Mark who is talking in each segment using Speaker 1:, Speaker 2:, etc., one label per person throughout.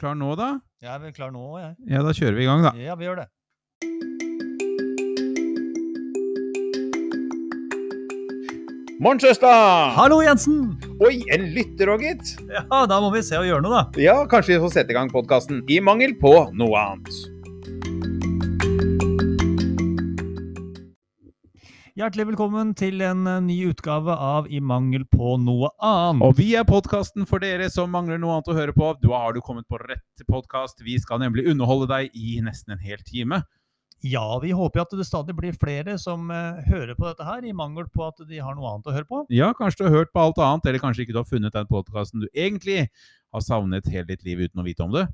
Speaker 1: klar nå, da?
Speaker 2: Jeg er vel klar nå, jeg.
Speaker 1: Ja, da kjører vi i gang, da.
Speaker 2: Ja, vi gjør det.
Speaker 3: Morn, søster!
Speaker 4: Hallo, Jensen!
Speaker 3: Oi, en lytter òg, gitt.
Speaker 4: Ja, da må vi se og gjøre noe, da.
Speaker 3: Ja, kanskje vi får sette i gang podkasten i mangel på noe annet.
Speaker 4: Hjertelig velkommen til en eh, ny utgave av I mangel på noe annet.
Speaker 1: Og vi er podkasten for dere som mangler noe annet å høre på. Da har du kommet på rett podkast. Vi skal nemlig underholde deg i nesten en hel time.
Speaker 4: Ja, vi håper jo at det stadig blir flere som eh, hører på dette her, i mangel på at de har noe annet å høre på.
Speaker 1: Ja, kanskje du har hørt på alt annet, eller kanskje ikke du har funnet den podkasten du egentlig har savnet hele ditt liv uten å vite om det.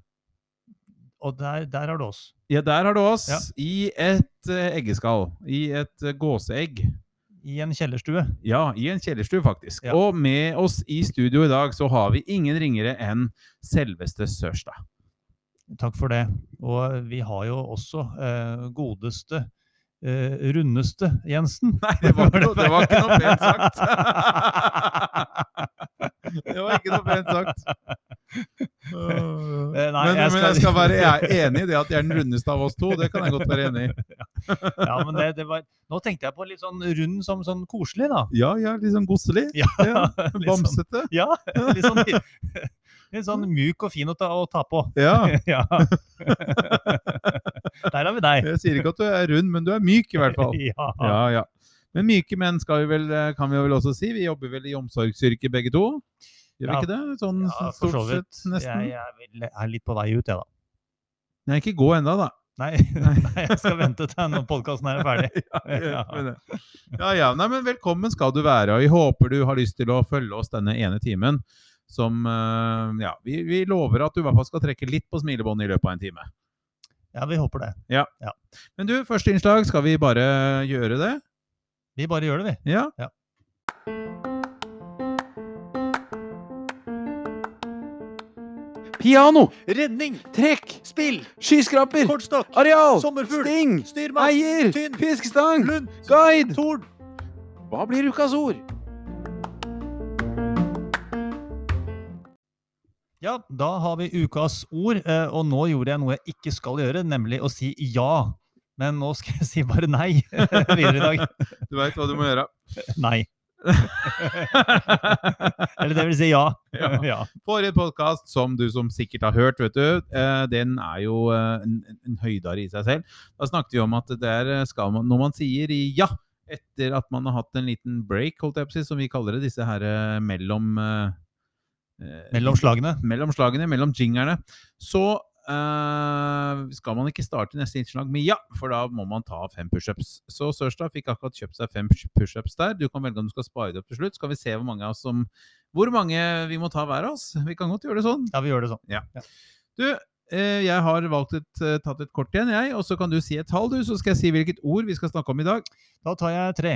Speaker 4: Og der, der har du oss.
Speaker 1: Ja, der har du oss.
Speaker 4: Ja.
Speaker 1: I et eh, eggeskall. I et eh, gåseegg.
Speaker 4: I en kjellerstue.
Speaker 1: Ja, i en kjellerstue, faktisk.
Speaker 4: Ja.
Speaker 1: Og med oss i studio i dag så har vi ingen ringere enn selveste Sørstad.
Speaker 4: Takk for det. Og eh, vi har jo også eh, godeste, eh, rundeste Jensen.
Speaker 1: Nei, det var, ikke noe- det var ikke noe pent sagt. Det var ikke noe pent sagt.
Speaker 4: Eh, nei,
Speaker 1: men,
Speaker 4: jeg
Speaker 1: men
Speaker 4: skal-
Speaker 1: jeg skal være jeg er enig i det at jeg er den rundeste av oss to. Det kan jeg godt være enig i.
Speaker 4: Ja, men det, det var... Nå tenkte jeg på litt sånn rund som sånn koselig, da.
Speaker 1: Ja, jeg er litt sånn gosselig.
Speaker 4: Ja, litt sånn-
Speaker 1: Bamsete.
Speaker 4: Ja, litt sånn, litt sånn myk og fin å ta, å ta på.
Speaker 1: Ja.
Speaker 4: Ja. Der har vi deg.
Speaker 1: Jeg sier ikke at du er rund, men du er myk i hvert fall.
Speaker 4: Ja.
Speaker 1: Ja, ja. Men myke menn skal vi vel, eh, kan vi vel også si. Vi jobber vel i omsorgsyrket begge to. Gjør
Speaker 4: Ja.
Speaker 1: vi ikke det? Sånn
Speaker 4: Ja, for så
Speaker 1: stort
Speaker 4: vidt.
Speaker 1: sett, nesten.
Speaker 4: Jeg, er vel- er litt på vei ut, jeg, da.
Speaker 1: Nei, ikke gå ennå, da.
Speaker 4: Nei, nei, jeg skal vente til når podkasten er ferdig.
Speaker 1: Ja, men det- ja, ja. Nei, men velkommen skal du være. Og vi håper du har lyst til å følge oss denne ene timen. Som eh, Ja, vi, vi lover at du i hvert fall skal trekke litt på smilebåndet i løpet av en time.
Speaker 4: Ja, vi håper det.
Speaker 1: Men du, første innslag, skal vi bare gjøre det?
Speaker 4: Vi bare gjør det, vi.
Speaker 1: Ja.
Speaker 4: Ja.
Speaker 5: Piano,
Speaker 2: Redning,
Speaker 5: trekk,
Speaker 2: spill,
Speaker 5: skyskraper,
Speaker 2: kortstokk,
Speaker 5: areal,
Speaker 2: sommerfugl,
Speaker 5: sting,
Speaker 2: styrmann,
Speaker 5: eier,
Speaker 2: tynn,
Speaker 5: fiskestang,
Speaker 2: lund,
Speaker 5: guide.
Speaker 2: torn.
Speaker 5: Hva blir ukas ord?
Speaker 4: Ja, da har vi ukas ord, eh, og nå gjorde jeg noe jeg ikke skal gjøre, nemlig å si ja. Men nå skal jeg si bare nei videre i dag.
Speaker 1: Du veit hva du må gjøre.
Speaker 4: Nei. Eller det vil si ja.
Speaker 1: Ja.
Speaker 4: ja.
Speaker 1: Forrige podkast, som du som sikkert har hørt, vet du, eh, den er jo eh, en, en- en høydare i seg selv. Da snakket vi om at det der skal man, når man sier ja etter at man har hatt en liten break, holdt jeg på å si, som vi kaller det, disse her eh, mellom eh, eh,
Speaker 4: Mellom slagene.
Speaker 1: mellom slagene, mellom jinglerne, så eh, skal man ikke starte neste innslag med ja, for da må man ta fem pushups. Så Sørstad fikk akkurat kjøpt seg fem push- pushups der. Du kan velge om du skal spare det opp til slutt. Skal vi se hvor mange av oss som Hvor mange vi må ta hver av oss? Vi kan godt gjøre det sånn.
Speaker 4: Ja, vi gjør det sånn.
Speaker 1: Du, eh, jeg har valgt et, eh, tatt et kort igjen, jeg. Og så kan du si et tall, du, så skal jeg si hvilket ord vi skal snakke om i dag.
Speaker 4: Da tar jeg tre.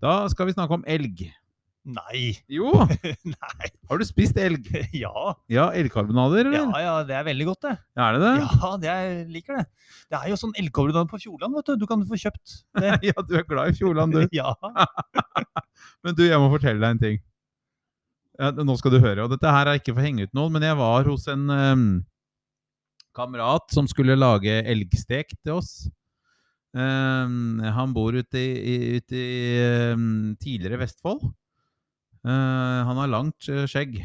Speaker 1: Da skal vi snakke om elg.
Speaker 4: Nei.
Speaker 1: Jo!
Speaker 4: Nei.
Speaker 1: Har du spist elg?
Speaker 4: Ja.
Speaker 1: Ja, elgkarbonader,
Speaker 4: ja,
Speaker 1: eller?
Speaker 4: ja, det er veldig godt, det.
Speaker 1: Er det det?
Speaker 4: Ja, det er, jeg liker det. Det er jo sånn elgkobberdan på Fjordland, vet du. Du kan få kjøpt det.
Speaker 1: Ja, du er glad i Fjordland, du.
Speaker 4: Ja.
Speaker 1: Men du, jeg må fortelle deg en ting. Ja, nå skal du høre, og dette her er ikke for å henge ut noen, men jeg var hos en ehm, kamerat som skulle lage elgstek til oss. Ehm, han bor ute i, i- ute i ehm, tidligere Vestfold. Eh, han har langt eh, skjegg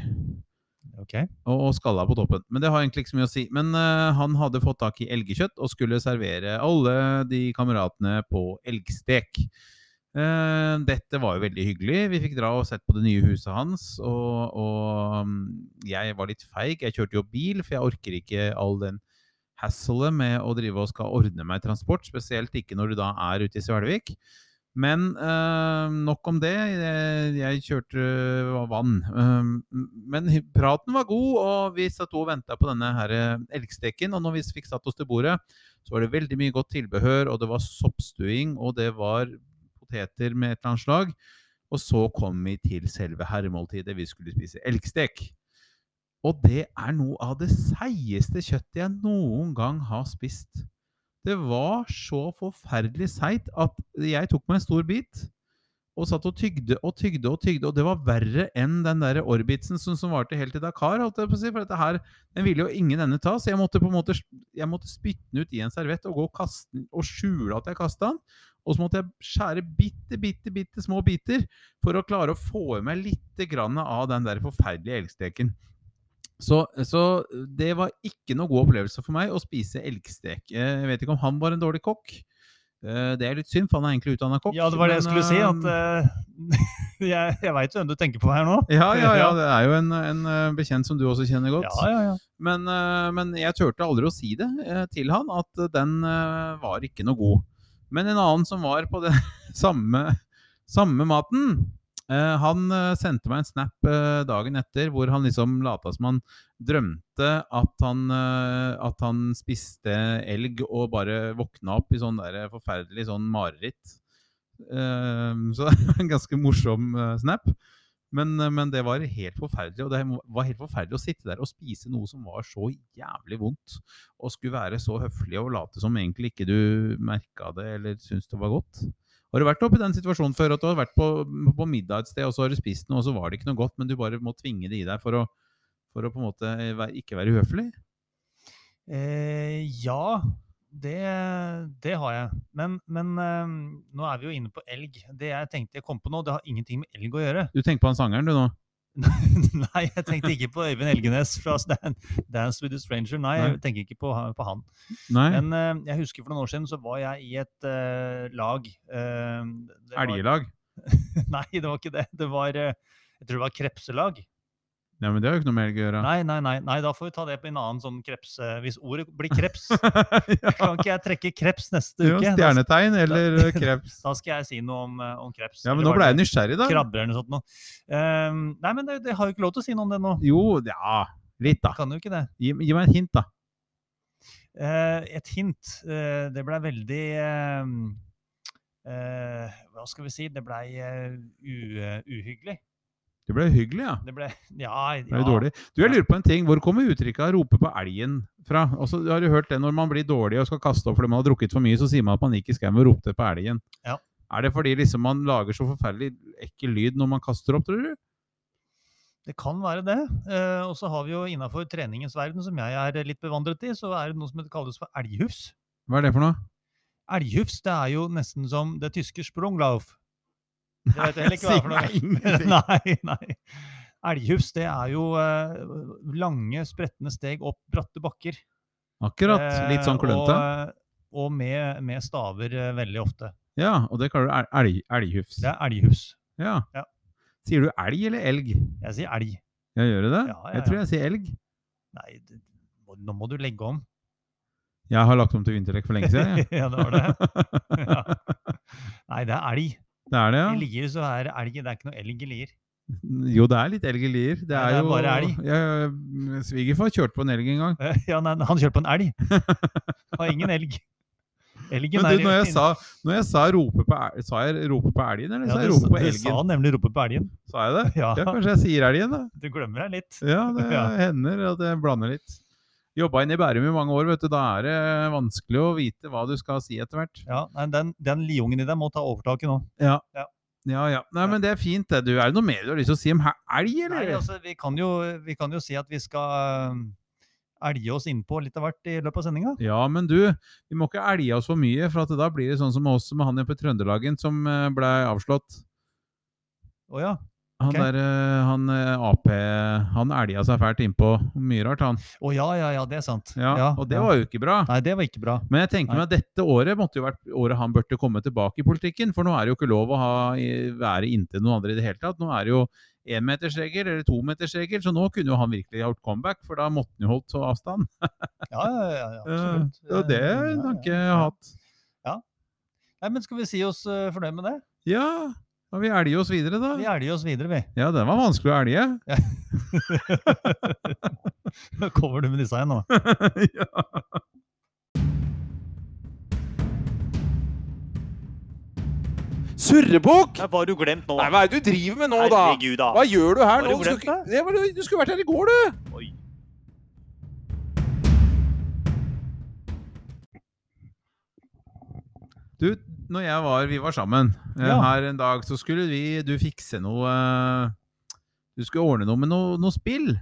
Speaker 4: Ok.
Speaker 1: og, og skalla på toppen. Men det har egentlig ikke så mye å si. Men eh, han hadde fått tak i elgkjøtt og skulle servere alle de kameratene på elgstek. Eh, dette var jo veldig hyggelig. Vi fikk dra og sett på det nye huset hans. Og, og mm, jeg var litt feig. Jeg kjørte jo bil, for jeg orker ikke all den hasslet med å drive og skal ordne meg transport. Spesielt ikke når du da er ute i Svelvik. Men eh, nok om det. Jeg, jeg kjørte det var vann. Eh, men hy- praten var god, og vi satt og venta på denne her eh, elgsteken. Og når vi fikk satt oss til bordet, så var det veldig mye godt tilbehør, og det var soppstuing, og det var poteter med et eller annet slag. Og så kom vi til selve herremåltidet. Vi skulle spise elgstek. Og det er noe av det seigeste kjøttet jeg noen gang har spist. Det var så forferdelig seigt at jeg tok meg en stor bit. og satt og tygde og tygde og tygde, og det var verre enn den der Orbitsen som, som varte helt til Dakar, holdt jeg på å si, for dette her, den ville jo ingen ende ta, så jeg måtte på en måte, jeg måtte spytte den ut i en servett og gå og kaste den, og skjule at jeg kastet den, og så måtte jeg skjære bitte, bitte, bitte små biter for å klare å få i meg litt grann av den der forferdelige elgsteken. Så, så det var ikke noe god opplevelse for meg å spise elgstek. Eh, Jeg vet ikke om han var en dårlig kokk. Eh, Det er litt synd, for han er egentlig utdanna kokk.
Speaker 4: Ja, det var det jeg
Speaker 1: men,
Speaker 4: skulle si. At,
Speaker 1: eh,
Speaker 4: eh, jeg jeg veit hvem du tenker på her nå.
Speaker 1: ja, ja, ja, det er jo en, en eh, bekjent som du også kjenner godt.
Speaker 4: Ja, ja, ja.
Speaker 1: Men, eh, men jeg turte aldri å si det eh, til han, at eh, den eh, var ikke noe god. Men en annen som var på den samme, samme maten, eh, han eh, sendte meg en snap eh, dagen etter hvor han liksom lata som han drømte at han, eh, at han spiste elg og bare våkna opp i sånn der forferdelig sånn mareritt. Eh, Så det var en ganske morsom eh, snap. Men, eh, men det var helt forferdelig. Og det var helt forferdelig å sitte der og spise noe som var så jævlig vondt, og skulle være så høflig og late som egentlig ikke du merka det eller syntes det var godt. Har du vært oppi den situasjonen før at du har vært på, på middag et sted, og så har du spist noe, og så var det ikke noe godt, men du bare må tvinge det i deg for å, for å på en måte være, ikke være uhøflig?
Speaker 4: Eh, ja, det, det har jeg. Men, men eh, nå er vi jo inne på elg. Det jeg tenkte jeg kom på nå, det har ingenting med elg å gjøre.
Speaker 1: Du tenker på han sangeren, du nå?
Speaker 4: Nei, jeg tenkte ikke på Øyvind Elgenes fra Stan- Dance with a Stranger. Nei, jeg
Speaker 1: Nei.
Speaker 4: tenker ikke på, ha- på han.
Speaker 1: Nei?
Speaker 4: Men eh, jeg husker for noen år siden så var jeg i et eh, lag. eh, det var-
Speaker 1: Elgelag?
Speaker 4: Nei, det var ikke det. Det var eh, jeg tror det var krepselag.
Speaker 1: Nei, men det har jo ikke noe med elg å gjøre.
Speaker 4: Nei, nei, nei, nei, da får vi ta det på en annen sånn kreps... eh, Hvis ordet blir kreps,
Speaker 1: ja.
Speaker 4: kan ikke altså. jeg trekke kreps neste
Speaker 1: Jo,
Speaker 4: uke? Da-
Speaker 1: stjernetegn eller eh, kreps.
Speaker 4: Da skal jeg si noe om, eh, om kreps.
Speaker 1: Ja, men
Speaker 4: eller
Speaker 1: nå
Speaker 4: var
Speaker 1: ble jeg
Speaker 4: det
Speaker 1: nysgjerrig, da.
Speaker 4: Krabber eller noe sånt. Noe. Ehm, nei, men det, det har jo ikke lov til å si noe om det nå.
Speaker 1: Jo, ja Litt, da.
Speaker 4: Kan jo ikke det.
Speaker 1: Gi, gi meg et hint, da.
Speaker 4: Eh, et hint. eh, det blei veldig eh, eh, Hva skal vi si? Det blei u, eh, uhyggelig.
Speaker 1: Det ble hyggelig, ja.
Speaker 4: Det ble Ja.
Speaker 1: Det er jo
Speaker 4: ja.
Speaker 1: dårlig. Du, jeg lurer på en ting. Hvor kommer uttrykket 'rope på elgen' fra? Altså, du har jo hørt det Når man blir dårlig og skal kaste opp fordi man har drukket for mye, så sier man at man gikk i skauen og ropte på elgen.
Speaker 4: Ja.
Speaker 1: Er det fordi liksom man lager så forferdelig ekkel lyd når man kaster opp, tror du?
Speaker 4: Det kan være det. Eh, og så har vi jo innafor treningens verden, som jeg er eh, litt bevandret i, så er det noe som heter- kalles for elghufs.
Speaker 1: Hva er det for noe?
Speaker 4: Elghufs det er jo nesten som det tyske sprunglauf. Det vet jeg heller ikke hva er for noe.
Speaker 1: Sier meg ingenting.
Speaker 4: nei, nei. Elghufs, det er jo eh, lange, sprettende steg opp bratte bakker.
Speaker 1: Akkurat. Litt sånn
Speaker 4: Eh,
Speaker 1: klønete.
Speaker 4: Og, og med, med staver eh, veldig ofte.
Speaker 1: Ja, og det kaller du el- elg, elghufs.
Speaker 4: Det er elghufs.
Speaker 1: Ja.
Speaker 4: Ja.
Speaker 1: Sier du elg eller elg?
Speaker 4: Jeg sier elg.
Speaker 1: Ja, gjør du det?
Speaker 4: Ja, ja,
Speaker 1: Jeg tror jeg sier elg.
Speaker 4: Nei, det, må- nå må du legge om.
Speaker 1: Jeg har lagt om til vinterlekk for lenge siden. jeg.
Speaker 4: ja, det var det. Ja. Nei, det er elg.
Speaker 1: Det er det, ja.
Speaker 4: I Lier så er det elg. Det er ikke noe elg i Lier.
Speaker 1: Jo, det er litt elg i Lier. Det
Speaker 4: Ja,
Speaker 1: er,
Speaker 4: det er
Speaker 1: jo
Speaker 4: bare elg.
Speaker 1: Ja, Svigerfar kjørte på en elg en gang.
Speaker 4: Eh, Ja, nei, han kjører på en elg. Har ingen elg. Elgen
Speaker 1: Men
Speaker 4: er
Speaker 1: du, når jeg
Speaker 4: inn-
Speaker 1: sa, når jeg sa, rope, på, el- sa jeg rope på elgen, eller
Speaker 4: ja,
Speaker 1: sa jeg
Speaker 4: du
Speaker 1: rope
Speaker 4: sa-
Speaker 1: på
Speaker 4: Du sa
Speaker 1: elgen?
Speaker 4: nemlig rope på elgen.
Speaker 1: Sa jeg det?
Speaker 4: Ja,
Speaker 1: Ja, kanskje jeg sier elgen, da.
Speaker 4: du glemmer deg litt.
Speaker 1: Ja, det
Speaker 4: Ja.
Speaker 1: hender at jeg blander litt. Jobba inne i Bærum i mange år, vet du. Da er det vanskelig å vite hva du skal si etter hvert.
Speaker 4: Ja, nei, den, den liungen i deg må ta overtaket nå.
Speaker 1: Ja, ja. Nei, men det er fint, det. Du, er det noe mer du har lyst til å si om he- elg,
Speaker 4: Nei,
Speaker 1: eller?
Speaker 4: altså, vi, kan jo, vi kan jo si at vi skal eh, elge oss innpå litt av hvert i løpet av sendinga.
Speaker 1: Ja, men du, vi må ikke elge oss for mye, for at da blir det sånn som med oss med han på Trøndelagen som eh, ble avslått.
Speaker 4: Å ja.
Speaker 1: Han
Speaker 4: Ok.
Speaker 1: der, eh, han eh, Ap, han elga seg fælt innpå. Mye rart, han.
Speaker 4: Å ja, ja, ja, det er sant.
Speaker 1: Ja, og det var jo ikke bra.
Speaker 4: Nei, det var ikke bra.
Speaker 1: Men jeg tenker meg at dette året måtte jo vært året han burde komme tilbake i politikken. For nå er det jo ikke lov å ha, i- være inntil noen andre i det hele tatt. Nå er det jo énmetersregel eller tometersregel, så nå kunne jo han virkelig gjort comeback, for da måtte han jo holdt så avstand.
Speaker 4: Ja, ja, ja, ja
Speaker 1: Eh,
Speaker 4: absolutt.
Speaker 1: Det var det
Speaker 4: Eh,
Speaker 1: en
Speaker 4: ja,
Speaker 1: tanke
Speaker 4: ja,
Speaker 1: jeg
Speaker 4: ja.
Speaker 1: har hatt.
Speaker 4: Nei, men skal vi si oss eh, fornøyd med det?
Speaker 1: Ja, da vi elger oss videre, da.
Speaker 4: Vi elger oss videre, vi.
Speaker 1: Ja, den var vanskelig å elge.
Speaker 4: Kommer du med disse igjen nå?
Speaker 1: ja.
Speaker 5: Surrebukk!
Speaker 2: Hva har du glemt nå?
Speaker 5: Nei, hva er det du driver med nå, da?
Speaker 2: Herregud, da.
Speaker 5: Hva gjør du her
Speaker 2: Har
Speaker 5: nå?
Speaker 2: du
Speaker 5: Du,
Speaker 2: glemt
Speaker 5: skulle, ikke- det var, du skulle vært her i går, du!
Speaker 1: Du, når jeg var, vi var sammen eh,
Speaker 4: Ja.
Speaker 1: her en dag, så skulle vi, du fikse noe eh, Du skulle ordne noe med noe, noe spill.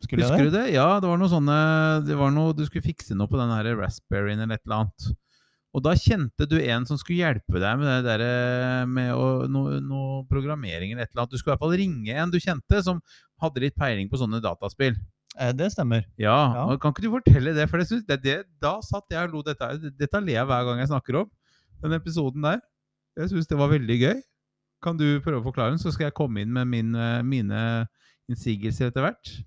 Speaker 4: Skulle jeg
Speaker 1: Husker du det? Ja, det var noe sånne det var noe, Du skulle fikse noe på den her raspberryen eller et eller annet. Og da kjente du en som skulle hjelpe deg med det der eh, med å, noe, noe programmering eller et eller annet. Du skulle i hvert fall ringe en du kjente, som hadde litt peiling på sånne dataspill.
Speaker 4: Eh, Det stemmer.
Speaker 1: Ja,
Speaker 4: Ja.
Speaker 1: og Kan ikke du fortelle det? For det, synes- det, det, da satt jeg og lo. Dette, er- dette ler jeg hver gang jeg snakker om den episoden der. Jeg syns det var veldig gøy. Kan du prøve å forklare den, så skal jeg komme inn med min, eh, mine innsigelser etter hvert?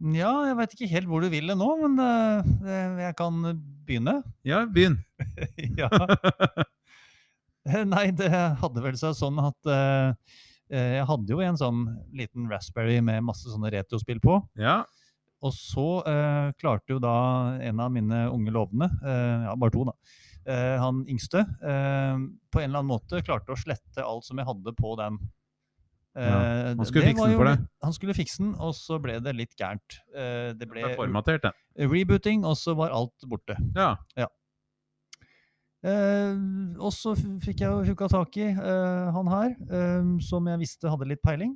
Speaker 4: Ja, jeg veit ikke helt hvor du vil det nå, men eh, eh, jeg kan begynne.
Speaker 1: Ja, begynn.
Speaker 4: ja. Eh, Nei, det hadde vel seg sånn at eh, eh, jeg hadde jo en sånn liten Raspberry med masse sånne retrospill på.
Speaker 1: Ja.
Speaker 4: Og så eh, klarte jo da en av mine unge lovende, eh, ja, bare to da, eh, han yngste, eh, på en eller annen måte klarte å slette alt som jeg hadde på den. Eh,
Speaker 1: han skulle
Speaker 4: det
Speaker 1: fikse
Speaker 4: var
Speaker 1: den
Speaker 4: jo
Speaker 1: for
Speaker 4: litt-
Speaker 1: deg.
Speaker 4: Han skulle fikse den, og så ble det litt gærent. Eh, det
Speaker 1: Det
Speaker 4: ble
Speaker 1: er formatert, den.
Speaker 4: rebooting, og så var alt borte.
Speaker 1: Ja.
Speaker 4: Eh, og så f- fikk jeg jo hooka tak i eh, han her, eh, som jeg visste hadde litt peiling.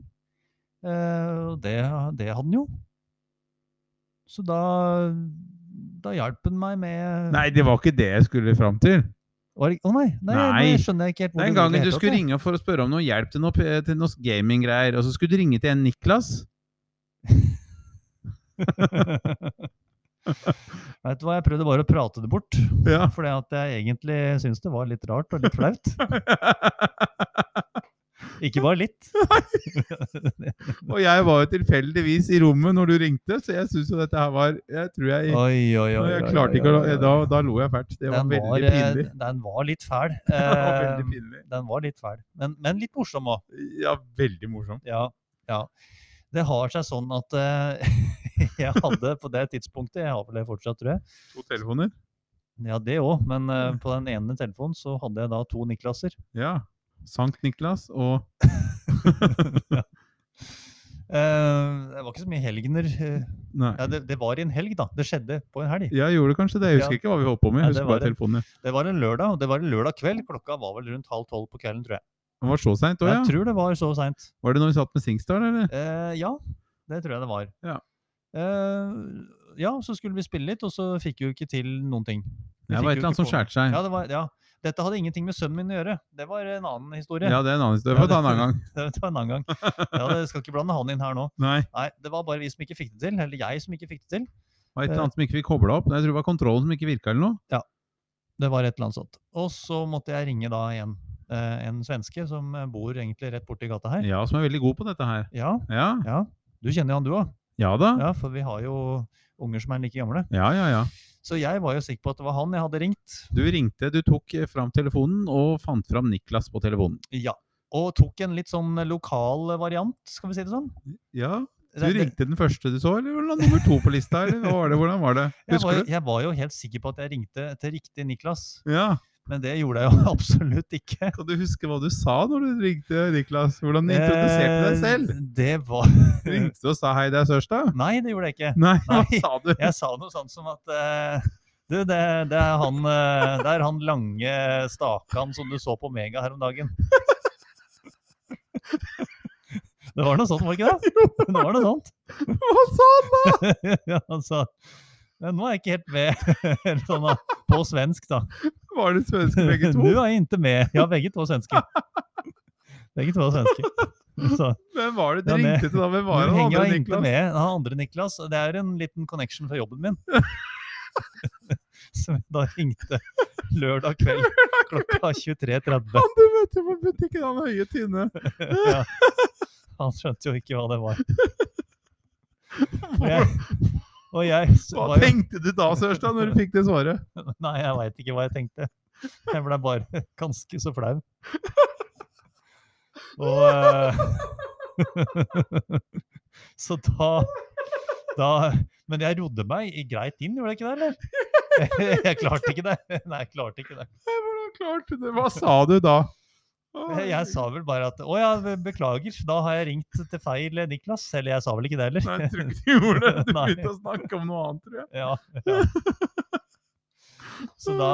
Speaker 4: Eh, Og det, det hadde han jo. Så da, da hjalp han meg med
Speaker 1: Nei, det var ikke det jeg skulle fram til.
Speaker 4: Var det- Å nei, nei,
Speaker 1: Nei.
Speaker 4: nå skjønner jeg ikke helt hvor
Speaker 1: Den
Speaker 4: det egentlig
Speaker 1: gangen du
Speaker 4: heter
Speaker 1: skulle
Speaker 4: opp, jeg.
Speaker 1: ringe for å spørre om noe hjelp til noe, p- til noe gaminggreier, og så skulle du ringe til en Niklas
Speaker 4: Vet du hva, jeg prøvde bare å prate det bort.
Speaker 1: Ja.
Speaker 4: Fordi at jeg egentlig syns det var litt rart og litt flaut. Ikke bare litt.
Speaker 1: Og jeg var jo tilfeldigvis i rommet når du ringte, så jeg syns jo dette her var Jeg tror jeg
Speaker 4: Oi, oi, oi.
Speaker 1: Jeg
Speaker 4: oi,
Speaker 1: klarte
Speaker 4: oi,
Speaker 1: ikke å
Speaker 4: oi, oi.
Speaker 1: Da, da lo jeg fælt. Det var
Speaker 4: Den
Speaker 1: veldig
Speaker 4: eh,
Speaker 1: pinlig.
Speaker 4: Den var litt fæl.
Speaker 1: Det var
Speaker 4: Eh,
Speaker 1: veldig pinlig.
Speaker 4: den var litt fæl, men, men litt morsom òg.
Speaker 1: Ja, veldig morsomt.
Speaker 4: Ja, ja. Det har seg sånn at eh, jeg hadde på det tidspunktet, jeg har vel det fortsatt, tror jeg,
Speaker 1: To telefoner.
Speaker 4: ja det òg, men
Speaker 1: Mm.
Speaker 4: eh, på den ene telefonen så hadde jeg da to Niklaser.
Speaker 1: Ja. Sankt Niklas og
Speaker 4: Eh, det var ikke så mye helgener. eh,
Speaker 1: Nei.
Speaker 4: Ja, det, det var i en helg, da. Det skjedde på en helg.
Speaker 1: Jeg gjorde kanskje det. Jeg husker
Speaker 4: Ja.
Speaker 1: ikke hva vi holdt på med.
Speaker 4: Nei,
Speaker 1: Jeg
Speaker 4: det
Speaker 1: husker
Speaker 4: var
Speaker 1: bare
Speaker 4: det.
Speaker 1: telefonene.
Speaker 4: Det var en lørdag, og det var en lørdag kveld. Klokka var vel rundt halv tolv på kvelden, tror jeg.
Speaker 1: Det var så seint òg,
Speaker 4: Jeg
Speaker 1: ja.
Speaker 4: tror det var så seint.
Speaker 1: Var det når vi satt med Singstar, eller?
Speaker 4: Eh, ja, det tror jeg det var.
Speaker 1: Ja.
Speaker 4: Eh, ja, så skulle vi spille litt, og så fikk vi jo ikke til noen ting. Vi
Speaker 1: Det
Speaker 4: fikk
Speaker 1: var
Speaker 4: jo
Speaker 1: et eller annet
Speaker 4: ikke
Speaker 1: som
Speaker 4: på-
Speaker 1: skjærte seg.
Speaker 4: Ja, det var, ja. Dette hadde ingenting med sønnen min å gjøre. Det var en annen historie.
Speaker 1: Ja, det er en annen historie. Vi
Speaker 4: Ja,
Speaker 1: får ta en
Speaker 4: det-
Speaker 1: annen gang.
Speaker 4: Det var en annen gang. Ja, det skal ikke blande han inn her nå.
Speaker 1: Nei,
Speaker 4: Nei, det var bare vi som ikke fikk det til. Eller jeg som ikke fikk det til.
Speaker 1: det var et eller annet som ikke vi kobla opp. Nei, Jeg tror det var kontrollen som ikke virka eller noe.
Speaker 4: Det var et eller annet sånt. Og så måtte jeg ringe da en, eh, en svenske som eh, bor egentlig rett borti gata her.
Speaker 1: Ja, som er veldig god på dette her.
Speaker 4: Ja,
Speaker 1: Ja,
Speaker 4: ja. Du kjenner jo han du òg.
Speaker 1: ja da.
Speaker 4: Ja, for vi har jo unger som er like gamle.
Speaker 1: Ja, ja, ja.
Speaker 4: Så jeg var jo sikker på at det var han jeg hadde ringt.
Speaker 1: Du ringte, du tok eh, fram telefonen og fant fram Niklas på telefonen.
Speaker 4: Ja. Og tok en litt sånn lokal variant, skal vi si det sånn.
Speaker 1: Ja, du
Speaker 4: Det- det-
Speaker 1: ringte den første du så, eller var det nummer to på lista? Eller hva var det, hvordan var det?
Speaker 4: Jeg var,
Speaker 1: Husker
Speaker 4: jo-
Speaker 1: du?
Speaker 4: jeg var jo helt sikker på at jeg ringte til riktig Niklas,
Speaker 1: Ja,
Speaker 4: men det gjorde jeg jo absolutt ikke.
Speaker 1: Kan du huske hva du sa når du ringte Niklas? Hvordan du introduserte du deg selv?
Speaker 4: Eh, Det var
Speaker 1: Ringte du og sa 'hei, det er Sørstad'?
Speaker 4: Nei, det gjorde jeg ikke.
Speaker 1: Nei, hva
Speaker 4: Nei.
Speaker 1: sa du?
Speaker 4: Jeg sa noe sånt som at eh, Du, det, det, er han, eh, det er han lange stakan som du så på Mega her om dagen. Det var noe sånt, var det ikke det? Det var noe sånt.
Speaker 1: Hva sa du?
Speaker 4: Ja, altså, men nå er jeg ikke helt med eller sånn, da, på svensk, da.
Speaker 1: Var det svenske begge
Speaker 4: Nu
Speaker 1: to?
Speaker 4: er jeg ikke med. Ja, begge to er svenske. Begge to er svenske. Så,
Speaker 1: Hvem var det du
Speaker 4: Ja, det-
Speaker 1: ringte til da? Hvem var
Speaker 4: nu
Speaker 1: det
Speaker 4: henger
Speaker 1: andre
Speaker 4: jeg ikke
Speaker 1: Niklas?
Speaker 4: med han andre Niklas. Det er en liten connection fra jobben min. Som jeg da ringte lørdag kveld klokka 23.30.
Speaker 1: Han du møtte på butikken, han høye, tynne.
Speaker 4: Ja. Han skjønte jo ikke hva det var. Og
Speaker 1: Hvor-
Speaker 4: jeg, og jeg s-
Speaker 1: Hva
Speaker 4: var jo
Speaker 1: tenkte du da, Sørstad, når du fikk det svaret?
Speaker 4: Nei, jeg veit ikke hva jeg tenkte. Jeg ble bare ganske så flau. Og eh, Så da, da Men jeg rodde meg i- greit inn, gjorde jeg ikke det, eller? Jeg klarte ikke det. Nei, jeg klarte ikke det.
Speaker 1: Hvordan klarte du det? Hva sa du da? Å,
Speaker 4: Jeg sa vel bare at Å ja, beklager, da har jeg ringt til feil eh, Niklas. Eller jeg sa vel ikke det heller.
Speaker 1: Nei, jeg tror ikke du gjorde det. Du
Speaker 4: Nei.
Speaker 1: begynte å snakke om noe annet, tror jeg.
Speaker 4: Ja, ja. Så da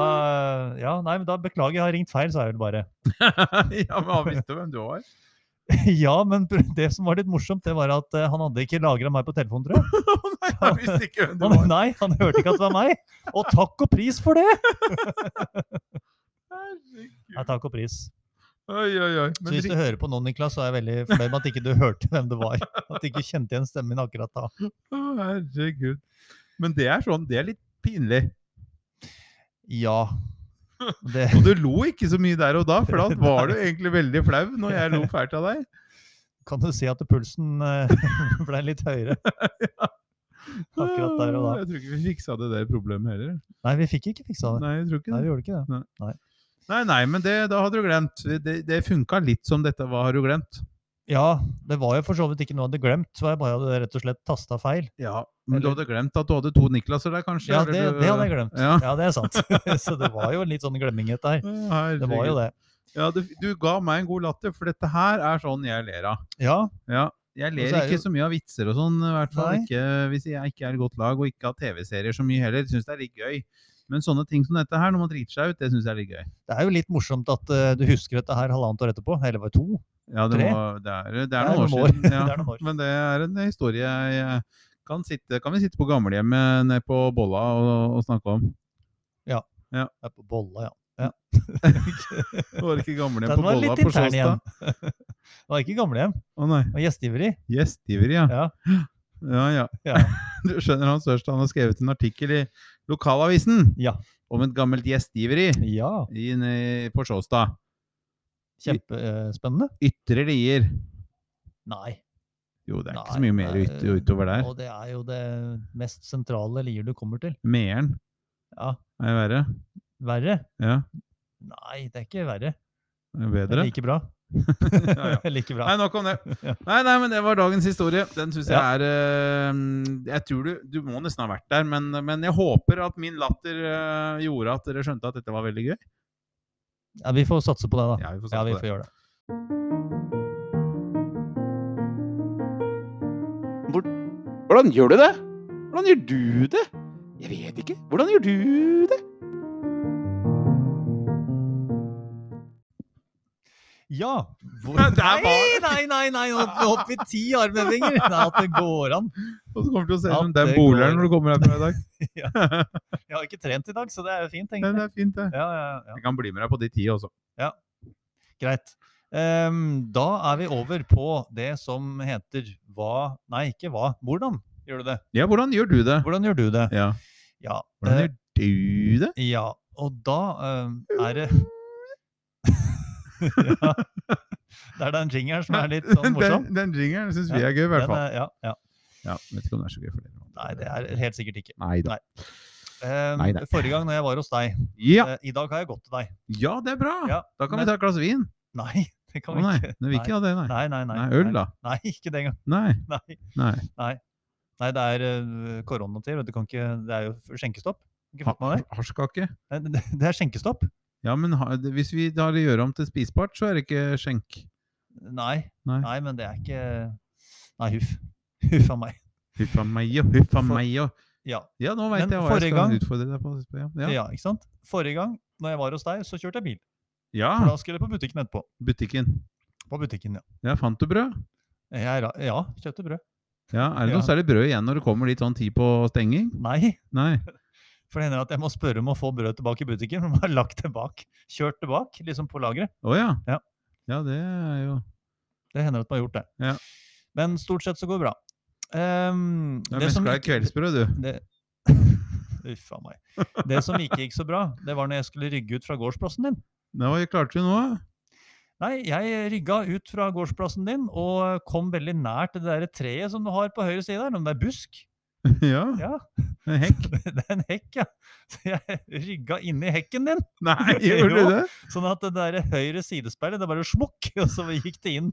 Speaker 4: Ja, nei, men da beklager, jeg har ringt feil, sa jeg vel bare.
Speaker 1: ja, men han visste hvem du var.
Speaker 4: Ja, men pr- det som var litt morsomt, det var at eh, han hadde ikke lagra meg på telefonen, tror jeg.
Speaker 1: Å nei, han visste ikke hvem du
Speaker 4: Han,
Speaker 1: var.
Speaker 4: nei, han hørte ikke at det var meg. Og takk og pris for det! Nei, takk og pris.
Speaker 1: Oi, oi, oi.
Speaker 4: Så
Speaker 1: Men
Speaker 4: hvis du hører på nå, Niklas, så er jeg veldig fornøyd med at ikke du hørte hvem det var. At du ikke kjente igjen stemmen min akkurat da.
Speaker 1: Å, herregud. Men det er sånn, det er litt pinlig.
Speaker 4: Ja. Det,
Speaker 1: Og du lo ikke så mye der og da, for da var du egentlig veldig flau når jeg lo fælt av deg.
Speaker 4: kan du si at pulsen eh, ble litt høyere? Akkurat der og da.
Speaker 1: Jeg tror ikke vi fiksa det der problemet heller.
Speaker 4: Nei, vi fikk ikke fiksa det.
Speaker 1: Nei, jeg tror ikke
Speaker 4: Nei,
Speaker 1: det.
Speaker 4: vi gjorde ikke det.
Speaker 1: Nei, nei, men det, da hadde du glemt. Det, det funka litt som dette. Hva har du glemt?
Speaker 4: Ja, det var jo for så vidt ikke noe jeg hadde glemt. Så jeg bare hadde rett og slett tasta feil.
Speaker 1: Ja, men du
Speaker 4: Eller-
Speaker 1: hadde glemt at du hadde to Niklaser der, kanskje?
Speaker 4: Ja,
Speaker 1: eller
Speaker 4: det,
Speaker 1: du-
Speaker 4: det hadde jeg glemt.
Speaker 1: Ja.
Speaker 4: Ja, det er sant. Så det var jo en litt sånn glemminghet der.
Speaker 1: Å,
Speaker 4: Det var jo
Speaker 1: herregud.
Speaker 4: det.
Speaker 1: Ja, du, du ga meg en god latter, for dette her er sånn jeg ler av.
Speaker 4: Ja,
Speaker 1: Ja, jeg ler
Speaker 4: så er
Speaker 1: ikke
Speaker 4: jo-
Speaker 1: så mye av vitser og sånn, i hvert fall
Speaker 4: Nei.
Speaker 1: ikke hvis jeg ikke er i godt lag, og ikke har TV-serier så mye heller. Syns det er litt gøy. Men sånne ting som dette her, når man driter seg ut, det syns jeg er litt gøy.
Speaker 4: det er jo litt morsomt at eh, du husker dette her halvannet år etterpå. Eller var det to?
Speaker 1: Ja, det,
Speaker 4: Tre?
Speaker 1: må, det, er, det er noen år
Speaker 4: år.
Speaker 1: siden.
Speaker 4: Det
Speaker 1: Ja.
Speaker 4: er noen år.
Speaker 1: Men det er en historie jeg eh, kan, sitte, kan vi sitte på gamlehjemmet nede på Bolla og, og snakke om.
Speaker 4: Jeg er på bolla, ja.
Speaker 1: Det var ikke gamlehjem
Speaker 4: Den
Speaker 1: på
Speaker 4: var
Speaker 1: Bolla
Speaker 4: litt
Speaker 1: på
Speaker 4: intern
Speaker 1: Sjåstad.
Speaker 4: igjen. Det var ikke gamlehjem,
Speaker 1: Å nei.
Speaker 4: det var gjesteivrig.
Speaker 1: Gjestgiveri, ja.
Speaker 4: Ja.
Speaker 1: Ja, ja.
Speaker 4: Ja.
Speaker 1: Du skjønner Hans Ørstad han har skrevet en artikkel i lokalavisen
Speaker 4: Ja.
Speaker 1: om et gammelt gjestgiveri
Speaker 4: Ja,
Speaker 1: i- nede på Sjåstad.
Speaker 4: kjempespennende.
Speaker 1: Ytre Lier.
Speaker 4: Nei.
Speaker 1: Jo, det er ikke så
Speaker 4: Nei,
Speaker 1: mye mer
Speaker 4: nei,
Speaker 1: ut, utover der.
Speaker 4: Og det er jo det mest sentrale lier du kommer til.
Speaker 1: Meeren
Speaker 4: Ja,
Speaker 1: er verre.
Speaker 4: verre?
Speaker 1: Ja,
Speaker 4: Nei, det er ikke verre.
Speaker 1: det er
Speaker 4: Det er
Speaker 1: bedre.
Speaker 4: like bra.
Speaker 1: Ja, ja.
Speaker 4: like bra.
Speaker 1: Nei, nok om det.
Speaker 4: Ja.
Speaker 1: Nei, nei, men det var dagens historie. Den syns jeg
Speaker 4: Ja.
Speaker 1: er eh, Jeg tror du Du må nesten ha vært der, men, men jeg håper at min latter eh, gjorde at dere skjønte at dette var veldig gøy.
Speaker 4: Ja, vi får satse på det, da.
Speaker 1: Ja, vi får satse
Speaker 4: Ja, vi
Speaker 1: på det.
Speaker 4: får gjøre det.
Speaker 5: Hvordan gjør du det? Hvordan gjør du det? Jeg vet ikke. Hvordan gjør du det?
Speaker 4: Ja! Hvor...
Speaker 1: Men der var-
Speaker 4: Nei, nei, nei! nei, nå Opp i ti armhevinger! Nei, at det går an.
Speaker 1: Og så kommer du til å se
Speaker 4: Ja,
Speaker 1: som den
Speaker 4: det
Speaker 1: boleren
Speaker 4: går.
Speaker 1: når du kommer herfra i dag.
Speaker 4: Ja. Jeg har ikke trent i dag, så det er jo fint,
Speaker 1: Men
Speaker 4: egentlig.
Speaker 1: det er fint, det.
Speaker 4: Ja, ja, ja.
Speaker 1: Jeg kan bli med deg på de ti også.
Speaker 4: Greit. Ehm, da er vi over på det som heter hva Nei, ikke hva. Hvordan gjør du det?
Speaker 1: Ja, hvordan gjør du det?
Speaker 4: Hvordan gjør du det?
Speaker 1: Ja,
Speaker 4: Ja.
Speaker 1: hvordan
Speaker 4: eh,
Speaker 1: gjør du det?
Speaker 4: ja. Og da ehm, er det ja. Det er den jingeren som er litt sånn morsom.
Speaker 1: Den, den jingeren syns vi
Speaker 4: Ja,
Speaker 1: er gøy, i hvert
Speaker 4: Den
Speaker 1: fall.
Speaker 4: er, ja, ja.
Speaker 1: Ja, vet ikke om det er så gøy for dere.
Speaker 4: Nei, det er helt sikkert ikke.
Speaker 1: Nei da.
Speaker 4: Ehm,
Speaker 1: Nei, nei.
Speaker 4: Forrige gang når jeg var hos deg
Speaker 1: Ja,
Speaker 4: eh, I dag har jeg gått til deg.
Speaker 1: ja, det er bra!
Speaker 4: Ja,
Speaker 1: Da kan
Speaker 4: men-
Speaker 1: vi ta et glass vin.
Speaker 4: Nei, det kan
Speaker 1: Å
Speaker 4: vi
Speaker 1: nei,
Speaker 4: ikke.
Speaker 1: det vil ikke ha det, nei.
Speaker 4: Nei, nei, nei.
Speaker 1: Nei, øl, da.
Speaker 4: Nei, ikke den gangen.
Speaker 1: Nei.
Speaker 4: Nei.
Speaker 1: nei.
Speaker 4: Nei, det er eh, koronatid. vet Du kan ikke, det er jo skjenkestopp. Ikke
Speaker 1: Ha,
Speaker 4: fått med deg?
Speaker 1: Hasjkake.
Speaker 4: Nei, Det det er skjenkestopp?
Speaker 1: Ja, men ha, det- hvis vi da gjør om til spisbart, så er det ikke skjenk.
Speaker 4: Nei.
Speaker 1: Nei.
Speaker 4: Nei, men det er ikke Nei, huff. Huff a meg.
Speaker 1: Huffa meg og huffa
Speaker 4: For-
Speaker 1: meg og
Speaker 4: Ja.
Speaker 1: Ja, nå
Speaker 4: Men
Speaker 1: veit jeg hva
Speaker 4: forrige
Speaker 1: jeg skal
Speaker 4: gang-
Speaker 1: utfordre deg på. Ja.
Speaker 4: Ja.
Speaker 1: Ja.
Speaker 4: ikke sant? Forrige gang når jeg var hos deg, så kjørte jeg bil.
Speaker 1: ja,
Speaker 4: For da skulle jeg på butikken etterpå.
Speaker 1: butikken.
Speaker 4: På butikken, ja.
Speaker 1: Ja, fant du brød?
Speaker 4: Jeg er, ra- ja, kjøpte brød.
Speaker 1: Ja, Er det
Speaker 4: Ja.
Speaker 1: noe særlig brød igjen når det kommer litt sånn tid på stenging?
Speaker 4: Nei,
Speaker 1: Nei.
Speaker 4: for det hender at jeg må spørre om å få brød tilbake i butikken. For de har lagt det bak. Kjørt det bak, liksom på lageret.
Speaker 1: Å ja.
Speaker 4: Ja.
Speaker 1: Ja, det er jo
Speaker 4: Det hender at de har gjort det.
Speaker 1: Ja.
Speaker 4: Men stort sett så går det bra. Ehm,
Speaker 1: Du er mest
Speaker 4: som
Speaker 1: glad i
Speaker 4: ikke-
Speaker 1: kveldsbrød, du.
Speaker 4: Det, uff a meg. Det som ikke gikk så bra, det var når jeg skulle rygge ut fra gårdsplassen din.
Speaker 1: Nå klarte du noe.
Speaker 4: Nei, jeg rygga ut fra gårdsplassen din og kom veldig nær til det der treet som du har på høyre side der. Om det er busk?
Speaker 1: ja.
Speaker 4: Ja,
Speaker 1: En hekk.
Speaker 4: det er en hekk, ja. Så jeg rygga inni hekken din,
Speaker 1: Nei, gjorde du det?
Speaker 4: sånn at det der høyre sidespeilet, det bare smukk, og så gikk det inn.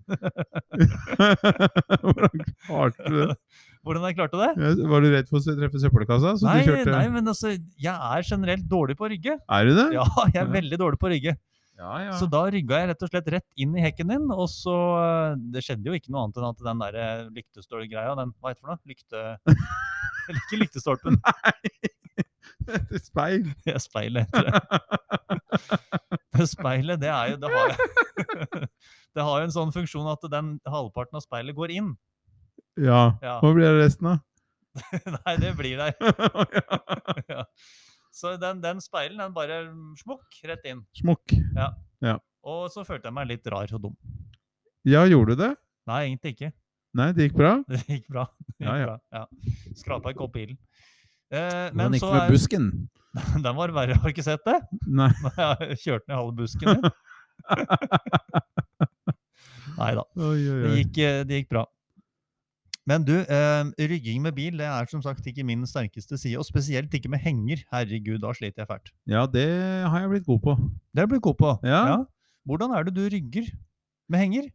Speaker 1: Hvordan klarte du det?
Speaker 4: Hvordan jeg klarte det?
Speaker 1: Ja, Var du redd for å treffe søppelkassa? Så
Speaker 4: Nei,
Speaker 1: Sånn du kjørte...
Speaker 4: nei, men altså, jeg er generelt dårlig på å rygge.
Speaker 1: Er du det?
Speaker 4: Ja, jeg er
Speaker 1: Ja.
Speaker 4: veldig dårlig på å rygge.
Speaker 1: ja. ja.
Speaker 4: Så da rygga jeg rett og slett rett inn i hekken din, og så eh, Det skjedde jo ikke noe annet enn at den der eh, lyktestålgreia, den hva heter det for noe? Lykte... Eller ikke lyktestolpen.
Speaker 1: Etter speil.
Speaker 4: Ja, speilet heter det. det speilet, det er jo Det har, det har jo en sånn funksjon at den halvparten av speilet går inn.
Speaker 1: Ja.
Speaker 4: Ja.
Speaker 1: Hva blir det resten,
Speaker 4: Nei, det blir der.
Speaker 1: da?
Speaker 4: Ja. Så den, den speilen, den bare smukk rett inn.
Speaker 1: Smokk.
Speaker 4: Og så følte jeg meg litt rar og dum.
Speaker 1: Ja, gjorde du det?
Speaker 4: Nei, egentlig ikke.
Speaker 1: Nei, det gikk bra?
Speaker 4: Det gikk bra. Det
Speaker 1: Ja,
Speaker 4: gikk
Speaker 1: ja.
Speaker 4: bra. ja. Skrapa en kopp i ilden. Eh,
Speaker 1: Hvordan
Speaker 4: men
Speaker 1: gikk
Speaker 4: så
Speaker 1: det med
Speaker 4: er,
Speaker 1: busken?
Speaker 4: den var verre, har du ikke sett det?
Speaker 1: Nei.
Speaker 4: Jeg kjørte ned halve busken min. Nei da.
Speaker 1: Oi, oi,
Speaker 4: Det
Speaker 1: oi.
Speaker 4: gikk, eh, det gikk bra. Men du, eh, rygging med bil det er som sagt ikke min sterkeste side. Og spesielt ikke med henger. Herregud, da sliter jeg fælt.
Speaker 1: Ja, det har jeg blitt god på.
Speaker 4: Det har jeg blitt god på.
Speaker 1: Ja.
Speaker 4: Hvordan er det du rygger med henger?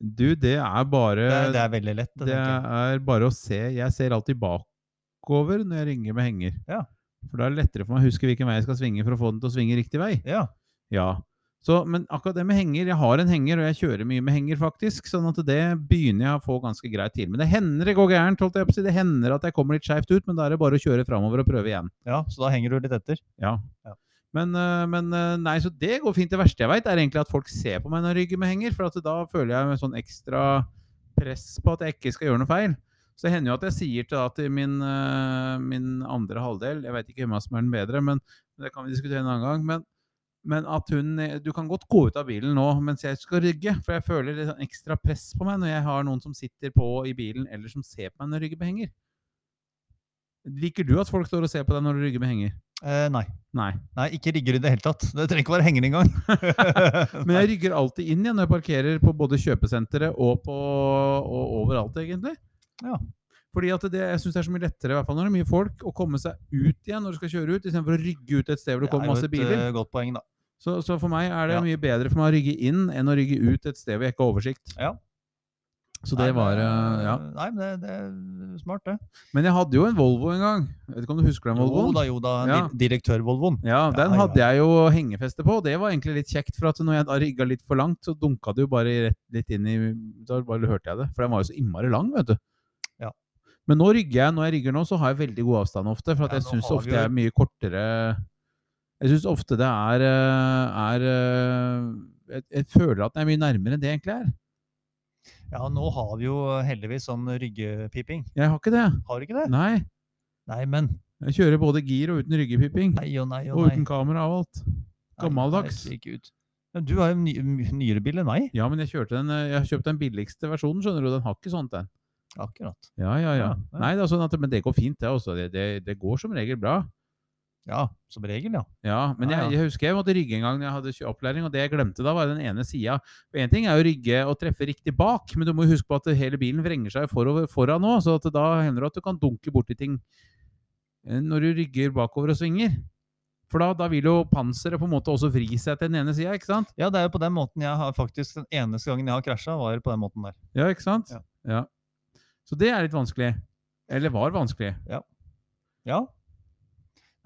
Speaker 1: Du, det er bare
Speaker 4: Det, er- det er veldig lett. Det,
Speaker 1: Eh, Det
Speaker 4: tenker jeg.
Speaker 1: er bare å se. Jeg ser alltid bakover når jeg ringer med henger.
Speaker 4: Ja.
Speaker 1: For da er det lettere for meg å huske hvilken vei jeg skal svinge for å få den til å svinge riktig vei.
Speaker 4: Ja.
Speaker 1: Ja. Så, men akkurat det med henger Jeg har en henger, og jeg kjører mye med henger, faktisk. Sånn at det begynner jeg å få ganske greit til. Men det hender det går gærent. holdt jeg på å si. Det hender at jeg kommer litt skeivt ut, men da er det bare å kjøre framover og prøve igjen.
Speaker 4: ja, så da henger du litt etter.
Speaker 1: Ja.
Speaker 4: Ja.
Speaker 1: Men, eh, men eh, nei, så det går fint. Det verste jeg veit, er egentlig at folk ser på meg når jeg rygger med henger, for at da føler jeg en sånn ekstra press på at jeg ikke skal gjøre noe feil. Så det hender jo at jeg sier til, da, til min, eh, min andre halvdel Jeg veit ikke hvem av oss som er den bedre, men det kan vi diskutere en annen gang. Men, men at hun eh, Du kan godt gå ut av bilen nå mens jeg skal rygge, for jeg føler litt sånn ekstra press på meg når jeg har noen som sitter på i bilen, eller som ser på meg når jeg rygger med henger. Liker du at folk står og ser på deg når du rygger med henger?
Speaker 4: Eh, nei.
Speaker 1: Nei.
Speaker 4: Nei, ikke rigger i det hele tatt. Det trenger ikke være henger engang.
Speaker 1: Men jeg rygger alltid inn igjen når jeg parkerer på både kjøpesenteret og, på, og overalt, egentlig.
Speaker 4: Ja.
Speaker 1: Fordi at det, jeg syns det er så mye lettere, i hvert fall når det er mye folk, å komme seg ut igjen når du skal kjøre ut, istedenfor å rygge ut et sted hvor det kommer masse
Speaker 4: Det er jo et
Speaker 1: biler.
Speaker 4: eh, godt poeng, da.
Speaker 1: Så, så for meg er det
Speaker 4: Ja.
Speaker 1: mye bedre for meg å rygge inn enn å rygge ut et sted hvor jeg ikke har oversikt.
Speaker 4: Ja.
Speaker 1: Så det
Speaker 4: Nei,
Speaker 1: var eh,
Speaker 4: men,
Speaker 1: Ja.
Speaker 4: Nei, men det, det er smart, det.
Speaker 1: Men jeg hadde jo en Volvo en gang. Jeg vet ikke om du husker den
Speaker 4: Jo
Speaker 1: Volvoen?
Speaker 4: da, jo da.
Speaker 1: Ja.
Speaker 4: di- Direktør-Volvoen.
Speaker 1: Ja, den
Speaker 4: Ja, ja.
Speaker 1: hadde jeg jo hengefeste på. og Det var egentlig litt kjekt, for at når jeg da rigga litt for langt, så dunka det jo bare rett litt inn i Da bare hørte jeg det. For den var jo så innmari lang, vet du.
Speaker 4: Ja.
Speaker 1: Men nå rygger jeg, når jeg rygger nå, så har jeg veldig god avstand ofte. For at
Speaker 4: Ja,
Speaker 1: jeg
Speaker 4: nå
Speaker 1: syns
Speaker 4: har vi
Speaker 1: ofte
Speaker 4: jo-
Speaker 1: jeg er mye kortere Jeg syns ofte det er, eh, er eh, jeg, jeg føler at den er mye nærmere enn det egentlig er.
Speaker 4: Ja, nå har vi jo heldigvis sånn ryggepiping.
Speaker 1: Jeg har ikke det.
Speaker 4: Har du ikke det?
Speaker 1: Nei.
Speaker 4: Nei, men
Speaker 1: Jeg kjører både gir og uten ryggepiping.
Speaker 4: Nei og nei og
Speaker 1: Og
Speaker 4: nei.
Speaker 1: uten kamera og alt.
Speaker 4: Nei,
Speaker 1: gammeldags.
Speaker 4: nei, Ikke ut. Men du har jo en ny, my- nyere bil enn meg.
Speaker 1: Ja, men jeg kjørte den, eh, jeg har kjøpt den billigste versjonen, skjønner du. Den har ikke sånt, den.
Speaker 4: Akkurat.
Speaker 1: Ja, ja, ja.
Speaker 4: Ja, ja.
Speaker 1: Nei, det er sånn at, men det går fint, det også. Det, det, det går som regel bra.
Speaker 4: Ja, som regel, ja.
Speaker 1: Ja, men
Speaker 4: Ja, ja.
Speaker 1: Jeg, jeg husker jeg måtte rygge en gang når jeg hadde kjø- opplæring, og det jeg glemte da, var den ene sida. Én ting er jo å rygge og treffe riktig bak, men du må jo huske på at hele bilen vrenger seg forover, foran nå, så at da hender det at du kan dunke borti ting eh, når du rygger bakover og svinger. For da, da vil jo panseret på en måte også vri seg til den ene sida, ikke sant?
Speaker 4: Ja, det er jo på den måten jeg har faktisk Den eneste gangen jeg har krasja, var på den måten der.
Speaker 1: Ja, ikke sant?
Speaker 4: Ja.
Speaker 1: Ja. Så det er litt vanskelig. Eller var vanskelig.
Speaker 4: Ja.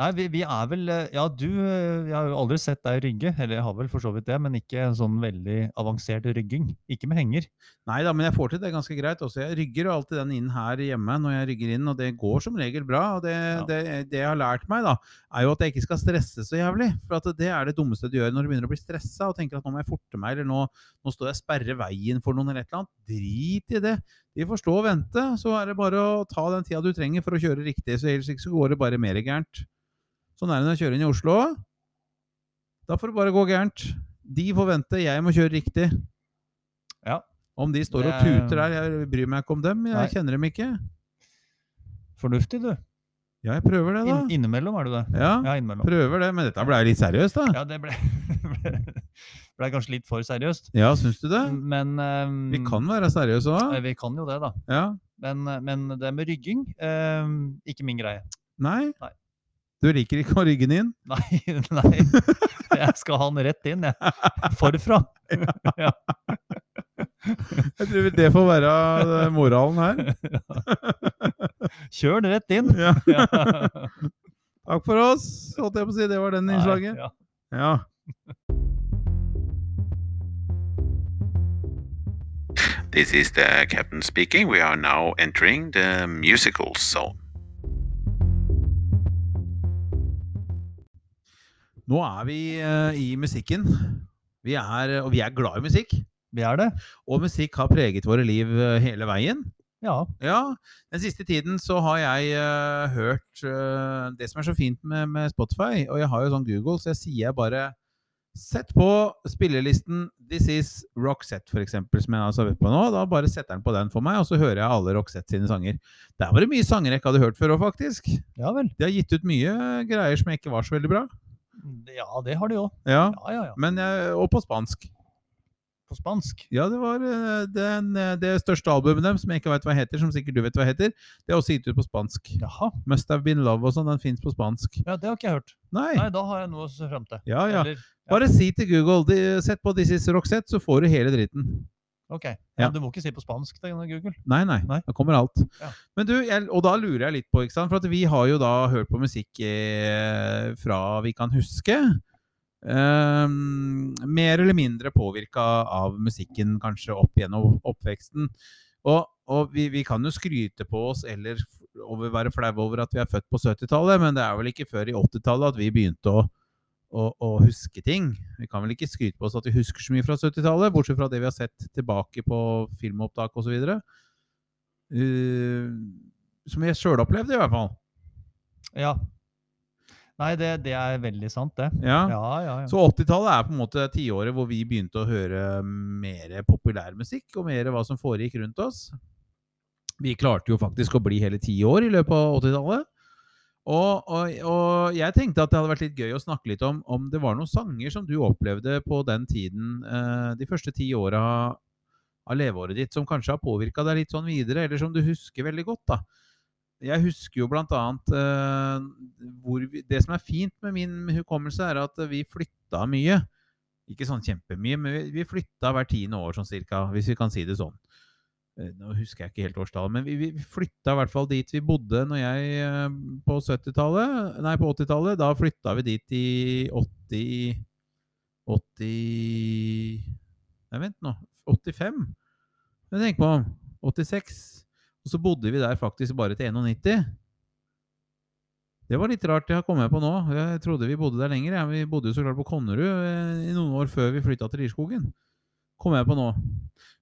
Speaker 4: Nei, vi, vi er vel eh, Ja, du eh, Jeg har jo aldri sett deg rygge, eller jeg har vel for så vidt det, men ikke en sånn veldig avansert rygging. Ikke med henger.
Speaker 1: Nei da, men jeg får til det ganske greit. Også jeg rygger jo alltid den inn her hjemme når jeg rygger inn, og det går som regel bra. Og det, det, det jeg har lært meg, da, er jo at jeg ikke skal stresse så jævlig. For at det er det dummeste du gjør når du begynner å bli stressa og tenker at nå må jeg forte meg, eller nå, nå står jeg og sperrer veien for noen eller et eller annet. Drit i det. De får stå og vente. Så er det bare å ta den tida du trenger for å kjøre riktig, så ellers ikke så går det bare mer gærent. Sånn er det når jeg kjører inn i Oslo. Da får det bare gå gærent. De får vente, jeg må kjøre riktig.
Speaker 4: Ja.
Speaker 1: Om de står og
Speaker 4: Det er-
Speaker 1: tuter her, jeg bryr meg ikke om dem. Jeg
Speaker 4: Nei.
Speaker 1: kjenner dem ikke.
Speaker 4: Fornuftig, du.
Speaker 1: Ja, jeg prøver det, da.
Speaker 4: Inn, innimellom er du det.
Speaker 1: Ja,
Speaker 4: Ja, innimellom.
Speaker 1: prøver det. Men dette ble jo litt seriøst, da.
Speaker 4: Ja, det ble, ble, ble kanskje litt for seriøst.
Speaker 1: Ja, syns du det?
Speaker 4: Men
Speaker 1: Vi
Speaker 4: ehm,
Speaker 1: kan være seriøse
Speaker 4: eh,
Speaker 1: òg.
Speaker 4: vi kan jo det, da.
Speaker 1: Ja.
Speaker 4: Men, eh, men det med rygging ehm, Ikke min greie.
Speaker 1: Nei?
Speaker 4: Nei.
Speaker 1: Du liker ikke å rygge den inn?
Speaker 4: Nei, nei. Jeg skal ha den rett inn, jeg. Forfra.
Speaker 1: Jeg tror vel det får være eh, moralen her.
Speaker 4: Kjør den rett inn.
Speaker 1: Ja.
Speaker 4: Ja.
Speaker 1: Takk for oss, holdt jeg på å si. Det var den innslaget.
Speaker 4: Nei, ja.
Speaker 1: Ja.
Speaker 3: This is the captain speaking. We are now entering the musical zone.
Speaker 1: Nå er vi eh, i musikken. Vi er, og vi er glad i musikk.
Speaker 4: Vi er det.
Speaker 1: Og musikk har preget våre liv eh, hele veien.
Speaker 4: Ja.
Speaker 1: Ja, den siste tiden så har jeg eh, hørt eh, det som er så fint med, med Spotify, og jeg har jo sånn Google, så jeg sier bare Sett på spillelisten This Is Roxette, for eksempel, som jeg altså vet på nå. Da bare setter den på den for meg, og så hører jeg alle Roxette sine sanger. Der var det mye sanger jeg ikke hadde hørt før òg, faktisk.
Speaker 4: Ja vel.
Speaker 1: De har gitt ut mye eh, greier som ikke var så veldig bra.
Speaker 4: Ja, det har de òg.
Speaker 1: Ja,
Speaker 4: Ja, ja, ja.
Speaker 1: men jeg, Og på spansk.
Speaker 4: På spansk.
Speaker 1: Ja, det var eh, den, eh, det største albumet dem, som jeg ikke veit hva heter, som sikkert du vet hva heter. Det er også gitt ut på spansk.
Speaker 4: Jaha.
Speaker 1: Must Have Been Love og sånn, den fins på spansk.
Speaker 4: Ja, det har ikke jeg hørt.
Speaker 1: Nei.
Speaker 4: Nei, da har jeg noe å se fram til.
Speaker 1: Ja, ja.
Speaker 4: Eller,
Speaker 1: Bare si til Google de, Sett på This Is Roxette, så får du hele dritten.
Speaker 4: ok. Ja.
Speaker 1: Ja.
Speaker 4: Du må ikke si på spansk, det er Google.
Speaker 1: Nei, nei.
Speaker 4: Nei.
Speaker 1: Da kommer alt.
Speaker 4: Ja.
Speaker 1: Men du, jeg, Og da lurer jeg litt på, ikke sant? for at vi har jo da hørt på musikk eh, fra vi kan huske. Ehm, mer eller mindre påvirka av musikken, kanskje, opp gjennom oppveksten. Og, og vi, vi kan jo skryte på oss eller f- over, være flaue over at vi er født på 70-tallet, men det er vel ikke før i 80-tallet at vi begynte å, å, å huske ting. Vi kan vel ikke skryte på oss at vi husker så mye fra 70-tallet, bortsett fra det vi har sett tilbake på filmopptak osv. Uh, som vi sjøl opplevde, i hvert fall.
Speaker 4: Ja. Nei, det, det er veldig sant, det.
Speaker 1: Ja.
Speaker 4: Ja, ja, ja.
Speaker 1: Så 80-tallet er på en måte tiåret hvor vi begynte å høre mer populærmusikk og mer hva som foregikk rundt oss. Vi klarte jo faktisk å bli hele ti år i løpet av 80-tallet. Og, og, og jeg tenkte at det hadde vært litt gøy å snakke litt om om det var noen sanger som du opplevde på den tiden, eh, de første ti åra av leveåret ditt, som kanskje har påvirka deg litt sånn videre, eller som du husker veldig godt. da. Jeg husker jo blant annet eh, hvor vi, Det som er fint med min hukommelse, er at vi flytta mye. Ikke sånn kjempemye, men vi- vi flytta hvert tiende år sånn cirka, hvis vi kan si det sånn. Eh, Nå husker jeg ikke helt årstallet, men vi, vi vi flytta i hvert fall dit vi bodde når jeg eh, på 70-tallet Nei, på 80-tallet. Da flytta vi dit i 80 80 Nei, vent nå. 85? Jeg tenker på 86. Og så bodde vi der faktisk bare til 91. Det var litt rart, det har kommet på nå. Jeg trodde vi bodde der lenger. Ja. Vi bodde jo så klart på Konnerud eh, i noen år før vi flytta til Lierskogen. Kommer jeg på nå.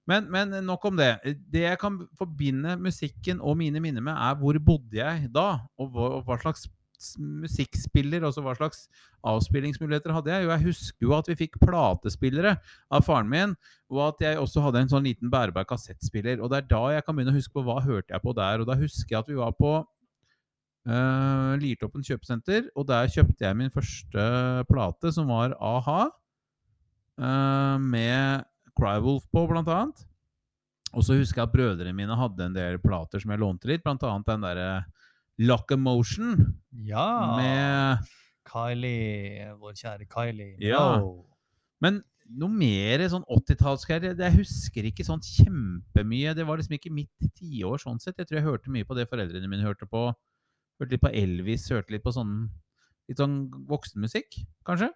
Speaker 1: Men, men nok om det. Det jeg kan forbinde musikken og mine minner med, er hvor bodde jeg da? Og hva, og hva slags s- musikkspiller, altså hva slags avspillingsmuligheter hadde jeg? Jo, jeg husker jo at vi fikk platespillere av faren min, og at jeg også hadde en sånn liten bærbar kassettspiller. Og det er da jeg kan begynne å huske på hva hørte jeg på der. Og da husker jeg at vi var på Eh, Lirtoppen kjøpesenter, og der kjøpte jeg min første plate, som var A-ha, eh, med Crywolf på, blant annet. Og så husker jeg at brødrene mine hadde en del plater som jeg lånte litt, blant annet den derre Locomotion
Speaker 4: ja.
Speaker 1: med
Speaker 4: Kylie, vår kjære Kylie.
Speaker 1: Ja.
Speaker 4: Minogue.
Speaker 1: Men noe mer sånn 80-tallsgreier det- Jeg husker ikke sånn kjempemye. Det var liksom ikke mitt tiår sånn sett. Jeg tror jeg hørte mye på det foreldrene mine hørte på. Hørte litt på Elvis, hørte litt på sånn litt sånn voksenmusikk, kanskje?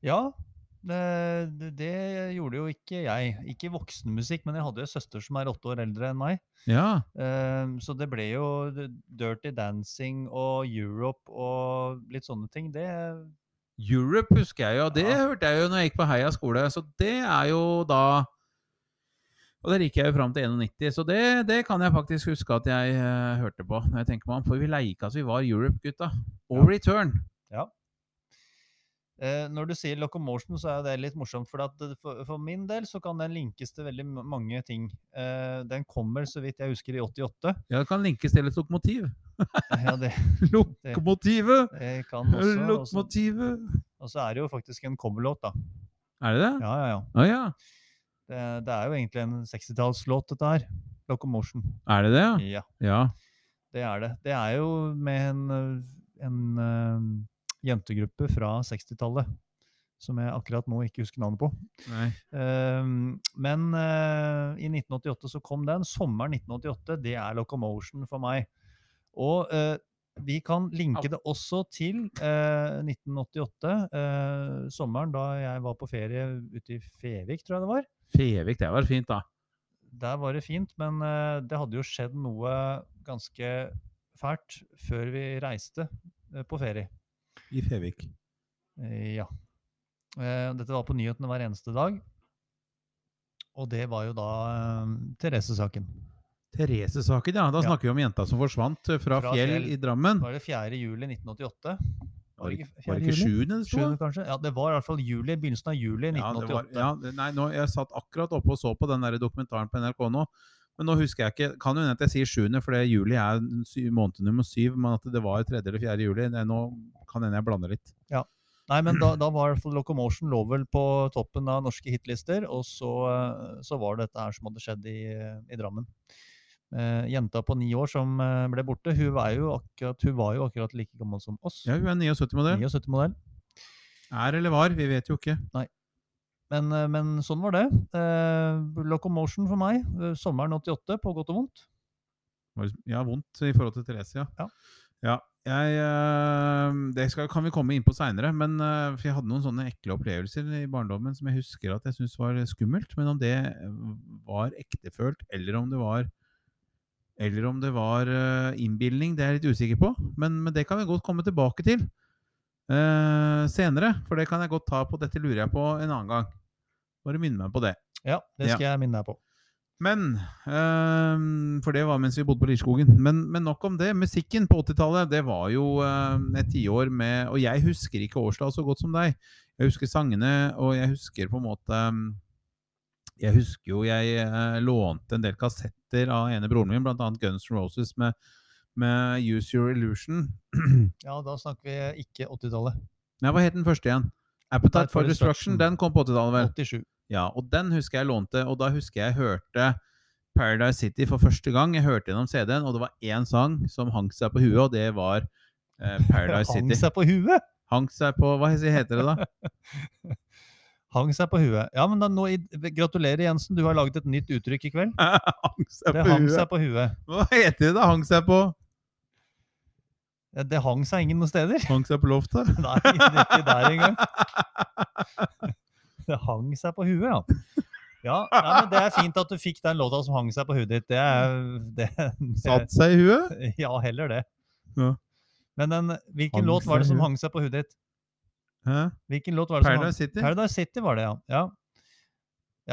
Speaker 4: Ja, det, det- det gjorde jo ikke jeg. Ikke voksenmusikk, men jeg hadde jo en søster som er åtte år eldre enn meg.
Speaker 1: Ja.
Speaker 4: Ehm, Så det ble jo d- Dirty Dancing og Europe og litt sånne ting. Det
Speaker 1: Europe husker jeg jo, og det
Speaker 4: Ja.
Speaker 1: hørte jeg jo når jeg gikk på Heia skole, så det er jo da Og der gikk jeg jo fram til 91, så det, det kan jeg faktisk huske at jeg eh, hørte på. når jeg tenker meg om, For vi leika at vi var Europe-gutta. Og
Speaker 4: Ja.
Speaker 1: Return.
Speaker 4: Eh, Når du sier locomotion, så er det litt morsomt. For, at det- for, for min del så kan den linkes til veldig ma- mange ting. Eh, Den kommer, så vidt jeg husker, i 88.
Speaker 1: Ja, det kan linkes til et lokomotiv.
Speaker 4: Ja, det,
Speaker 1: Lokomotivet!
Speaker 4: det kan også. og så-
Speaker 1: Lokomotivet!
Speaker 4: Og så er det jo faktisk en coverlåt, da.
Speaker 1: Er det det?
Speaker 4: Ja, ja, ja.
Speaker 1: Å ja.
Speaker 4: Det, det er jo egentlig en 60-tallslåt, dette her. Locomotion.
Speaker 1: Er det det?
Speaker 4: Ja,
Speaker 1: Ja.
Speaker 4: det er det. Det er jo med en, øh, en øh, jentegruppe fra 60-tallet, som jeg akkurat nå ikke husker navnet på.
Speaker 1: Nei.
Speaker 4: Ehm, men øh, i 1988 så kom den. Sommeren 1988, det er Locomotion for meg. Og øh, vi kan linke det også til øh, 1988, øh, sommeren da jeg var på ferie ute i Fevik, tror jeg det var.
Speaker 1: Fevik, det var fint, da.
Speaker 4: Der var det fint, men eh, det hadde jo skjedd noe ganske fælt før vi reiste eh, på ferie.
Speaker 1: I Fevik.
Speaker 4: Eh, Ja. Eh, Dette var på nyhetene hver eneste dag. Og det var jo da eh, Therese-saken.
Speaker 1: Therese-saken, ja. Da
Speaker 4: Ja.
Speaker 1: snakker vi om jenta som forsvant eh, fra,
Speaker 4: Fra
Speaker 1: fjell,
Speaker 4: Fjell.
Speaker 1: i Drammen.
Speaker 4: Var det 4. juli 1988?
Speaker 1: Var det ikke-
Speaker 4: det ikke
Speaker 1: var det
Speaker 4: fjerde
Speaker 1: ikke
Speaker 4: juli?
Speaker 1: sjuende det sto?
Speaker 4: Sjuende, kanskje? Ja, det var i hvert fall juli, begynnelsen av juli
Speaker 1: Ja, det
Speaker 4: 1988.
Speaker 1: var, ja, det- nei, nå, jeg satt akkurat oppe og så på den der dokumentaren på NRK nå. Men nå husker jeg ikke, kan jo hende at jeg sier 7., for det juli er sy- måned nummer 7, men at det var 3. eller 4. juli, det, nå kan hende jeg blander litt.
Speaker 4: Nei, men da, da var i hvert fall Locomotion lå vel på toppen av norske hitlister, og så, eh, så var det dette her som hadde skjedd i, eh, i Drammen. Eh, jenta på ni år som eh, ble borte, hun, er jo akkurat, hun var jo akkurat like gammel som oss.
Speaker 1: Ja, hun er 79-modell.
Speaker 4: 79-modell.
Speaker 1: Er eller var, vi vet jo ikke.
Speaker 4: Men, eh, men sånn var det. Eh, Locomotion for meg, eh, sommeren 88, på godt og vondt.
Speaker 1: Var det- liksom- Ja, vondt i forhold til Therese, ja.
Speaker 4: Ja.
Speaker 1: Ja, jeg, eh, det skal, kan vi komme inn på seinere, men eh, for jeg hadde noen sånne ekle opplevelser i barndommen som jeg husker at jeg syntes var skummelt. Men om det eh, var ektefølt, eller om det var eller om det var eh, innbilning, det er jeg litt usikker på. Men, men det kan vi godt komme tilbake til eh, senere. For det kan jeg godt ta på. Dette lurer jeg på en annen gang. Bare minn meg på det.
Speaker 4: Ja, det skal jeg minne deg på.
Speaker 1: Men ehm, For det var mens vi bodde på Lirskogen. Men, men nok om det. Musikken på 80-tallet, det var jo ehm, et tiår med Og jeg husker ikke årstall så godt som deg. Jeg husker sangene, og jeg husker på en måte ehm, Jeg husker jo jeg eh, lånte en del kassetter av ene broren min, bl.a. Guns N' Roses med, med Use Your Illusion.
Speaker 4: Ja, da snakker vi ikke 80-tallet.
Speaker 1: Nei, hva het den første igjen? Appetite for Destruction. Den kom på 80-tallet, vel?
Speaker 4: 87.
Speaker 1: Ja, og den husker jeg lånte, og da husker jeg jeg hørte Paradise City for første gang. Jeg hørte gjennom CD-en, og det var én sang som hang seg på huet, og det var eh, Paradise
Speaker 4: Hang
Speaker 1: City.
Speaker 4: seg på huet!
Speaker 1: Hang seg på Hva heter det, da?
Speaker 4: Hang seg på huet. Ja, men da, nå, i- gratulerer, Jensen. Du har laget et nytt uttrykk i kveld.
Speaker 1: hang seg
Speaker 4: Det
Speaker 1: på
Speaker 4: hang
Speaker 1: huet.
Speaker 4: seg på huet.
Speaker 1: Hva heter det, da? Hang seg på
Speaker 4: Ja, Det hang seg ingen noen steder.
Speaker 1: Hang seg på loftet?
Speaker 4: Nei, det er ikke der engang. Det hang seg på huet, ja. Ja, nei, men Det er fint at du fikk den låta som hang seg på huet ditt. Det er det,
Speaker 1: Satt seg i huet?
Speaker 4: Ja, heller det.
Speaker 1: Ja.
Speaker 4: Men den, hvilken
Speaker 1: Hang
Speaker 4: låt var det
Speaker 1: seg i
Speaker 4: som
Speaker 1: huet.
Speaker 4: hang seg på huet ditt?
Speaker 1: Hæ?
Speaker 4: Hvilken låt var det som hang
Speaker 1: Paradise City?
Speaker 4: Paradise City var det, ja. ja.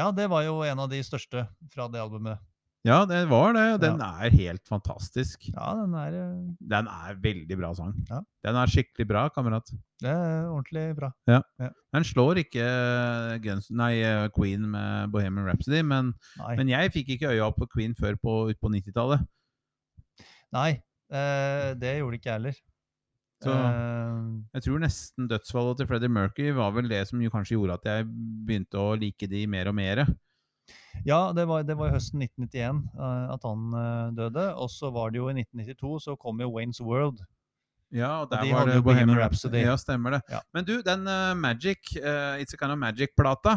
Speaker 4: Ja, det var jo en av de største fra det albumet.
Speaker 1: Ja, det var det. Den er helt fantastisk.
Speaker 4: Ja, den er, eh,
Speaker 1: Den er veldig bra sang.
Speaker 4: Ja.
Speaker 1: Den er skikkelig bra, kamerat.
Speaker 4: det er ordentlig bra.
Speaker 1: Den slår ikke eh, Guns, nei, Queen med Bohemian Rhapsody, men
Speaker 4: Nei.
Speaker 1: Men jeg fikk ikke øya opp på Queen før på, ut på 90-tallet.
Speaker 4: Nei, eh, det gjorde ikke jeg heller.
Speaker 1: Så-
Speaker 4: Eh,
Speaker 1: Jeg tror nesten dødsfallet til Freddie Mercury var vel det som jo kanskje gjorde at jeg begynte å like de mer og mer.
Speaker 4: ja, det var, det var i høsten 1991 eh, at han eh, døde. Og så var det jo i 1992 så kom jo Waynes World.
Speaker 1: Ja, og der
Speaker 4: de
Speaker 1: var
Speaker 4: hadde
Speaker 1: det
Speaker 4: jo Bohemian
Speaker 1: Bohemian
Speaker 4: Rhapsody.
Speaker 1: Ja, stemmer det.
Speaker 4: Ja.
Speaker 1: Men du, den eh, Magic, eh, It's a Kind of Magic-plata,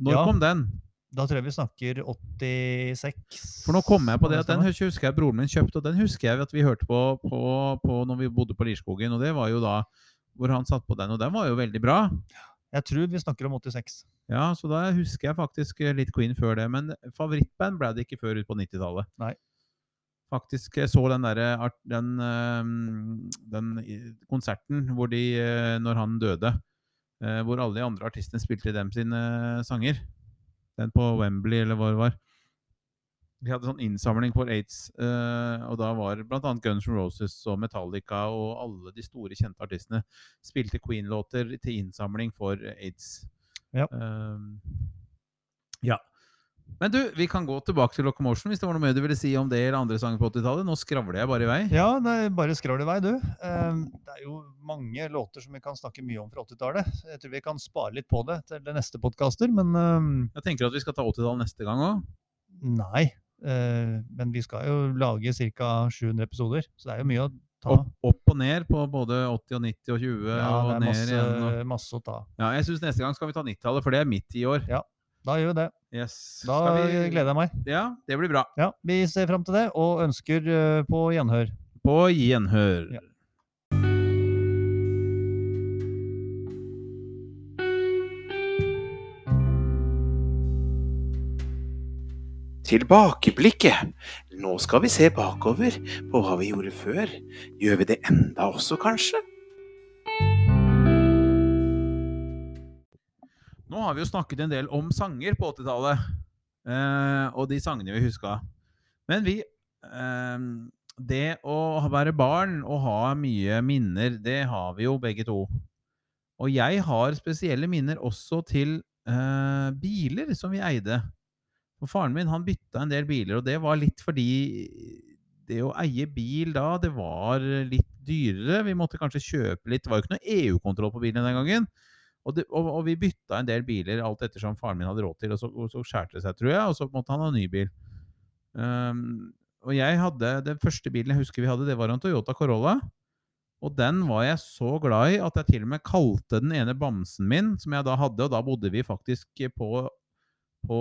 Speaker 1: når
Speaker 4: Ja.
Speaker 1: kom den?
Speaker 4: Da tror jeg vi snakker 86
Speaker 1: For nå kom jeg på det at den
Speaker 4: stemme?
Speaker 1: hus- husker jeg broren min kjøpte, og den husker jeg at vi hørte på, på, på når vi bodde på Lirskogen, og det var jo da hvor han satt på den, og den var jo veldig bra.
Speaker 4: Jeg tror vi snakker om 86.
Speaker 1: Ja, så da husker jeg faktisk eh, litt Queen før det, men favorittband ble det ikke før ut på 90-tallet.
Speaker 4: Nei.
Speaker 1: Faktisk jeg så den derre art- den, ehm, den i- konserten hvor de, eh, når han døde, eh, hvor alle de andre artistene spilte dem sine eh, sanger. Den på Wembley, eller hva det var. De hadde sånn innsamling for aids, eh, og da var bl.a. Guns N' Roses og Metallica og alle de store, kjente artistene spilte Queen-låter til innsamling for aids.
Speaker 4: Ja.
Speaker 1: Ehm, ja. Men du, vi kan gå tilbake til Locomotion hvis det var noe mer du ville si om det eller andre sanger på 80-tallet. Nå skravler jeg bare i vei.
Speaker 4: Ja, nei, bare skravl i vei, du. Eh, det er jo mange låter som vi kan snakke mye om fra 80-tallet. så Jeg tror vi kan spare litt på det til det neste podkaster, men eh,
Speaker 1: Jeg tenker at vi skal ta 80-tallet neste gang òg.
Speaker 4: Nei, eh, men vi skal jo lage ca. 700 episoder, så det er jo mye å ta.
Speaker 1: Opp, opp og ned på både 80 og 90 og 20
Speaker 4: ja,
Speaker 1: og
Speaker 4: det er
Speaker 1: ned
Speaker 4: masse,
Speaker 1: igjen. Og...
Speaker 4: masse å ta.
Speaker 1: Ja, jeg syns neste gang skal vi ta 90-tallet, for det er midt i år.
Speaker 4: Da gjør vi det.
Speaker 1: Yes.
Speaker 4: Da gleder jeg meg.
Speaker 1: Ja, det blir bra.
Speaker 4: Ja, vi ser fram til det, og ønsker eh, på gjenhør.
Speaker 1: På gjenhør.
Speaker 4: Ja.
Speaker 5: Tilbakeblikket. Nå skal vi se bakover på hva vi gjorde før. Gjør vi det enda også, kanskje?
Speaker 1: Nå har vi jo snakket en del om sanger på 80-tallet, eh, og de sangene vi huska. Men vi eh, Det å være barn og ha mye minner, det har vi jo begge to. Og jeg har spesielle minner også til eh, biler som vi eide. For faren min han bytta en del biler, og det var litt fordi det å eie bil da, det var litt dyrere. Vi måtte kanskje kjøpe litt. Det var jo ikke noe EU-kontroll på bilen den gangen. Og, det, og, og vi bytta en del biler alt ettersom faren min hadde råd til, og så, og så skjærte det seg, tror jeg, og så måtte han ha ny bil. Ehm, og jeg hadde, Den første bilen jeg husker vi hadde, det var en Toyota Corolla. Og den var jeg så glad i at jeg til og med kalte den ene bamsen min, som jeg da hadde, og da bodde vi faktisk på, på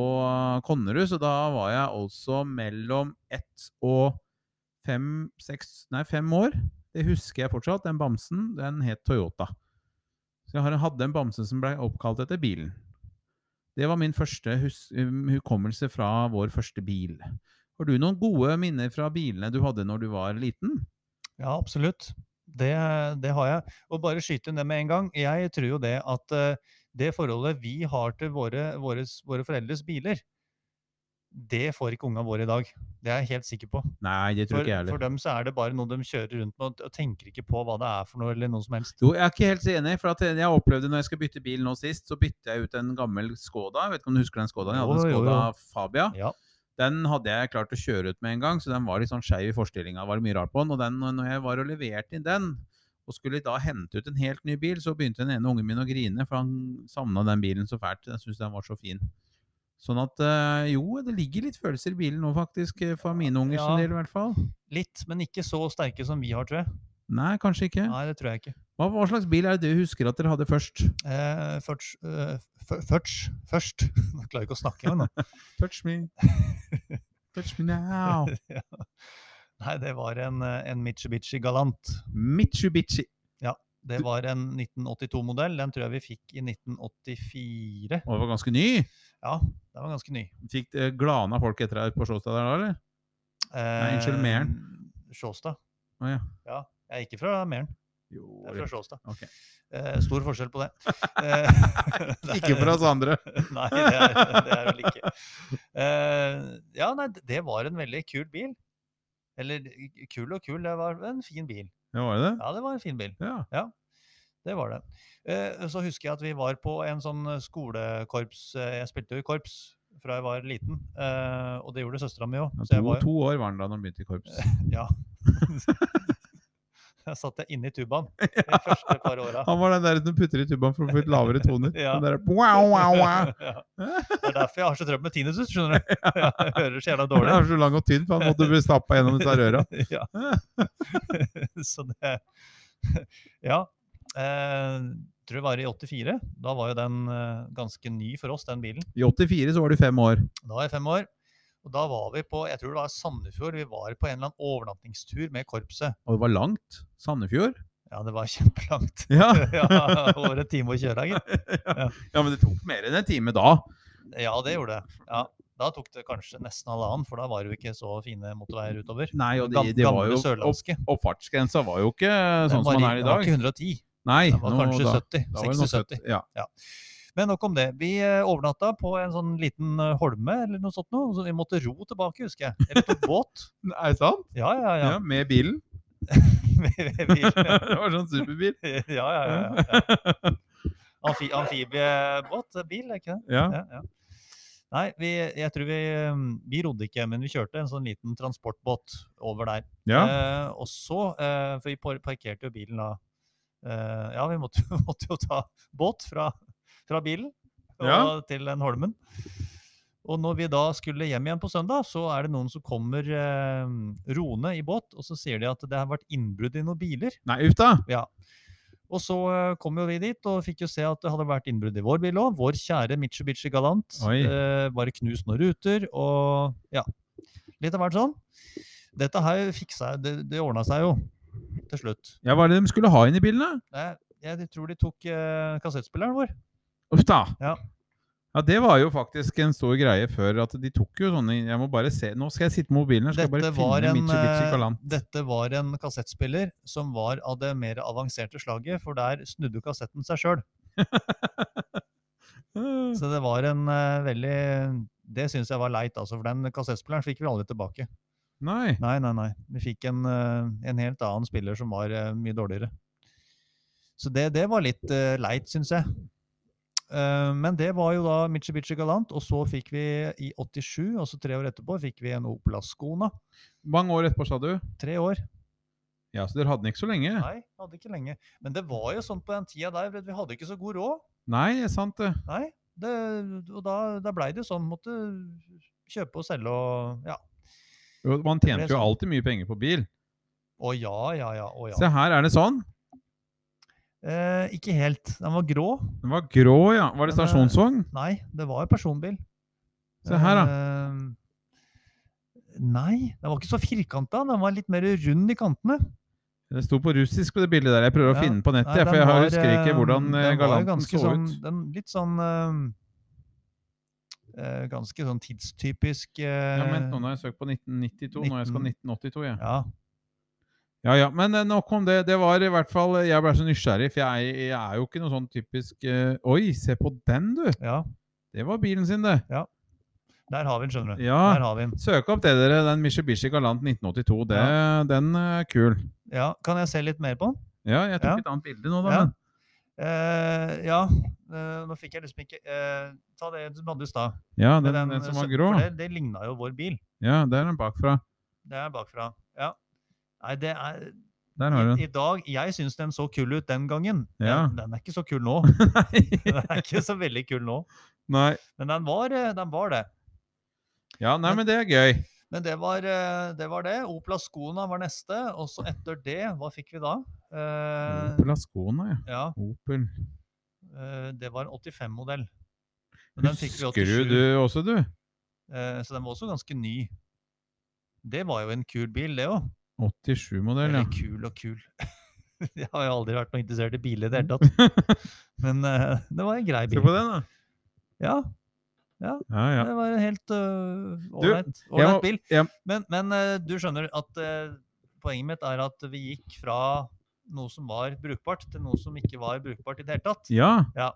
Speaker 1: Konnerud, så da var jeg altså mellom ett og fem, seks, nei, fem år. Det husker jeg fortsatt. Den bamsen, den het Toyota. Så jeg har- hadde en bamse som ble oppkalt etter bilen. Det var min første hus um, hukommelse fra vår første bil. Har du noen gode minner fra bilene du hadde når du var liten?
Speaker 4: Ja, absolutt. Det, det har jeg. Og bare skyte inn det med en gang. Jeg tror jo det at eh, det forholdet vi har til våre, våres, våre foreldres biler, det får ikke unga våre i dag. Det er jeg helt sikker på.
Speaker 1: Nei, det tror
Speaker 4: For,
Speaker 1: ikke jeg
Speaker 4: for
Speaker 1: heller.
Speaker 4: dem så er det bare noe de kjører rundt med og- og tenker ikke på hva det er for noe eller noe som helst.
Speaker 1: Jo, jeg er ikke helt så enig, for at eh, jeg opplevde når jeg skal bytte bil nå sist, så bytte jeg ut en gammel Skoda. Jeg vet ikke om du husker den Skodaen? Jeg hadde en
Speaker 4: Jo, jo, jo.
Speaker 1: Skoda Fabia.
Speaker 4: Ja.
Speaker 1: Den hadde jeg klart å kjøre ut med en gang, så den var litt sånn skeiv i forstillinga. Var det mye rart på den. Og den, når jeg var og leverte inn den, og skulle da hente ut en helt ny bil, så begynte den ene ungen min å grine, for han savna den bilen så fælt. Jeg syntes den var så fin. Sånn at eh, jo, det ligger litt følelser i bilen nå, faktisk. eh, For mine ungers
Speaker 4: Ja.
Speaker 1: del, i hvert fall.
Speaker 4: Litt, men ikke så sterke som vi har, tror jeg.
Speaker 1: Nei, kanskje ikke.
Speaker 4: Nei, det tror jeg ikke.
Speaker 1: Hva, hva slags bil er det du husker at dere hadde først?
Speaker 4: Eh, først, eh, fø- først, først. Nå klarer jeg ikke å snakke engang. nå.
Speaker 1: Touch me. Touch me now.
Speaker 4: Ja. Nei, det var en, eh, en Mitsubishi Galant.
Speaker 1: Mitsubishi.
Speaker 4: Det var en 1982-modell. Den tror jeg vi fikk i 1984.
Speaker 1: Og det var ganske ny.
Speaker 4: Ja, den var ganske ny.
Speaker 1: Fikk eh, glana folk etter deg på Sjåstad der da, eller?
Speaker 4: Eh,
Speaker 1: unnskyld, Mæren.
Speaker 4: Sjåstad.
Speaker 1: Å ja.
Speaker 4: Eh, Jeg er ikke fra Mæren,
Speaker 1: Jo,
Speaker 4: jeg er fra Sjåstad.
Speaker 1: Ok.
Speaker 4: Eh, stor forskjell på det. Eh, det
Speaker 1: Ikke for
Speaker 4: er-
Speaker 1: oss andre.
Speaker 4: Nei, det er det er vel ikke. Eh, ja, nei, det- det var en veldig kul bil. Eller kul og kul, det var en fin bil.
Speaker 1: Ja, var det det?
Speaker 4: Ja, det var en fin bil.
Speaker 1: Ja.
Speaker 4: Det var det. Eh, så husker jeg at vi var på en sånn eh, skolekorps eh, Jeg spilte jo i korps fra jeg var liten, eh, og det gjorde søstera mi òg.
Speaker 1: Ja,
Speaker 4: Så
Speaker 1: to,
Speaker 4: jeg var
Speaker 1: to år var han da når han begynte i korps.
Speaker 4: Ja. Jeg satt jeg inne i tubaen de første par åra.
Speaker 1: Han var den der som putter i tubaen for å få litt lavere toner.
Speaker 4: Ja.
Speaker 1: Den der, wow, wow, wow.
Speaker 4: Ja. Det er derfor jeg har så trøbbel med tinnitus, skjønner du. Jeg hører så jævla
Speaker 1: Den
Speaker 4: dårlig.
Speaker 1: er så lang og tynn, for han måtte bli stappa gjennom disse her røra.
Speaker 4: Ja. Så det Ja. Eh, tror det var i 84. Da var jo den eh, ganske ny for oss, den bilen.
Speaker 1: I 84 så var du fem år.
Speaker 4: Da var jeg fem år. Og da var vi på jeg tror det var Sandefjord, vi var på en eller annen overnattingstur med korpset.
Speaker 1: Og det var langt. Sandefjord.
Speaker 4: Ja, det var kjempelangt.
Speaker 1: Ja.
Speaker 4: ja, Over en time og kjøre, gitt.
Speaker 1: ja, men det tok mer enn en time da.
Speaker 4: Ja, det gjorde det. Ja, Da tok det kanskje nesten halvannen, for da var det jo ikke så fine motorveier utover.
Speaker 1: Nei, og det,
Speaker 4: Gam-
Speaker 1: det var
Speaker 4: gamle
Speaker 1: jo opp,
Speaker 4: sørlandske.
Speaker 1: Oppfartsgrensa var jo ikke
Speaker 4: Den
Speaker 1: sånn som
Speaker 4: var
Speaker 1: den
Speaker 4: i-
Speaker 1: er i
Speaker 4: den var
Speaker 1: dag.
Speaker 4: ikke 110,
Speaker 1: Nei,
Speaker 4: den var
Speaker 1: nå
Speaker 4: kanskje
Speaker 1: da.
Speaker 4: 70.
Speaker 1: Da var det nok
Speaker 4: 60-70.
Speaker 1: 70, Ja.
Speaker 4: Men nok om det. Vi eh, overnatta på en sånn liten eh, holme eller noe sånt noe, så vi måtte ro tilbake, husker jeg. Eller på båt.
Speaker 1: Er det sant?
Speaker 4: Ja, ja,
Speaker 1: Ja.
Speaker 4: ja.
Speaker 1: med bilen.
Speaker 4: Med- med bil,
Speaker 1: det
Speaker 4: ja.
Speaker 1: var sånn superbil.
Speaker 4: ja, ja, ja. ja. Amfi amfibiebåt? eh, Bil, er ikke det?
Speaker 1: Ja.
Speaker 4: Ja, ja. Nei, vi, jeg tror vi um, Vi rodde ikke, men vi kjørte en sånn liten transportbåt over der.
Speaker 1: ja.
Speaker 4: Eh, og så eh, For vi par- parkerte jo bilen da eh, Ja, vi måtte, jo- måtte jo ta båt fra, fra bilen og
Speaker 1: Ja.
Speaker 4: til den holmen. Og når vi da skulle hjem igjen på søndag, så er det noen som kommer eh, roende i båt, og så sier de at det har vært innbrudd i noen biler.
Speaker 1: Nei, uff da.
Speaker 4: Og så eh, kom jo vi dit og fikk jo se at det hadde vært innbrudd i vår bil òg. Vår kjære Mitsubishi Galant.
Speaker 1: Oi.
Speaker 4: Eh, bare knust noen ruter og ja. Litt av hvert sånn. Dette her fiksa jeg, det, det ordna seg jo til slutt.
Speaker 1: Ja, Hva er det de skulle ha inn i bilen, da?
Speaker 4: Jeg, jeg tror de tok eh, kassettspilleren vår.
Speaker 1: Uff da.
Speaker 4: Ja.
Speaker 1: Ja, Det var jo faktisk en stor greie før at de tok jo sånne Jeg må bare se Nå skal jeg sitte med mobilen her. Skal jeg bare
Speaker 4: Dette var,
Speaker 1: finne
Speaker 4: en,
Speaker 1: Mitsubishi
Speaker 4: eh,
Speaker 1: Galant.
Speaker 4: dette var en kassettspiller som var av det mer avanserte slaget, for der snudde jo kassetten seg sjøl. Så det var en eh, veldig Det syns jeg var leit, altså, for den kassettspilleren fikk vi aldri tilbake.
Speaker 1: Nei.
Speaker 4: Nei, nei, nei. Vi fikk en, eh, en helt annen spiller som var eh, mye dårligere. Så det, det var litt eh, leit, syns jeg. Eh, men det var jo da Mitsubishi Galant, og så fikk vi i 87, altså tre år etterpå, fikk vi en Opel Ascona.
Speaker 1: Mange år etterpå, sa du?
Speaker 4: Tre år.
Speaker 1: Ja, så dere hadde den ikke så lenge?
Speaker 4: Nei, hadde ikke lenge. Men det var jo sånn på den tida der, vet du, vi hadde ikke så god råd.
Speaker 1: Nei, det er sant det.
Speaker 4: Nei, det, og da, da blei det jo sånn, måtte kjøpe og selge og ja.
Speaker 1: Jo, Man
Speaker 4: Det
Speaker 1: tjente
Speaker 4: er
Speaker 1: jo
Speaker 4: sant.
Speaker 1: alltid mye penger på bil.
Speaker 4: Å ja, ja, ja, å ja.
Speaker 1: Se her, er det sånn?
Speaker 4: Eh, ikke helt. Den var grå.
Speaker 1: Den var grå, ja. Var det
Speaker 4: Den er-
Speaker 1: stasjonsvogn?
Speaker 4: Nei, det var jo personbil.
Speaker 1: Se her, da.
Speaker 4: Eh, nei, den var ikke så firkanta. Den var litt mer rund i kantene.
Speaker 1: Det sto på russisk på det bildet der. Jeg prøver å
Speaker 4: Ja.
Speaker 1: finne den på nettet,
Speaker 4: Nei,
Speaker 1: jeg, for jeg
Speaker 4: den var,
Speaker 1: husker ikke
Speaker 4: eh,
Speaker 1: hvordan eh,
Speaker 4: den var jo
Speaker 1: galanten
Speaker 4: ganske
Speaker 1: så
Speaker 4: sånn,
Speaker 1: ut.
Speaker 4: Den litt sånn eh, eh, Ganske sånn tidstypisk
Speaker 1: Ja, men
Speaker 4: eh,
Speaker 1: nå har jeg søkt på 1992, nå er jeg skal 1982, jeg.
Speaker 4: ja.
Speaker 1: Ja, ja, men eh, nok om det. Det var i hvert fall eh, Jeg ble så nysgjerrig, for jeg, jeg er jo ikke noe sånn typisk eh, Oi, se på den, du!
Speaker 4: ja,
Speaker 1: Det var bilen sin, det.
Speaker 4: der har vi den, skjønner du.
Speaker 1: Ja.
Speaker 4: Der har vi den.
Speaker 1: Søk opp det, dere. Den Mitsubishi Galant 1982. Det, Den er kul.
Speaker 4: Ja, kan jeg se litt mer på den?
Speaker 1: Ja, jeg tok
Speaker 4: Ja.
Speaker 1: et annet bilde nå, da.
Speaker 4: Ja.
Speaker 1: Men.
Speaker 4: Eh, ja. eh, nå fikk jeg liksom ikke eh, Ta det du hadde i stad.
Speaker 1: Ja,
Speaker 4: Det
Speaker 1: den,
Speaker 4: er
Speaker 1: den, som var
Speaker 4: sø-
Speaker 1: grå.
Speaker 4: For det, det ligna jo vår bil.
Speaker 1: Ja, der er den bakfra.
Speaker 4: Det er bakfra. Ja. Nei, det er
Speaker 1: Der har du
Speaker 4: i,
Speaker 1: den.
Speaker 4: I dag Jeg syns den så kul ut den gangen.
Speaker 1: Ja.
Speaker 4: Den, den er ikke så kul nå. Den er ikke så veldig kul nå.
Speaker 1: Nei.
Speaker 4: Men den var, eh, den var det.
Speaker 1: Ja, nei, men det er gøy.
Speaker 4: Men det var eh, det. Var det. Opel Ascona var neste. Og så etter det, hva fikk vi da?
Speaker 1: Mm.
Speaker 4: Eh,
Speaker 1: Opel Ascona, ja.
Speaker 4: ja,
Speaker 1: Opel.
Speaker 4: eh, det var en 85-modell. Men den fikk vi
Speaker 1: Husker du
Speaker 4: 87,
Speaker 1: du også, du?
Speaker 4: eh, så den var også ganske ny. Det var jo en kul bil, det òg.
Speaker 1: 87-modell, ja.
Speaker 4: Eller kul og kul. Jeg har jo aldri vært noe interessert i biler i det hele tatt. Men eh, det var en grei
Speaker 1: Se
Speaker 4: bil.
Speaker 1: på den, da.
Speaker 4: Ja,
Speaker 1: Ja, ja.
Speaker 4: det var en helt øh,
Speaker 1: Du,
Speaker 4: ålreit
Speaker 1: jeg
Speaker 4: ålreit
Speaker 1: må-
Speaker 4: bil.
Speaker 1: jeg-
Speaker 4: Men, men eh, du skjønner at eh, poenget mitt er at vi gikk fra noe som var brukbart, til noe som ikke var brukbart i det hele tatt.
Speaker 1: ja.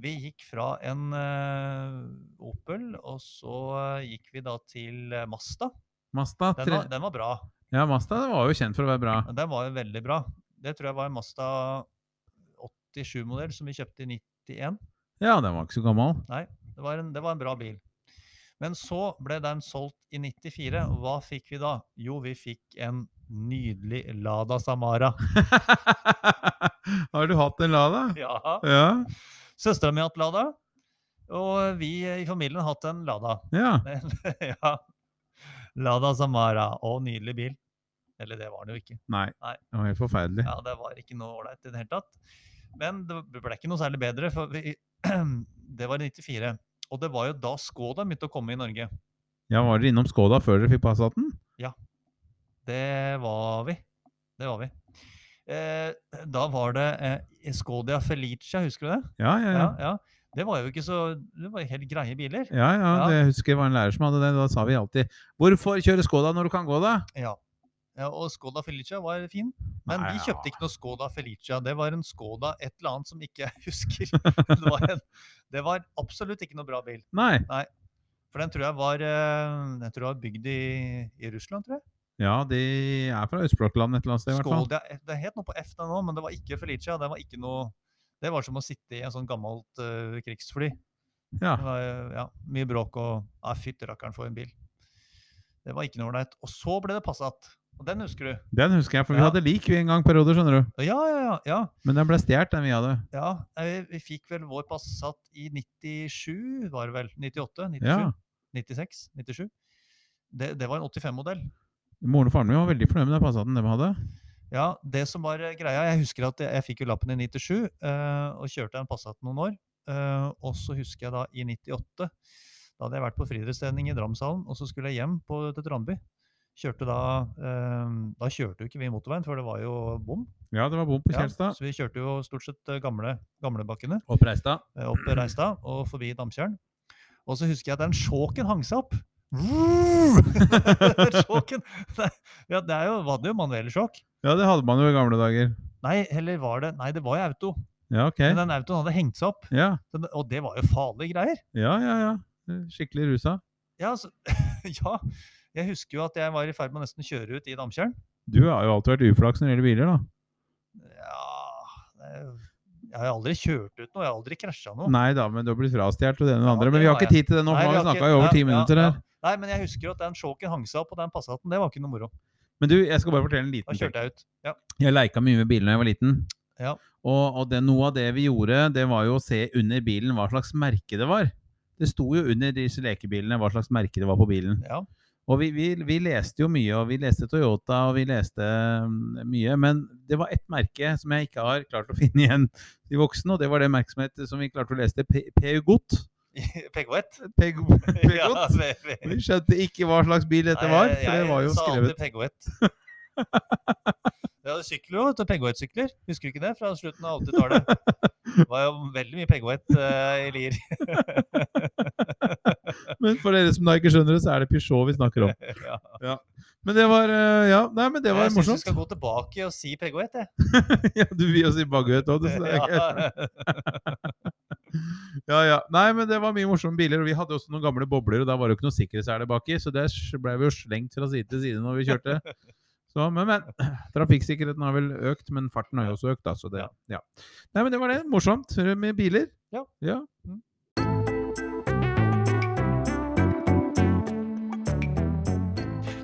Speaker 4: Vi gikk fra en eh, Opel, og så eh, gikk vi da til eh, Mazda.
Speaker 1: Mazda
Speaker 4: Den
Speaker 1: tre...
Speaker 4: var, den var bra.
Speaker 1: Ja, Mazda var jo kjent for å være bra.
Speaker 4: Den var jo veldig bra. Det tror jeg var en Mazda 87-modell som vi kjøpte i 91.
Speaker 1: Ja, den var ikke så gammel.
Speaker 4: Det var, en, det var en bra bil. Men så ble den solgt i 94. og Hva fikk vi da? Jo, vi fikk en nydelig Lada Samara.
Speaker 1: har du hatt en Lada?
Speaker 4: Ja.
Speaker 1: Ja.
Speaker 4: Søstera mi har hatt Lada, og vi i familien har hatt en Lada.
Speaker 1: ja.
Speaker 4: Men, ja. Lada Samara. Og nydelig bil. Eller det var den jo ikke.
Speaker 1: Nei.
Speaker 4: Nei.
Speaker 1: Det var helt forferdelig.
Speaker 4: Ja, det var ikke noe ålreit i det hele tatt. Men det ble ikke noe særlig bedre, for vi, det var i 94. Og det var jo da Skoda begynte å komme i Norge.
Speaker 1: Ja, Var dere innom Skoda før dere fikk Passaten?
Speaker 4: Det var vi. Det var vi. Eh, da var det eh, Skodia Felicia, husker du det?
Speaker 1: Ja, ja, ja.
Speaker 4: Ja, ja. Det var jo ikke så Det var helt greie biler.
Speaker 1: Ja, ja,
Speaker 4: Ja.
Speaker 1: det jeg husker jeg var en lærer som hadde det. Da sa vi alltid 'Hvorfor kjøre Skoda når du kan gå, da?'
Speaker 4: Ja. ja og Skoda Felicia var fin, men
Speaker 1: Nei,
Speaker 4: vi
Speaker 1: ja.
Speaker 4: kjøpte ikke noe Skoda Felicia. Det var en Skoda et eller annet som ikke jeg husker. Det var, en, det var absolutt ikke noe bra bil.
Speaker 1: Nei.
Speaker 4: For den tror jeg var, eh, den tror jeg var bygd i, i Russland, tror jeg.
Speaker 1: Ja, de er fra østblokkland et eller annet sted, i hvert fall.
Speaker 4: Skoda, det het noe på F den òg, men det var ikke Felicia. Det var, ikke noe, det var som å sitte i en sånn gammelt eh, krigsfly.
Speaker 1: Ja.
Speaker 4: Det var eh, ja, mye bråk og ja, Fytti rakkeren for en bil. Det var ikke noe ålreit. Og så ble det Passat. Og den husker du?
Speaker 1: Den husker jeg, for vi
Speaker 4: Ja.
Speaker 1: hadde lik vi en gang perioder, skjønner du.
Speaker 4: Ja, ja, ja. ja,
Speaker 1: Men den ble stjålet, den vi hadde.
Speaker 4: ja. eh, Vi fikk vel vår Passat i 97, var det vel? 98? 97?
Speaker 1: Ja.
Speaker 4: 96? 97? Det, det var en 85-modell.
Speaker 1: Moren og faren min var veldig fornøyd med den Passaten de hadde.
Speaker 4: Ja, det som var eh, greia, jeg husker at jeg, jeg fikk jo lappen i 97 eh, og kjørte en Passat noen år. Eh, og så husker jeg da i 98, da hadde jeg vært på friidrettstrening i Dramshallen, og så skulle jeg hjem på, til Trandby. Kjørte da, eh, da kjørte jo ikke vi motorveien, for det var jo bom.
Speaker 1: Ja, det var bom på
Speaker 4: Ja,
Speaker 1: Kjelstad.
Speaker 4: så vi kjørte jo stort sett eh, gamle, gamlebakkene
Speaker 1: Og Preistad.
Speaker 4: eh, opp til Reistad og forbi Damtjern. Og så husker jeg at den sjåken hang seg opp. sjåken! Det, ja, det er jo, var det jo manuell sjåk.
Speaker 1: Ja, det hadde man jo i gamle dager.
Speaker 4: Nei, heller var det Nei, det var jo auto.
Speaker 1: Ja, ok.
Speaker 4: Men den autoen hadde hengt seg opp,
Speaker 1: Ja,
Speaker 4: den, og det var jo farlige greier.
Speaker 1: ja, ja. ja. Skikkelig rusa.
Speaker 4: Ja, altså, ja, jeg husker jo at jeg var i ferd med å nesten kjøre ut i Damtjern.
Speaker 1: Du har jo alltid vært uflaks når det gjelder biler, da.
Speaker 4: Ja, det- jeg har aldri kjørt ut noe, jeg har aldri krasja noe.
Speaker 1: Nei da, men du har blitt frastjålet og det ene og det
Speaker 4: Ja,
Speaker 1: andre.
Speaker 4: det
Speaker 1: Men vi har
Speaker 4: har
Speaker 1: ikke tid til det nå,
Speaker 4: Nei,
Speaker 1: for nå
Speaker 4: vi
Speaker 1: har vi
Speaker 4: har ikke-
Speaker 1: snakka i over ti
Speaker 4: ja, ja,
Speaker 1: minutter her.
Speaker 4: ja. Nei, men jeg husker at den sjåken hang seg opp, og den Passaten, det var ikke noe moro.
Speaker 1: Men du, jeg skal bare fortelle en
Speaker 4: Da
Speaker 1: liten ting.
Speaker 4: kjørte jeg ut. Ja.
Speaker 1: Jeg leika mye med biler da jeg var liten.
Speaker 4: Ja.
Speaker 1: Og, og det, noe av det vi gjorde, det var jo å se under bilen hva slags merke det var. Det sto jo under disse lekebilene hva slags merke det var på bilen.
Speaker 4: ja.
Speaker 1: Og vi, vi, vi leste jo mye, og vi leste Toyota, og vi leste mm, mye. Men det var ett merke som jeg ikke har klart å finne igjen i voksen, og det var det merksomhet som vi klarte å lese. P- Peugeot.
Speaker 4: Peggoett.
Speaker 1: Peg-
Speaker 4: Ja,
Speaker 1: Peugeot.
Speaker 4: ve- ve-
Speaker 1: Vi skjønte ikke hva slags bil dette var,
Speaker 4: Nei,
Speaker 1: for det
Speaker 4: jeg
Speaker 1: var jo
Speaker 4: sa alltid
Speaker 1: skrevet
Speaker 4: Peggoett. Vi hadde sykler òg, vet du. Peggoett-sykler. Husker du ikke det? Fra slutten av 80-tallet. Det var jo veldig mye Peggoett eh, i Lier.
Speaker 1: Men for dere som da ikke skjønner det, så er det Peugeot vi snakker om.
Speaker 4: Ja.
Speaker 1: Men det var eh, Ja, nei, men det var
Speaker 4: jeg syns du
Speaker 1: morsomt.
Speaker 4: skal gå tilbake og si Peggoett, jeg.
Speaker 1: Ja, du vil jo si baguett òg, du. så det er ikke-
Speaker 4: Ja.
Speaker 1: Ja, ja. Nei, men det var mye morsomme biler, og vi hadde også noen gamle bobler, og da var det jo ikke noe sikkerhetsele baki, så der ble vi jo slengt fra side til side når vi kjørte. Så, men, men. Trafikksikkerheten har vel økt, men farten har jo også økt, da, så det Ja. Nei, men det var det. Morsomt med biler.
Speaker 4: Ja.
Speaker 1: ja.
Speaker 4: Mm.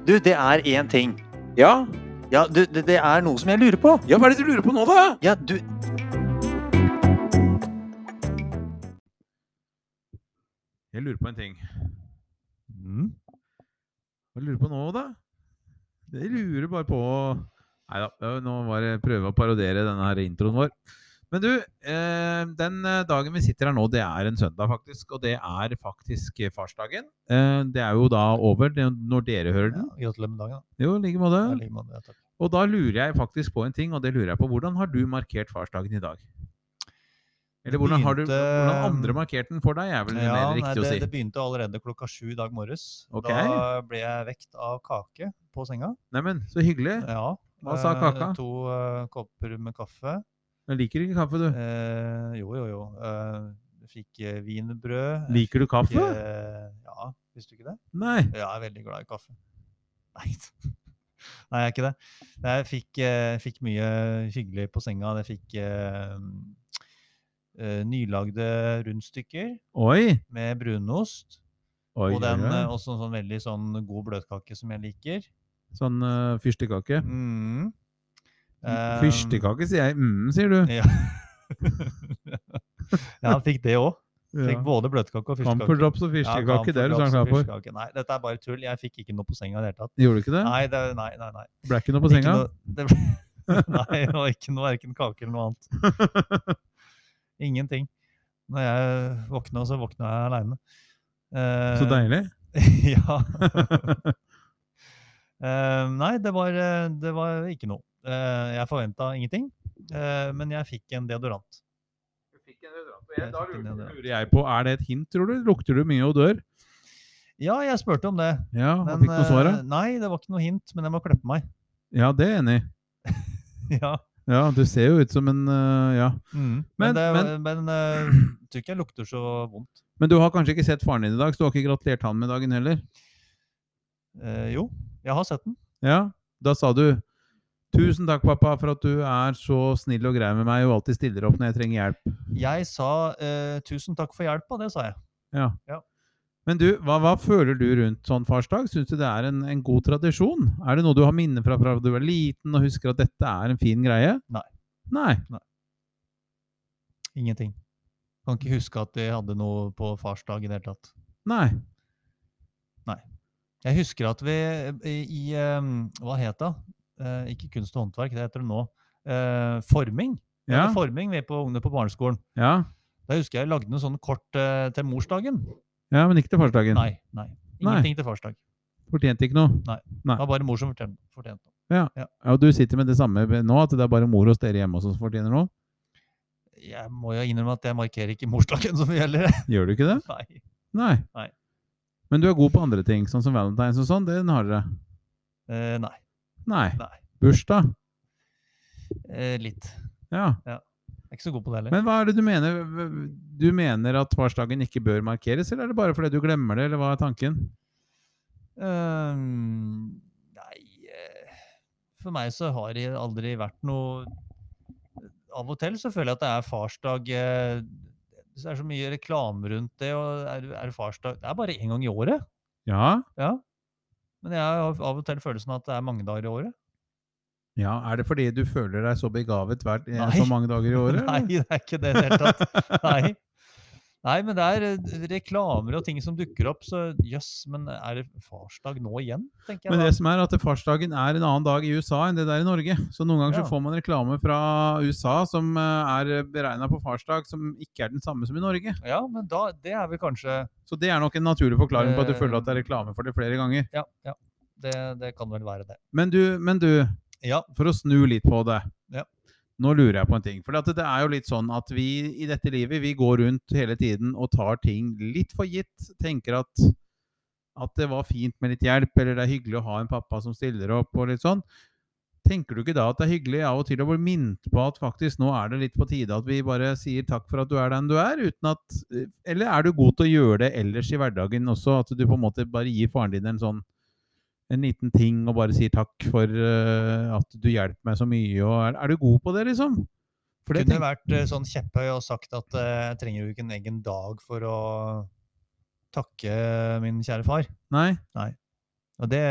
Speaker 5: Du, det er én ting.
Speaker 3: Ja,
Speaker 5: Ja, du, det, det er noe som jeg lurer på.
Speaker 3: ja, hva er det du lurer på nå, da?
Speaker 5: Ja, du
Speaker 1: Jeg lurer på en ting.
Speaker 4: Mm.
Speaker 1: Hva lurer du på nå, da? Jeg lurer bare på Nei da, nå var det prøve å parodiere denne her introen vår. Men du, eh, den eh, dagen vi sitter her nå, det er en søndag, faktisk. Og det er faktisk eh, farsdagen. Eh, Det er jo da over det- når dere hører den.
Speaker 4: Gratulerer med dagen. da.
Speaker 1: Jo, i like
Speaker 4: Ja,
Speaker 1: måte.
Speaker 4: like måte, ja, takk.
Speaker 1: Og da lurer jeg faktisk på en ting, og det lurer jeg på. Hvordan har du markert farsdagen i dag? Eller
Speaker 4: Det
Speaker 1: hvordan har du,
Speaker 4: begynte,
Speaker 1: hvordan andre markerte den for deg, er vel
Speaker 4: Ja,
Speaker 1: mer
Speaker 4: nei,
Speaker 1: riktig
Speaker 4: det,
Speaker 1: å si.
Speaker 4: det begynte allerede klokka sju i dag morges.
Speaker 1: Ok.
Speaker 4: Da ble jeg vekt av kake på senga.
Speaker 1: Neimen, så hyggelig.
Speaker 4: Ja.
Speaker 1: Hva sa
Speaker 4: eh,
Speaker 1: kaka?
Speaker 4: To eh, kopper med kaffe.
Speaker 1: Jeg liker ikke kaffe, du.
Speaker 4: Eh, jo, jo, jo. Eh, jeg fikk eh, wienerbrød. Jeg
Speaker 1: Liker du
Speaker 4: fikk,
Speaker 1: kaffe?
Speaker 4: eh, ja, visste du ikke det?
Speaker 1: Nei.
Speaker 4: Ja, jeg er veldig glad i kaffe. Nei, Nei jeg er ikke det. Nei, Jeg fikk, eh, fikk mye hyggelig på senga. Jeg fikk eh, eh, nylagde rundstykker
Speaker 1: Oi!
Speaker 4: med brunost.
Speaker 1: Oi,
Speaker 4: og den,
Speaker 1: oi, oi.
Speaker 4: eh, også en sånn veldig sånn god bløtkake som jeg liker.
Speaker 1: Sånn uh, fyrstekake.
Speaker 4: Mm. Eh,
Speaker 1: fyrstekake, sier jeg. Mm, sier du.
Speaker 4: Ja. ja, han fikk det òg. Fikk både bløtkake og fyrstekake.
Speaker 1: Camperdrops og
Speaker 4: Ja,
Speaker 1: fyrstekake, det er du
Speaker 4: camphordrops
Speaker 1: sånn
Speaker 4: og
Speaker 1: klar for.
Speaker 4: fyrstekake. Nei, dette er bare tull. Jeg fikk ikke noe på senga i det hele tatt.
Speaker 1: Gjorde du ikke det?
Speaker 4: Nei, det, nei, nei, nei.
Speaker 1: Ble ikke noe på
Speaker 4: Ikke
Speaker 1: senga?
Speaker 4: noe- det ble, nei, det var ikke noe verken kake eller noe annet. Ingenting. Når jeg våkna, så våkna jeg aleine.
Speaker 1: Så deilig.
Speaker 4: ja. Eh, nei, det var, eh, det var ikke noe. Eh, jeg forventa ingenting, eh, men jeg fikk en deodorant.
Speaker 1: Da
Speaker 4: Jeg fikk en deodorant.
Speaker 1: lurer jeg på, er det et hint, tror du? Lukter du mye og dør?
Speaker 4: Ja, jeg spurte om det.
Speaker 1: Ja, og
Speaker 4: Men,
Speaker 1: fikk noe svar,
Speaker 4: eh, Nei, det var ikke noe hint, men jeg må klippe meg.
Speaker 1: da? Ja, det er jeg enig i.
Speaker 4: ja.
Speaker 1: Ja, du ser jo ut som en eh, Ja.
Speaker 4: Mm.
Speaker 1: Men-
Speaker 4: Men, det, men, eh, tror ikke jeg lukter så vondt.
Speaker 1: Men du har kanskje ikke sett faren din i dag, så du har ikke gratulert han med dagen heller?
Speaker 4: Eh, jo, jeg har sett den.
Speaker 1: Ja, da sa du Tusen takk, pappa, for at du er så snill og grei med meg og alltid stiller opp når jeg trenger hjelp.
Speaker 4: Jeg sa eh, 'tusen takk for hjelpa', det sa jeg.
Speaker 1: Ja.
Speaker 4: Ja.
Speaker 1: Men du, hva, hva føler du rundt sånn farsdag? Syns du det er en, en god tradisjon? Er det noe du har minner fra fra du var liten og husker at dette er en fin greie?
Speaker 4: Nei.
Speaker 1: Nei.
Speaker 4: Ingenting. Kan ikke huske at de hadde noe på farsdag i det hele tatt.
Speaker 1: Nei.
Speaker 4: Jeg husker at vi i, i eh, Hva het det? Eh, ikke kunst og håndverk, det heter det nå. Eh, forming. Vi
Speaker 1: Ja.
Speaker 4: hadde Forming vi på ungene på barneskolen.
Speaker 1: Ja,
Speaker 4: Da husker jeg jeg lagde noe sånn kort eh, til morsdagen.
Speaker 1: ja men ikke til farsdagen.
Speaker 4: Nei. nei.
Speaker 1: Nei.
Speaker 4: Ingenting til farsdag.
Speaker 1: Fortjente ikke noe.
Speaker 4: Det var bare mor som fortjente fortjente det.
Speaker 1: Ja, og du sitter med det samme nå, at det er bare mor hos dere hjemme også som fortjener noe?
Speaker 4: Jeg må jo innrømme at jeg markerer ikke morsdagen som gjelder.
Speaker 1: Gjør du ikke det?
Speaker 4: Nei.
Speaker 1: Nei.
Speaker 4: Nei.
Speaker 1: Men du er god på andre ting, sånn som valentines og sånn. Den har dere.
Speaker 4: Eh, nei.
Speaker 1: Nei.
Speaker 4: Nei.
Speaker 1: Bursdag.
Speaker 4: Eh, litt.
Speaker 1: Ja.
Speaker 4: Jeg er ikke så god på det heller.
Speaker 1: Men hva er det du mener? Du mener at farsdagen ikke bør markeres, eller er det bare fordi du glemmer det, eller hva er tanken?
Speaker 4: Ehm, nei eh, For meg så har det aldri vært noe eh, Av og til så føler jeg at det er farsdag eh, Det er så mye reklame rundt det, og er, er det farsdag Det er bare én gang i året.
Speaker 1: Ja,
Speaker 4: Ja. Men jeg har av og til følelsen av at det er mange dager i året.
Speaker 1: ja er det fordi du føler deg så begavet hver, eh,
Speaker 4: Nei.
Speaker 1: så mange dager i året?
Speaker 4: Nei,
Speaker 1: eller?
Speaker 4: det er ikke det i det hele tatt. Nei. Nei, men det er eh, reklamer og ting som dukker opp, så jøss, men er det farsdag nå igjen? tenker jeg
Speaker 1: Men
Speaker 4: da.
Speaker 1: det som er at farsdagen er en annen dag i USA enn det det er i Norge. Så noen ganger
Speaker 4: Ja.
Speaker 1: så får man reklame fra USA som eh, er beregna på farsdag, som ikke er den samme som i Norge.
Speaker 4: Ja, men da, det er vel kanskje
Speaker 1: Så det er nok en naturlig forklaring på at du
Speaker 4: Eh.
Speaker 1: føler at det er reklame for det flere ganger.
Speaker 4: Ja, ja. Det, det kan vel være det.
Speaker 1: Men du, men du
Speaker 4: Ja.
Speaker 1: for å snu litt på det.
Speaker 4: Ja.
Speaker 1: Nå lurer jeg på en ting. For at det er jo litt sånn at vi i dette livet vi går rundt hele tiden og tar ting litt for gitt. Tenker at, at det var fint med litt hjelp, eller det er hyggelig å ha en pappa som stiller opp. og litt sånn. Tenker du ikke da at det er hyggelig av og til å bli minnet på at faktisk nå er det litt på tide at vi bare sier takk for at du er den du er? uten at, Eller er du god til å gjøre det ellers i hverdagen også? At du på en måte bare gir faren din en sånn en liten ting og bare sier takk for eh, at du hjelper meg så mye. Og er, er du god på det, liksom? For
Speaker 4: Det
Speaker 1: det
Speaker 4: kunne
Speaker 1: tenk,
Speaker 4: vært eh, sånn kjepphøy og sagt at eh, jeg trenger jo ikke en egen dag for å takke min kjære far.
Speaker 1: nei,
Speaker 4: Og det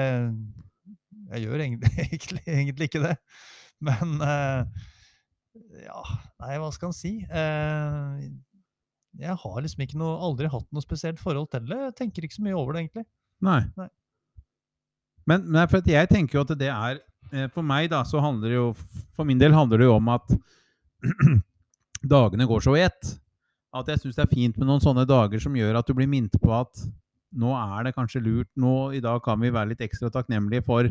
Speaker 4: Jeg gjør egentlig, egentlig, egentlig ikke det. Men eh, ja Nei, hva skal en si? Eh, jeg har liksom ikke noe, aldri hatt noe spesielt forhold til det. Jeg tenker ikke så mye over det, egentlig.
Speaker 1: nei.
Speaker 4: Nei.
Speaker 1: Men nei, for at jeg tenker jo at det er eh, For meg, da, så handler det jo For min del handler det jo om at dagene går så i ett. At jeg syns det er fint med noen sånne dager som gjør at du blir minnet på at nå er det kanskje lurt nå, I dag kan vi være litt ekstra takknemlige for,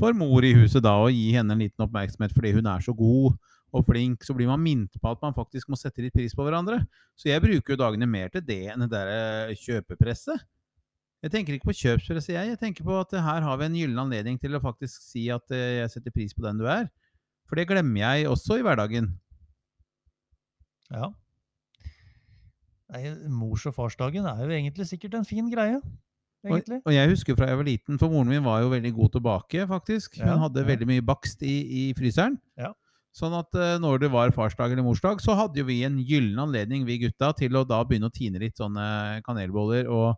Speaker 1: for mor i huset da, og gi henne en liten oppmerksomhet fordi hun er så god og flink. Så blir man minnet på at man faktisk må sette litt pris på hverandre. Så jeg bruker jo dagene mer til det enn det der eh, kjøpepresset. Jeg tenker ikke på kjøpspresset, jeg. Jeg tenker på at eh, her har vi en gyllen anledning til å faktisk si at eh, jeg setter pris på den du er. For det glemmer jeg også i hverdagen.
Speaker 4: Ja. Nei, mors- og farsdagen er jo egentlig sikkert en fin greie.
Speaker 1: Og,
Speaker 4: Egentlig.
Speaker 1: og jeg husker fra jeg var liten, for moren min var jo veldig god til å bake, faktisk.
Speaker 4: Ja,
Speaker 1: Hun hadde
Speaker 4: ja.
Speaker 1: veldig mye bakst i, i fryseren.
Speaker 4: Ja.
Speaker 1: Sånn at eh, når det var farsdag eller morsdag, så hadde jo vi en gyllen anledning, vi gutta, til å da begynne å tine litt sånne kanelboller og,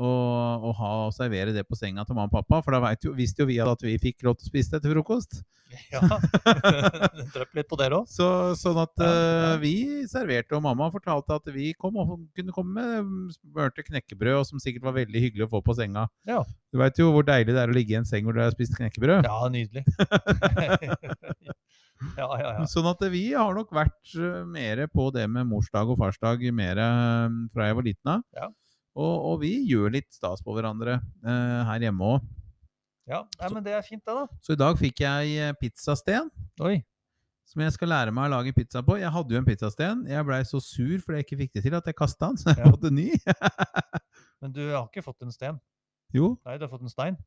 Speaker 1: og, og ha og servere det på senga til mamma og pappa. For da vet jo, visste jo vi at vi fikk lov til å spise det til frokost.
Speaker 4: Ja. Drypp litt på dere òg.
Speaker 1: Så, sånn at
Speaker 4: Ja, ja.
Speaker 1: eh, vi serverte, og mamma fortalte at vi kom og kunne komme med mm, smørte knekkebrød, og som sikkert var veldig hyggelig å få på senga.
Speaker 4: Ja.
Speaker 1: Du veit jo hvor deilig det er å ligge i en seng hvor du har spist knekkebrød.
Speaker 4: Ja, nydelig. ja, ja, ja.
Speaker 1: Sånn at vi har nok vært eh, mer på det med morsdag og farsdag mer fra jeg var liten av.
Speaker 4: Ja.
Speaker 1: Og, og vi gjør litt stas på hverandre eh, her hjemme òg.
Speaker 4: ja. Nei, men det er fint, det, da.
Speaker 1: Så i dag fikk jeg eh, pizzasten.
Speaker 4: Oi.
Speaker 1: som jeg skal lære meg å lage pizza på. Jeg hadde jo en pizzasten. Jeg blei så sur fordi jeg ikke fikk det til, at jeg kasta den. Så jeg
Speaker 4: Ja.
Speaker 1: måtte ny.
Speaker 4: Men du har ikke fått en sten?
Speaker 1: Jo.
Speaker 4: Nei, du har fått en stein.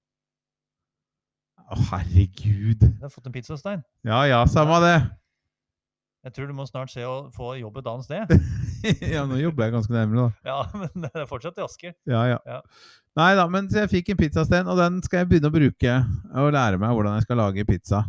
Speaker 1: Å, herregud.
Speaker 4: Du har fått en pizzastein.
Speaker 1: Ja ja, samme det.
Speaker 4: Jeg tror du må snart se å få jobb et annet sted.
Speaker 1: ja, nå jobber jeg ganske nærmere, da.
Speaker 4: Ja, men det er fortsatt i Asker.
Speaker 1: Ja, ja.
Speaker 4: Ja.
Speaker 1: Nei da, men så jeg fikk en pizzasten, og den skal jeg begynne å bruke. Og lære meg hvordan jeg skal lage pizza.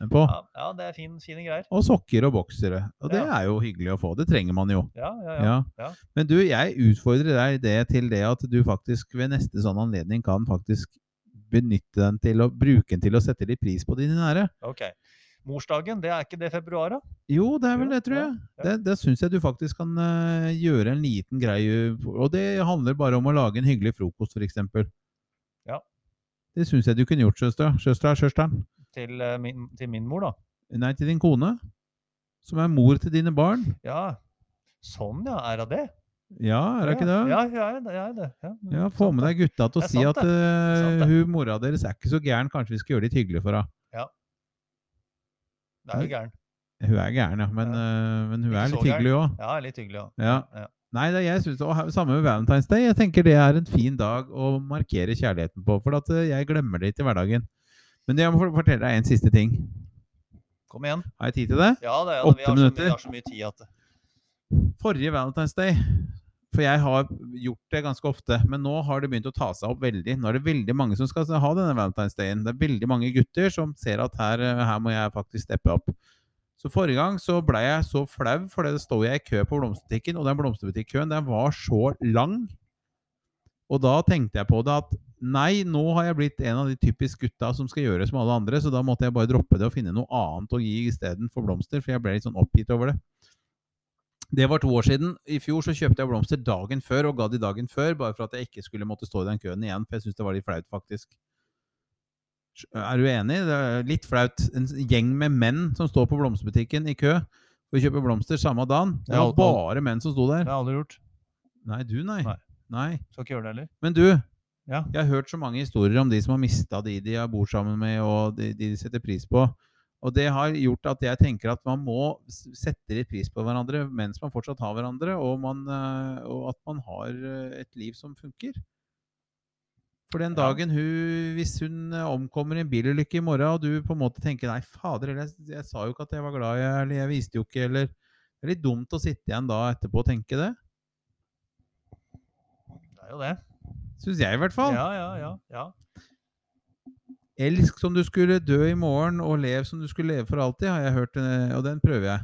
Speaker 1: Den På.
Speaker 4: Ja, ja det er fin, fine greier.
Speaker 1: Og sokker og boksere. Og det
Speaker 4: Ja.
Speaker 1: er jo hyggelig å få. Det trenger man jo.
Speaker 4: Ja, ja, ja.
Speaker 1: Ja.
Speaker 4: ja.
Speaker 1: Men du, jeg utfordrer deg det til det at du faktisk ved neste sånn anledning kan faktisk benytte den til å bruke den til å sette litt pris på dine nære.
Speaker 4: Ok. Morsdagen, det er ikke det februar, da?
Speaker 1: Jo, det er vel
Speaker 4: Jo,
Speaker 1: det, tror
Speaker 4: ja,
Speaker 1: jeg.
Speaker 4: ja.
Speaker 1: Det, det syns jeg du faktisk kan eh, gjøre en liten greie Og det handler bare om å lage en hyggelig frokost, f.eks.
Speaker 4: Ja.
Speaker 1: Det syns jeg du kunne gjort, søster. Søster, søsteren.
Speaker 4: Til, eh, min, til min mor, da?
Speaker 1: Nei, til din kone. Som er mor til dine barn.
Speaker 4: Ja. Sånn, ja. Er det det?
Speaker 1: Ja, er det ikke det?
Speaker 4: Ja, ja, jeg er det. Jeg er det. Ja, mm,
Speaker 1: Ja, Få
Speaker 4: sant
Speaker 1: med
Speaker 4: det.
Speaker 1: deg gutta til å
Speaker 4: Det er
Speaker 1: si
Speaker 4: sant,
Speaker 1: at
Speaker 4: det.
Speaker 1: eh,
Speaker 4: sant, det.
Speaker 1: hun mora deres er ikke så gæren, kanskje vi skal gjøre det litt hyggelig for henne.
Speaker 4: Det er jo gæren.
Speaker 1: Hun er gæren, ja, men,
Speaker 4: Ja.
Speaker 1: eh, men hun
Speaker 4: Ikke
Speaker 1: er
Speaker 4: så
Speaker 1: litt hyggelig òg.
Speaker 4: Ja, litt hyggelig, ja.
Speaker 1: Ja.
Speaker 4: Ja.
Speaker 1: Nei, det, jeg synes, og her- Samme med Valentine's Day. Jeg tenker det er en fin dag å markere kjærligheten på. For at eh, jeg glemmer det litt i hverdagen. Men jeg må for- fortelle deg en siste ting.
Speaker 4: Kom igjen.
Speaker 1: Har jeg tid til det?
Speaker 4: Ja, det er,
Speaker 1: Åtte
Speaker 4: vi, har så,
Speaker 1: minutter.
Speaker 4: vi har så mye tid at det-
Speaker 1: Forrige Valentine's Day For jeg har gjort det ganske ofte, men nå har det begynt å ta seg opp veldig. Nå er det veldig mange som skal ha denne Valentine's Dayen. Det er veldig mange gutter som ser at her, eh, her må jeg faktisk steppe opp. Så forrige gang så ble jeg så flau, for det sto jeg i kø på blomsterbutikken, og den blomsterbutikkøen den var så lang. Og da tenkte jeg på det at nei, nå har jeg blitt en av de typisk gutta som skal gjøre som alle andre, så da måtte jeg bare droppe det og finne noe annet å gi istedenfor blomster, for jeg ble litt sånn oppgitt over det. Det var to år siden. I fjor så kjøpte jeg blomster dagen før og ga de dagen før, bare for at jeg ikke skulle måtte stå i den køen igjen, for jeg syntes det var litt flaut, faktisk. Er du enig? Det er litt flaut. En gjeng med menn som står på blomsterbutikken i kø og kjøper blomster samme dagen. Det
Speaker 4: Ja,
Speaker 1: var
Speaker 4: og-
Speaker 1: bare menn som sto
Speaker 4: det
Speaker 1: der.
Speaker 4: har jeg aldri gjort.
Speaker 1: Nei, du, nei.
Speaker 4: Nei.
Speaker 1: Nei.
Speaker 4: Skal ikke gjøre det heller.
Speaker 1: Men du,
Speaker 4: Ja.
Speaker 1: jeg har hørt så mange historier om de som har mista de de har bor sammen med, og de de setter pris på. Og det har gjort at jeg tenker at man må s- sette litt pris på hverandre mens man fortsatt har hverandre, og, man, eh, og at man har eh, et liv som funker. For den
Speaker 4: Ja.
Speaker 1: dagen hun Hvis hun eh, omkommer i en bilulykke i morgen, og du på en måte tenker 'nei, fader, eller jeg, jeg sa jo ikke at jeg var glad i deg', eller 'jeg viste jo ikke', eller Det er litt dumt å sitte igjen da etterpå og tenke det.
Speaker 4: Det er jo det.
Speaker 1: Syns jeg, i hvert fall.
Speaker 4: Ja, ja, ja. ja.
Speaker 1: Elsk som du skulle dø i morgen, og lev som du skulle leve for alltid, har jeg hørt, eh, og den prøver jeg.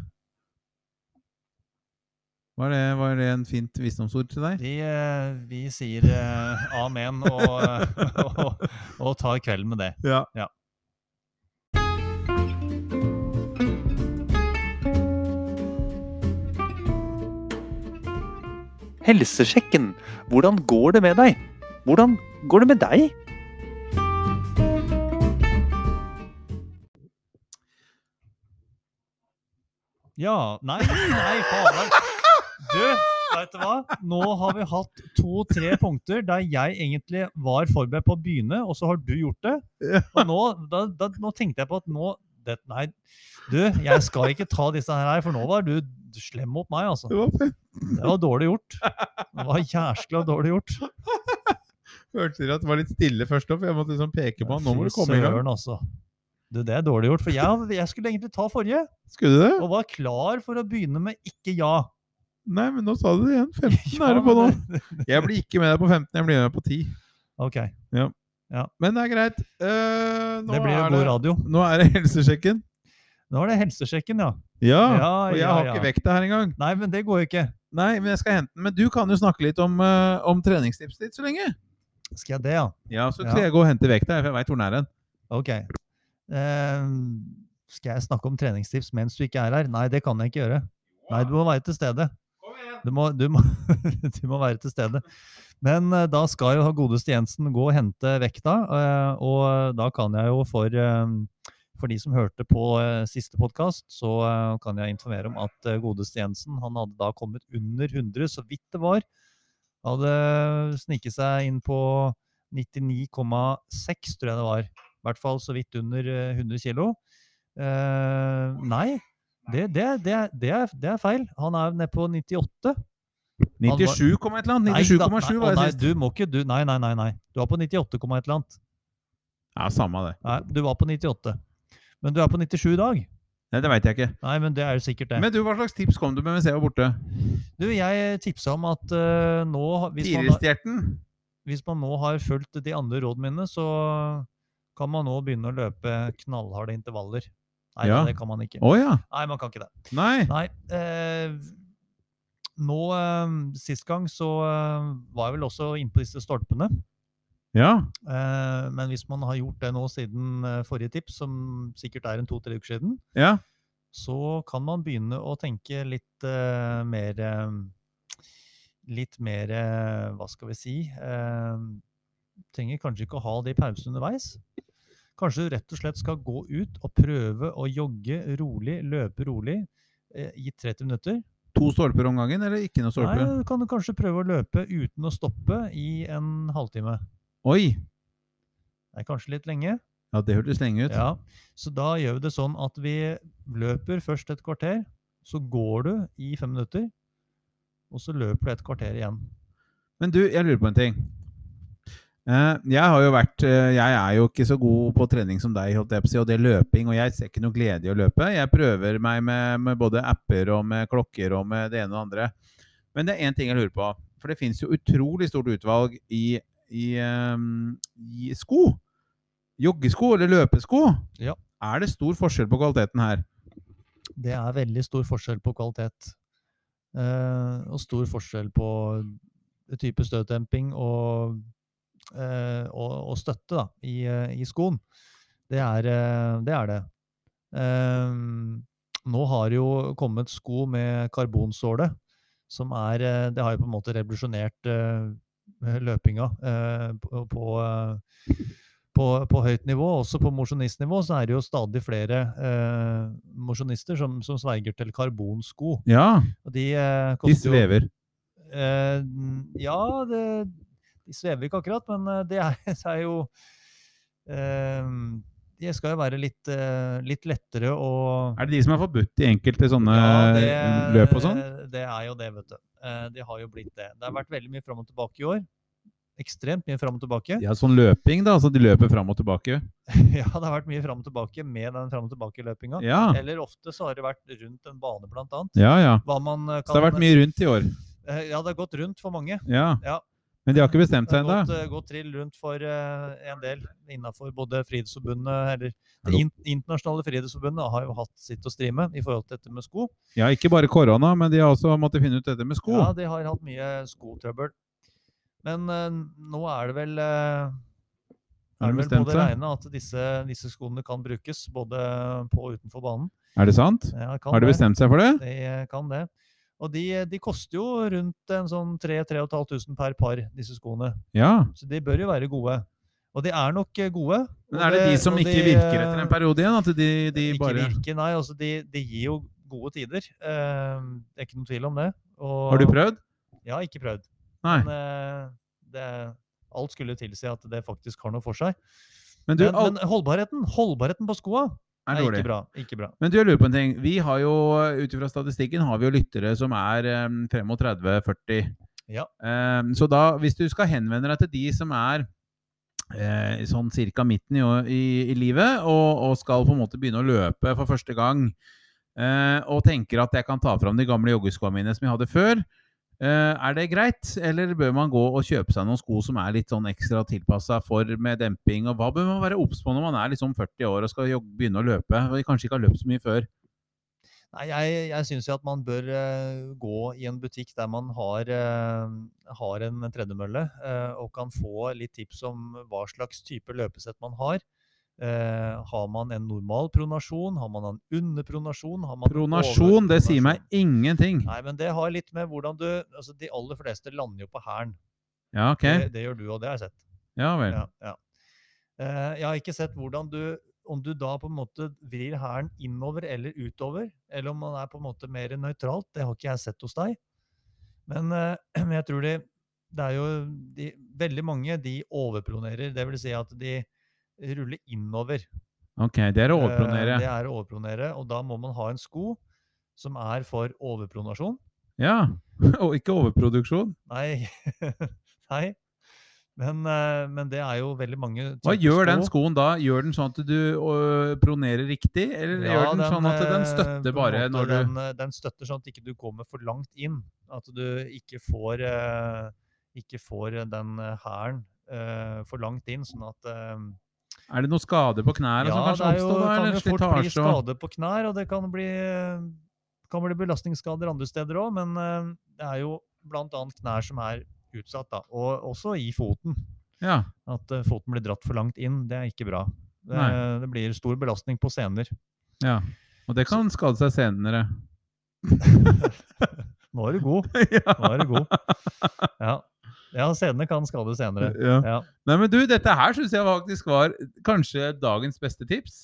Speaker 1: Var det, var det en fint visdomsord til deg?
Speaker 4: Vi, eh, vi sier eh, amen og, eh, og, og tar kvelden med det.
Speaker 1: Ja.
Speaker 5: Helsesjekken. Hvordan går det med deg? Hvordan går det med deg?
Speaker 4: Ja Nei, nei, fader. Du, veit du hva? Nå har vi hatt to-tre punkter der jeg egentlig var forberedt på å begynne, og så har du gjort det. Og nå, da, da, nå tenkte jeg på at nå det, Nei, du, jeg skal ikke ta disse her, for nå var du slem mot meg, altså.
Speaker 1: Det var fint.
Speaker 4: Det var dårlig gjort. Det var jæskla dårlig gjort.
Speaker 1: Hørte dere at det var litt stille først opp? Jeg måtte liksom peke på han. Nå må du
Speaker 4: Fy
Speaker 1: komme i gang.
Speaker 4: søren, altså. Du, det er dårlig gjort, for jeg, jeg skulle egentlig ta forrige,
Speaker 1: Skulle du det?
Speaker 4: og var klar for å begynne med ikke ja.
Speaker 1: Nei, men nå sa du det igjen. 15
Speaker 4: Ja,
Speaker 1: er det på nå.
Speaker 4: men det-
Speaker 1: Jeg blir ikke med deg på 15, jeg blir med deg på 10.
Speaker 4: Ok, det
Speaker 1: Men det er greit. Eh, nå,
Speaker 4: blir jo
Speaker 1: er
Speaker 4: god
Speaker 1: det,
Speaker 4: radio.
Speaker 1: nå er det helsesjekken.
Speaker 4: Nå er det helsesjekken, ja.
Speaker 1: Ja,
Speaker 4: Ja,
Speaker 1: og jeg
Speaker 4: ja,
Speaker 1: har
Speaker 4: ja.
Speaker 1: ikke vekta her engang.
Speaker 4: Nei, men det går jo ikke.
Speaker 1: Nei, men jeg skal hente den. Men du kan jo snakke litt om, eh, om treningstipset ditt så lenge.
Speaker 4: Skal jeg det, ja?
Speaker 1: Ja, så
Speaker 4: Ja.
Speaker 1: skal jeg gå og hente vekta, for jeg veit hvor den er hen.
Speaker 4: Ok. Ehm, skal jeg snakke om treningstips mens du ikke er her? Nei, det kan jeg ikke gjøre. Nei, du må være til stede. Du må, du må, du må være til stede. Men eh, da skal jo godeste Jensen gå og hente vekta, eh, og da kan jeg jo for eh, for de som hørte på eh, siste podkast, så eh, kan jeg informere om at eh, godeste Jensen han hadde da kommet under 100, så vidt det var. Hadde sniket seg inn på 99,6, tror jeg det var. I hvert fall så vidt under eh, 100 kilo. Eh, nei, det, det, det, er- det, er, det er feil. Han er nede på 98.
Speaker 1: 97, kom et eller annet.
Speaker 4: Nei
Speaker 1: 97,7
Speaker 4: da, nei,
Speaker 1: var
Speaker 4: å
Speaker 1: det
Speaker 4: nei,
Speaker 1: sist.
Speaker 4: du må ikke, du, nei, nei, nei, nei. Du er på 98, komma et eller annet.
Speaker 1: Ja, samme det.
Speaker 4: Nei, du var på 98. Men du er på 97 i dag.
Speaker 1: Nei, Det veit jeg ikke.
Speaker 4: Nei, men det er jo sikkert det.
Speaker 1: Men du, hva slags tips kom du med mens jeg var borte?
Speaker 4: Du, jeg tipsa om at eh, nå hvis man, da-
Speaker 1: Firestjerten?
Speaker 4: hvis man nå har fulgt de andre rådene mine, så kan man nå begynne å løpe knallharde intervaller. Nei,
Speaker 1: Ja.
Speaker 4: det kan man ikke.
Speaker 1: Å ja.
Speaker 4: Nei, man kan ikke det.
Speaker 1: Nei.
Speaker 4: Nei. Eh, nå eh, Sist gang så eh, var jeg vel også inne på disse stolpene.
Speaker 1: Ja.
Speaker 4: Eh, men hvis man har gjort det nå siden eh, forrige tips, som sikkert er en to-tre uker siden,
Speaker 1: Ja.
Speaker 4: så kan man begynne å tenke litt eh, mer eh, Litt mer eh, Hva skal vi si? eh, trenger kanskje ikke å ha det i pausen underveis. Kanskje du rett og slett skal gå ut og prøve å jogge rolig, løpe rolig eh, i 30 minutter.
Speaker 1: To stolper om gangen, eller ikke noe
Speaker 4: Nei,
Speaker 1: stolpe?
Speaker 4: du kan kanskje prøve å løpe uten å stoppe i en halvtime.
Speaker 1: Oi!
Speaker 4: Det er kanskje litt lenge.
Speaker 1: Ja, det hørtes lenge ut.
Speaker 4: Ja, så da gjør vi det sånn at vi løper først et kvarter, så går du i fem minutter, og så løper du et kvarter igjen.
Speaker 1: Men du, jeg lurer på en ting. Eh, Jeg har jo vært eh, Jeg er jo ikke så god på trening som deg, holdt jeg på å si, og det er løping, og jeg ser ikke noe glede i å løpe. Jeg prøver meg med, med både apper og med klokker og med det ene og det andre. Men det er én ting jeg lurer på, for det fins jo utrolig stort utvalg i, i, eh, i sko. Joggesko eller løpesko.
Speaker 4: Ja.
Speaker 1: Er det stor forskjell på kvaliteten her?
Speaker 4: Det er veldig stor forskjell på kvalitet. eh, og stor forskjell på type støtdemping og, eh, og, og støtte da, i, eh, i skoen. Det er eh, det. Er det. Ehm, nå har jo kommet sko med karbonsåle, som er eh, Det har jo på en måte revolusjonert eh, løpinga eh, på, på, eh, på, på høyt nivå. Også på mosjonistnivå så er det jo stadig flere eh, mosjonister som, som sverger til karbonsko.
Speaker 1: Ja,
Speaker 4: Og de, eh,
Speaker 1: de
Speaker 4: koster jo-
Speaker 1: svever.
Speaker 4: Eh, n- ja, det, de svever ikke akkurat, men eh, det er, det er jo eh, Det skal jo være litt, eh, litt lettere å
Speaker 1: Er det de som er forbudt i enkelte sånne
Speaker 4: Ja,
Speaker 1: løp og sånn?
Speaker 4: Det er jo det, vet du. Eh, det har jo blitt det. Det har vært veldig mye fram og tilbake i år. Ekstremt mye fram og tilbake.
Speaker 1: Ja, sånn løping, da. Så de løper fram og tilbake.
Speaker 4: Ja, det har vært mye fram og tilbake med den fram og tilbake-løpinga.
Speaker 1: Ja,
Speaker 4: Eller ofte så har det vært rundt en bane, blant annet.
Speaker 1: ja. ja.
Speaker 4: Hva man eh,
Speaker 1: Så det har vært mye rundt i år.
Speaker 4: Eh, Ja, det har gått rundt for mange.
Speaker 1: Ja.
Speaker 4: Ja.
Speaker 1: Men de har ikke bestemt
Speaker 4: Det
Speaker 1: seg
Speaker 4: har gått,
Speaker 1: ennå.
Speaker 4: eh, gått trill rundt for eh, en del innenfor både Friidrettsforbundet eller Det
Speaker 1: Hallo.
Speaker 4: in internasjonale friidrettsforbundet har jo hatt sitt å stri med i forhold til dette med sko.
Speaker 1: Ja, ikke bare korona, men de har også måttet finne ut dette med sko.
Speaker 4: Ja, de har hatt mye skotrøbbel. Men eh, nå er det vel eh,
Speaker 1: Har
Speaker 4: er
Speaker 1: de
Speaker 4: det vel
Speaker 1: bestemt
Speaker 4: på det
Speaker 1: seg?
Speaker 4: regne at disse, disse skoene kan brukes både på og utenfor banen.
Speaker 1: Er det sant?
Speaker 4: Ja, kan
Speaker 1: Har de
Speaker 4: det.
Speaker 1: bestemt seg for det?
Speaker 4: De eh, kan det. Og de, eh, de koster jo rundt en sånn 3500 per par, disse skoene.
Speaker 1: Ja.
Speaker 4: Så de bør jo være gode. Og de er nok eh, gode.
Speaker 1: Men
Speaker 4: og
Speaker 1: er det de som
Speaker 4: og
Speaker 1: ikke virker
Speaker 4: eh,
Speaker 1: etter en periode igjen? At de, de
Speaker 4: ikke
Speaker 1: bare
Speaker 4: virker, nei. Altså, de, de gir jo gode tider. Eh, det er ikke noen tvil om det. Og,
Speaker 1: Har du prøvd?
Speaker 4: Jeg har ikke prøvd.
Speaker 1: Nei.
Speaker 4: Men eh, det, alt skulle tilsi at det faktisk har noe for seg.
Speaker 1: Men du,
Speaker 4: Men,
Speaker 1: alt
Speaker 4: men holdbarheten holdbarheten på skoa
Speaker 1: er
Speaker 4: er
Speaker 1: dårlig.
Speaker 4: ikke bra. Ikke bra.
Speaker 1: Men du, jeg lurer på en ting. Vi har jo, ut ifra statistikken, har vi jo lyttere som er um, 35-40.
Speaker 4: Ja.
Speaker 1: Em, så da, hvis du skal henvende deg til de som er eh, sånn cirka midten i, å- i, i livet, og, og skal på en måte begynne å løpe for første gang, eh, og tenker at jeg kan ta fram de gamle joggeskoene mine som jeg hadde før, eh, er det greit? Eller bør man gå og kjøpe seg noen sko som er litt sånn ekstra tilpassa for med demping? Og hva bør man være obs på når man er liksom 40 år og skal jogge, begynne å løpe, og kanskje ikke har løpt så mye før?
Speaker 4: Nei, jeg, jeg syns jo at man bør eh, gå i en butikk der man har, eh, har en tredemølle, eh, og kan få litt tips om hva slags type løpesett man har. Eh, har man en normal pronasjon? Har man en underpronasjon? Har man en
Speaker 1: Pronasjon, det sier meg
Speaker 4: overpronasjon?
Speaker 1: ingenting.
Speaker 4: Nei, men det har litt med hvordan du altså De aller fleste lander jo på hælen.
Speaker 1: Ja, ok.
Speaker 4: Det, det gjør du, og det har jeg sett.
Speaker 1: Ja vel.
Speaker 4: Ja, ja. Eh, jeg har ikke sett hvordan du om du da på en måte vrir hælen innover eller utover, eller om man er på en måte mer nøytralt, det har ikke jeg sett hos deg. Men eh, men jeg tror de, det er jo de, Veldig mange de overpronerer, det vil Si at de ruller innover.
Speaker 1: Ok, det er å
Speaker 4: Eh,
Speaker 1: overpronere.
Speaker 4: det er å overpronere, og da må man ha en sko som er for overpronasjon.
Speaker 1: Ja. Og ikke overproduksjon.
Speaker 4: Nei. Nei. Men, eh, men det er jo veldig mange
Speaker 1: Hva
Speaker 4: typer
Speaker 1: gjør den
Speaker 4: sko.
Speaker 1: skoen da? Gjør den sånn at du øh, pronerer riktig, eller
Speaker 4: Ja,
Speaker 1: gjør den sånn at den
Speaker 4: eh, på
Speaker 1: støtter
Speaker 4: en
Speaker 1: bare
Speaker 4: måte,
Speaker 1: når du
Speaker 4: den, eh, den støtter sånn at ikke du kommer for langt inn. At du ikke får, eh, ikke får eh, den eh, hæren eh, for langt inn, sånn at eh,
Speaker 1: Er det noe skade på knærne som
Speaker 4: Ja, det
Speaker 1: kanskje
Speaker 4: er jo,
Speaker 1: oppstår da?
Speaker 4: kan
Speaker 1: Eller
Speaker 4: jo fort bli
Speaker 1: slitasje og
Speaker 4: skade på knær, og det kan bli, eh, kan bli belastningsskader andre steder òg, men eh, det er jo bl.a. knær som er utsatt, da. Og også i foten.
Speaker 1: Ja.
Speaker 4: At eh, foten blir dratt for langt inn, det er ikke bra. Det,
Speaker 1: Nei.
Speaker 4: det blir stor belastning på sener.
Speaker 1: ja. Og det kan skade seg senere.
Speaker 4: Nå er du god.
Speaker 1: ja.
Speaker 4: Nå er du god. Ja, ja senene kan skade senere.
Speaker 1: ja.
Speaker 4: Ja.
Speaker 1: Nei, men du, dette her syns jeg faktisk var kanskje dagens beste tips.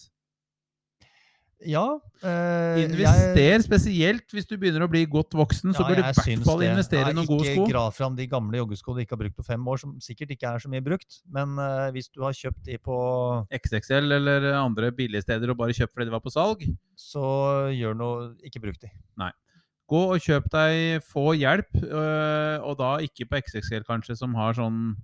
Speaker 4: ja eh, jeg-
Speaker 1: Invester spesielt hvis du begynner å bli godt voksen, så
Speaker 4: ja,
Speaker 1: bør du i
Speaker 4: jeg
Speaker 1: hvert
Speaker 4: syns
Speaker 1: fall
Speaker 4: det.
Speaker 1: investere
Speaker 4: Nei,
Speaker 1: i noen gode sko.
Speaker 4: Ikke grav fram de gamle joggesko du ikke har brukt på fem år, som sikkert ikke er så mye brukt. Men eh, hvis du har kjøpt de på
Speaker 1: XXL eller andre billige steder og bare kjøp fordi det var på salg.
Speaker 4: Så gjør noe Ikke bruk de.
Speaker 1: Gå og kjøp deg, få hjelp, øh, og da ikke på XXL kanskje, som har sånn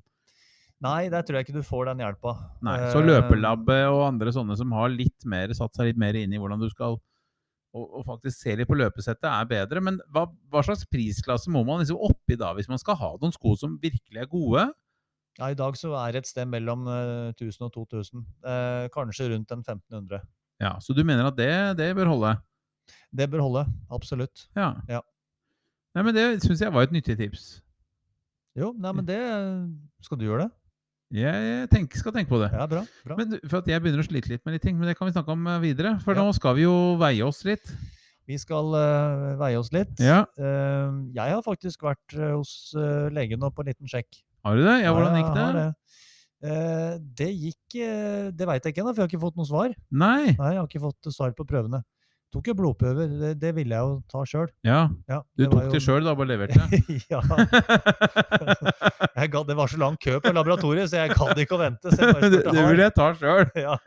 Speaker 4: Nei, der tror jeg ikke du får den hjelpa.
Speaker 1: Nei, så
Speaker 4: Eh,
Speaker 1: løpelabbe og andre sånne som har litt mer, satt seg litt mer inn i hvordan du skal og, og faktisk se litt på løpesettet, er bedre. Men hva, hva slags prisklasse må man liksom oppi da, hvis man skal ha noen sko som virkelig er gode?
Speaker 4: Ja, I dag så er det et sted mellom eh, 1000 og 2000. Eh, kanskje rundt en 1500.
Speaker 1: Ja, Så du mener at det, det bør holde?
Speaker 4: Det bør holde. Absolutt.
Speaker 1: Ja.
Speaker 4: Ja.
Speaker 1: Nei, men Det syns jeg var et nyttig tips.
Speaker 4: Jo, nei,
Speaker 1: Mm.
Speaker 4: men det eh, Skal du gjøre det?
Speaker 1: Jeg tenk, skal tenke på det.
Speaker 4: Ja, bra. bra.
Speaker 1: Men du, for at Jeg begynner å slite litt med litt ting, men det kan vi snakke om eh, videre. For
Speaker 4: Ja.
Speaker 1: nå skal vi jo veie oss litt.
Speaker 4: Vi skal eh, veie oss litt.
Speaker 1: Ja,
Speaker 4: Eh, jeg har faktisk vært eh, hos eh, legen nå på en liten sjekk.
Speaker 1: Har du det? Ja, Hvordan
Speaker 4: jeg
Speaker 1: gikk det?
Speaker 4: har Eh, det gikk eh, Det veit jeg ikke ennå, for jeg har ikke fått noe svar.
Speaker 1: Nei?
Speaker 4: Nei, jeg har ikke fått svar på prøvene. Tok jo blodprøver. Det, det ville jeg jo ta sjøl.
Speaker 1: Ja,
Speaker 4: Ja,
Speaker 1: Du
Speaker 4: var
Speaker 1: tok
Speaker 4: jo-
Speaker 1: det sjøl, da, bare leverte?
Speaker 4: ja. Jeg gadd, det var så lang kø på laboratoriet, så jeg gadd ikke å vente. Så jeg bare
Speaker 1: det,
Speaker 4: spurte,
Speaker 1: det
Speaker 4: har-
Speaker 1: vil jeg ta sjøl.
Speaker 4: Ja,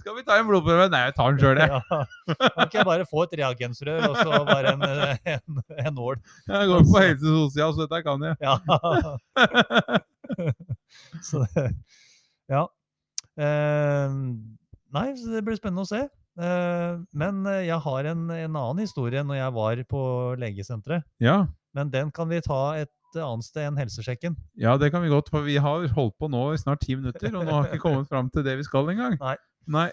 Speaker 1: Skal vi ta en blodprøve? Nei, jeg tar den sjøl, jeg.
Speaker 4: ja. Kan ikke jeg bare få et reagensrør og så bare en, eh, en, en nål?
Speaker 1: Jeg går på helse sosial, så dette kan jeg.
Speaker 4: Ja. Så det Ja. Eh, nei, så det blir spennende å se. Eh, men eh, jeg har en, en annen historie når jeg var på legesenteret.
Speaker 1: Ja,
Speaker 4: Men den kan vi ta et annet sted enn helsesjekken.
Speaker 1: ja, det kan vi godt, for vi har holdt på nå i snart ti minutter, og nå har vi ikke kommet fram til det vi skal engang.
Speaker 4: Nei.
Speaker 1: Nei.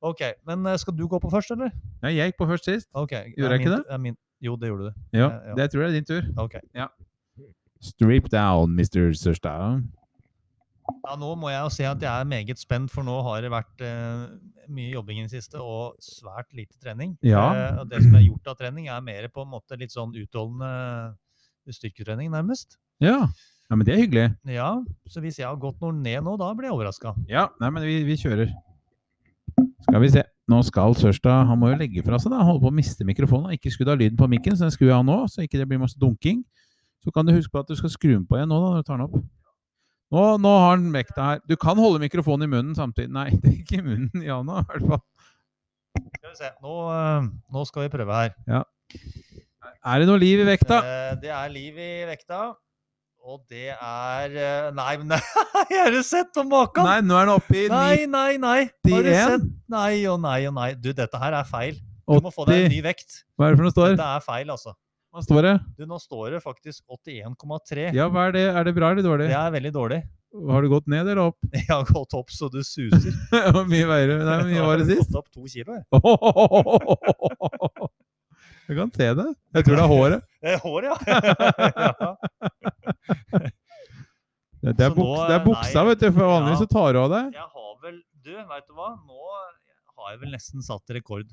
Speaker 4: Ok, men eh, skal du gå på først, eller?
Speaker 1: Nei, jeg gikk på først sist.
Speaker 4: Ok,
Speaker 1: Gjorde
Speaker 4: er
Speaker 1: jeg ikke
Speaker 4: min
Speaker 1: det?
Speaker 4: tu- er min, jo, det gjorde du.
Speaker 1: Ja,
Speaker 4: Ja, ja.
Speaker 1: det tror jeg er din tur.
Speaker 4: Ok.
Speaker 1: Strip down, Mr. Sørstad.
Speaker 4: Ja, nå må jeg jo si at jeg er meget spent, for nå har det vært eh, mye jobbing i det siste og svært lite trening.
Speaker 1: Ja.
Speaker 4: Eh, og det som er gjort av trening, er mer på en måte litt sånn utholdende eh, styrketrening, nærmest.
Speaker 1: Ja. ja, men det er hyggelig.
Speaker 4: Ja, så hvis jeg har gått noe ned nå, da blir jeg overraska.
Speaker 1: Ja, nei, men vi, vi kjører. Skal vi se. Nå skal Sørstad Han må jo legge fra seg, da. Han holder på å miste mikrofonen. Han Ikke skrudd av lyden på mikken, så den skrur jeg av nå, så ikke det blir masse dunking. Så kan du huske på at du skal skru den på igjen nå, da, når du tar den opp. Nå, nå har han vekta her. Du kan holde mikrofonen i munnen samtidig. Nei, det er ikke i munnen, Jana, i hvert fall.
Speaker 4: Skal vi se. Nå, eh, nå skal vi prøve her.
Speaker 1: Er det noe liv i vekta?
Speaker 4: Eh, det er liv i vekta. Og det er eh, Nei, men har du sett på maken?
Speaker 1: Nei, nå er den oppe i
Speaker 4: Nei, nei, nei. Har du
Speaker 1: 91?
Speaker 4: sett? Nei og nei og nei. Du, dette her er feil. Du må få deg en
Speaker 1: 80
Speaker 4: ny vekt.
Speaker 1: Hva er det for noe står?
Speaker 4: Dette er feil, altså.
Speaker 1: Hva står det?
Speaker 4: Du, nå står det faktisk 81,3.
Speaker 1: Ja, hva er det? Er det bra eller dårlig?
Speaker 4: Det er veldig dårlig.
Speaker 1: Har du gått ned eller opp?
Speaker 4: Jeg har gått opp så du suser.
Speaker 1: Hvor mye veier du? Nei, hvor mye var det
Speaker 4: Jeg har
Speaker 1: sist?
Speaker 4: Gått opp to kilo, jeg.
Speaker 1: Jeg kan se det. Jeg tror det er håret.
Speaker 4: Eh, Hår, ja. ja.
Speaker 1: Det det er,
Speaker 4: Så nå,
Speaker 1: buks, det er
Speaker 4: eh,
Speaker 1: buksa,
Speaker 4: nei.
Speaker 1: vet du. For vanligvis
Speaker 4: Ja.
Speaker 1: så tar du av deg.
Speaker 4: Jeg har vel Du, veit du hva? Nå har jeg vel nesten satt rekord.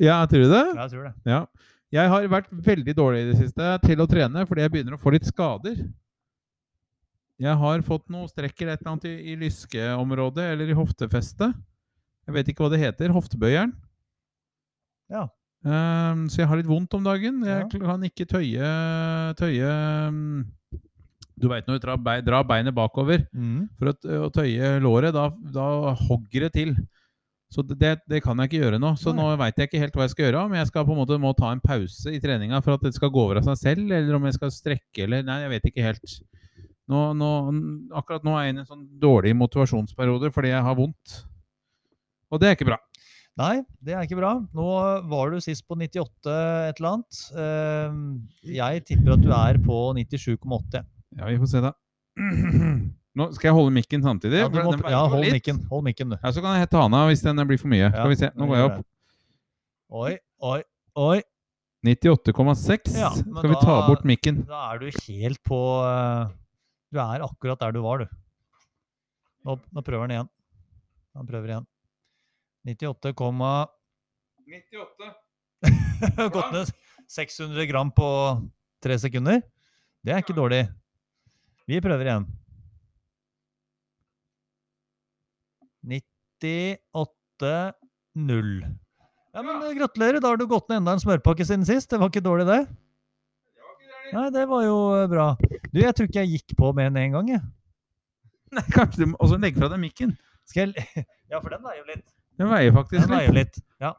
Speaker 1: Ja, tror du det?
Speaker 4: Jeg tror det.
Speaker 1: Ja. Jeg har vært veldig dårlig i det siste til å trene fordi jeg begynner å få litt skader. Jeg har fått noen strekker eller et eller annet i, i lyskeområdet eller i hoftefestet. Jeg vet ikke hva det heter. Hoftebøyeren.
Speaker 4: Ja.
Speaker 1: Ehm, så jeg har litt vondt om dagen. Jeg
Speaker 4: Ja.
Speaker 1: kl- kan ikke tøye, tøye mm, Du veit når du drar, bei, drar beinet bakover for å, t- å tøye låret, da, da hogger det til. Så det- det, det kan jeg ikke gjøre nå. Så nå veit jeg ikke helt hva jeg skal gjøre. Om jeg skal på en måte må ta en pause i treninga for at det skal gå over av seg selv, eller om jeg skal strekke, eller Nei, jeg vet ikke helt. Nå, nå, n- akkurat nå er jeg inne i en sånn dårlig motivasjonsperiode fordi jeg har vondt. Og det er ikke bra.
Speaker 4: Nei, det er ikke bra. Nå var du sist på 98 et eller annet. Eh, Jeg tipper at du er på 97,8.
Speaker 1: Ja, vi får se, da. Nå skal jeg holde mikken samtidig.
Speaker 4: Ja, du
Speaker 1: for
Speaker 4: må,
Speaker 1: den veier
Speaker 4: ja,
Speaker 1: jo
Speaker 4: hold
Speaker 1: litt.
Speaker 4: mikken. Hold mikken, du.
Speaker 1: Ja, Så kan jeg ta den av hvis den blir for mye.
Speaker 4: Ja,
Speaker 1: skal vi se. Nå går jeg opp.
Speaker 4: Oi, oi, oi.
Speaker 1: 98,6.
Speaker 4: Ja, men
Speaker 1: skal vi ta
Speaker 4: da-
Speaker 1: bort mikken?
Speaker 4: Da er du helt på eh, Du er akkurat der du var, du. Nå, nå prøver han igjen. Han prøver igjen. 98, komma
Speaker 1: 98.
Speaker 4: gått ned 600 gram på tre sekunder. Det er ikke dårlig. Vi prøver igjen. 98,0. Ja, men eh, Gratulerer, da har du gått ned enda en smørpakke siden sist. Det var ikke dårlig, det. Nei, det var jo eh, bra. Du, jeg tror ikke jeg gikk på mer enn én gang, jeg.
Speaker 1: Nei, kanskje du må også legge fra deg mikken.
Speaker 4: Skal jeg... Ja, for den veier jo litt.
Speaker 1: Den veier faktisk
Speaker 4: Den veier jo
Speaker 1: litt.
Speaker 4: litt. Ja.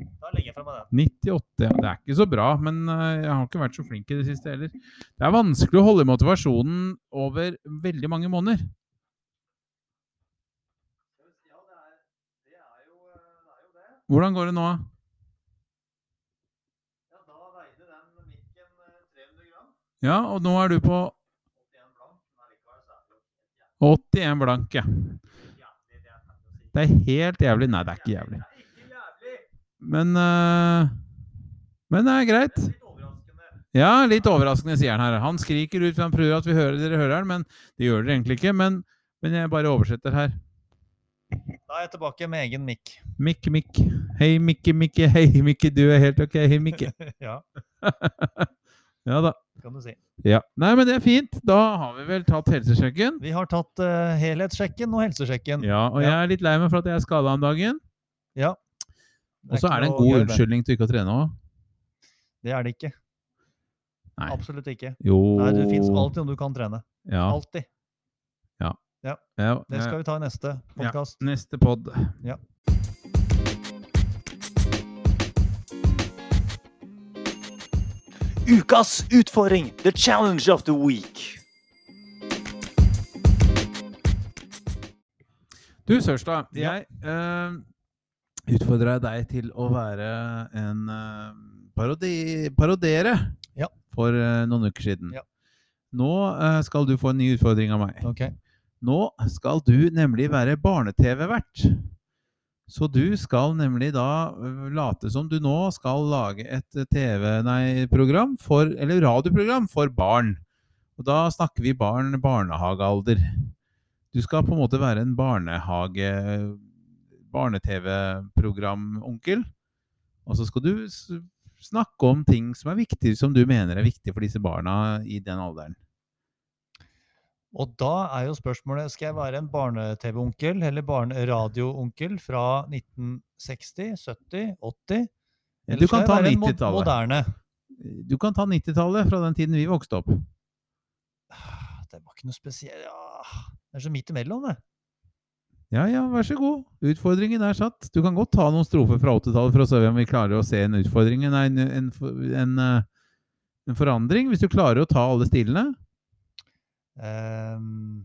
Speaker 4: Da legger jeg fra meg den.
Speaker 1: 98. Ja, det er ikke så bra, men eh, jeg har ikke vært så flink i det siste heller. Det er vanskelig å holde motivasjonen over veldig mange måneder. Hvordan går det nå? Ja, og nå er du på 81 blank, ja. Det er helt jævlig. Nei, det er ikke jævlig. Men eh, Men det er greit. Ja, litt overraskende, sier han her. Han skriker ut, for han prøver at vi hører dere hører han, men det gjør dere egentlig ikke. Men, men jeg bare oversetter her.
Speaker 4: Da er jeg tilbake med egen mikk.
Speaker 1: Mikke, Mikke. Hei, Mikke, Mikke. Hei, Mikke, du er helt ok. Hei, Mikke.
Speaker 4: Ja.
Speaker 1: ja da.
Speaker 4: kan du si.
Speaker 1: Ja. Nei, men det er fint. Da har vi vel tatt helsesjekken.
Speaker 4: Vi har tatt eh, helhetssjekken og helsesjekken.
Speaker 1: Ja, og jeg
Speaker 4: Ja.
Speaker 1: er litt lei meg for at jeg er skada om dagen.
Speaker 4: Det
Speaker 1: Og så
Speaker 4: ikke
Speaker 1: er det en
Speaker 4: noe å
Speaker 1: god
Speaker 4: gjøre med.
Speaker 1: unnskyldning til ikke å trene òg.
Speaker 4: Det er det ikke.
Speaker 1: Nei.
Speaker 4: Absolutt ikke.
Speaker 1: Jo
Speaker 4: Nei, det fins alltid noe du kan trene.
Speaker 1: Ja.
Speaker 4: Alltid.
Speaker 1: ja.
Speaker 4: Det skal vi ta i neste
Speaker 1: Ja.
Speaker 4: podkast.
Speaker 1: Neste pod.
Speaker 4: Ja.
Speaker 2: Ukas utfordring! The challenge of the week!
Speaker 1: Du, Sørstad. Jeg eh, utfordra deg til å være en eh, parodi, parodere
Speaker 4: Ja.
Speaker 1: for eh, noen uker siden.
Speaker 4: Ja.
Speaker 1: Nå eh, skal du få en ny utfordring av meg.
Speaker 4: Ok.
Speaker 1: Nå skal du nemlig være barne-TV-vert. Så du skal nemlig da øh, late som du nå skal lage et øh, TV-program for Eller radioprogram for barn. Og da snakker vi barn barnehagealder. Du skal på en måte være en barnehage... Barne-TV-programonkel. Og så skal du s- snakke om ting som er viktig, som du mener er viktig for disse barna i den alderen.
Speaker 4: Og da er jo spørsmålet skal jeg være en barne-TV-onkel eller barne-radio-onkel fra 1960, 70, 80?
Speaker 1: Du kan ta
Speaker 4: være en mod-
Speaker 1: 90-tallet.
Speaker 4: Moderne.
Speaker 1: Du kan ta 90-tallet fra den tiden vi vokste opp.
Speaker 4: Ah, Det var ikke noe spesielt ja. Det er så midt imellom, det.
Speaker 1: Ja, ja, vær så god. Utfordringen er satt. Du kan godt ta noen strofer fra 80-tallet for å se om vi klarer å se en utfordring, nei, en, en, en, eh, en forandring, hvis du klarer å ta alle stilene.
Speaker 4: Ehm,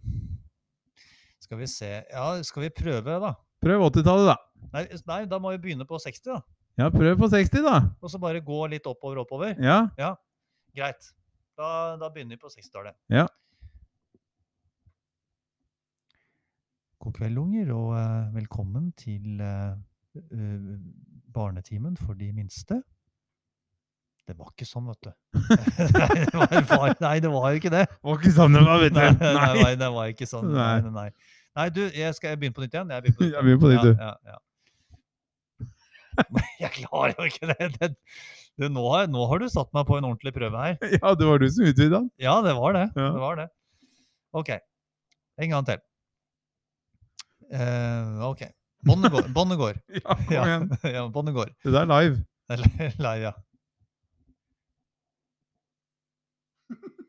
Speaker 4: skal vi se Ja, skal vi prøve, da?
Speaker 1: Prøv 80-tallet, da.
Speaker 4: Nei, s- nei, da må vi begynne på 60, da.
Speaker 1: Ja, prøv på 60, da.
Speaker 4: Og så bare gå litt oppover, oppover.
Speaker 1: Ja,
Speaker 4: Greit. Da, da begynner vi på 60-tallet.
Speaker 1: Ja.
Speaker 4: God kveld, unger, og eh, velkommen til eh, eh, barnetimen for de minste. Det var ikke sånn, vet du. nei, det var, var- nei, det var jo ikke det.
Speaker 1: var ikke sånn det var, vet
Speaker 4: Nei, nei, nei, det var ikke sånn. Nei,
Speaker 1: Nei.
Speaker 4: nei, nei. nei du, jeg skal jeg begynne på nytt igjen? Jeg begynner på nytt.
Speaker 1: Jeg begynner på nytt, du.
Speaker 4: Ja, ja, ja. Jeg klarer jo ikke det. det, det nå, har, nå har du satt meg på en ordentlig prøve her.
Speaker 1: Ja, det var du som utvida den.
Speaker 4: Ja, det var det.
Speaker 1: Ja.
Speaker 4: det, var det. OK. En gang til. Eh, OK. Bondegård. Bondegård.
Speaker 1: Ja, kom
Speaker 4: Ja,
Speaker 1: igjen.
Speaker 4: ja, Bondegård.
Speaker 1: Det der er live.
Speaker 4: Eller lei, ja.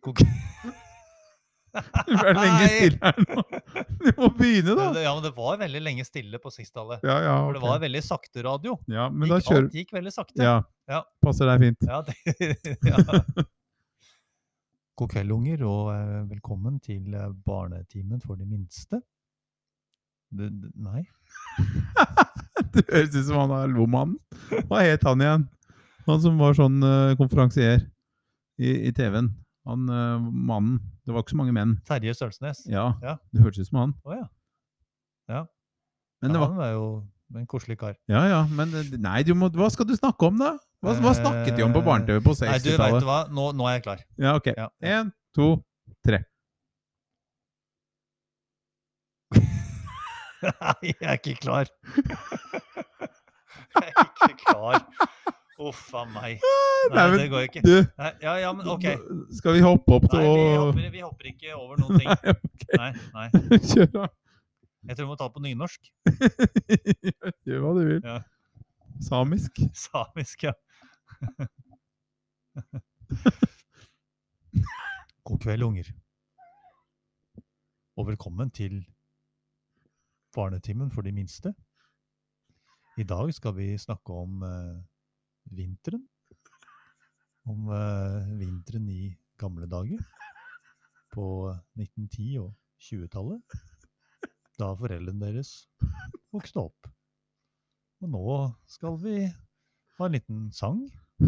Speaker 4: God kveld.
Speaker 1: Du er lenge
Speaker 4: Nei.
Speaker 1: stille her nå. Du må begynne,
Speaker 4: Ja,
Speaker 1: da.
Speaker 4: det- ja, men det var veldig lenge stille på 60-tallet.
Speaker 1: Ja, ja,
Speaker 4: For det var
Speaker 1: ok.
Speaker 4: veldig sakte radio.
Speaker 1: Ja, men da
Speaker 4: Gikk-
Speaker 1: kjører
Speaker 4: Alt gikk veldig sakte.
Speaker 1: Ja.
Speaker 4: Ja.
Speaker 1: Passer deg fint.
Speaker 4: Ja, det, ja. God kveld, unger, og eh, velkommen til eh, barnetimen for de minste. Det, det, nei.
Speaker 1: Det høres ut som han er lomannen. Hva het han igjen? Han som var sånn eh, konferansier i, i TV-en. Han eh, mannen. Det var ikke så mange menn.
Speaker 4: Terje Sølsnes.
Speaker 1: Ja,
Speaker 4: Ja.
Speaker 1: det hørtes ut som han.
Speaker 4: Å ja.
Speaker 1: Men det
Speaker 4: ja,
Speaker 1: var,
Speaker 4: han var jo en koselig kar.
Speaker 1: ja, ja, men det- nei, du må, hva skal du snakke om, da? Hva, hva snakket de om på barne-TV på
Speaker 4: Eh, Nei, du, vet du
Speaker 1: 60-tallet?
Speaker 4: hva? Nå, nå er jeg klar.
Speaker 1: Ja, ok.
Speaker 4: Ja.
Speaker 1: Én, to, tre.
Speaker 4: Nei, jeg er ikke klar. Jeg er ikke klar. Uff a meg. Nei,
Speaker 1: Nei, men
Speaker 4: det går ikke.
Speaker 1: Du,
Speaker 4: Nei, ja, ja, men OK.
Speaker 1: skal vi hoppe opp til
Speaker 4: Nei, vi
Speaker 1: å
Speaker 4: hopper, vi hopper ikke over noen ting.
Speaker 1: Nei, ok.
Speaker 4: Nei, nei.
Speaker 1: Kjør av.
Speaker 4: Jeg tror vi må ta på nynorsk.
Speaker 1: Gjør hva du vil.
Speaker 4: Ja.
Speaker 1: Samisk.
Speaker 4: Samisk, ja. God kveld, unger. Og velkommen til barnetimen for de minste. I dag skal vi snakke om eh, vinteren. Om eh, vinteren i gamle dager. På 1910- og 20-tallet. Da foreldrene deres vokste opp. Og nå skal vi ha en liten sang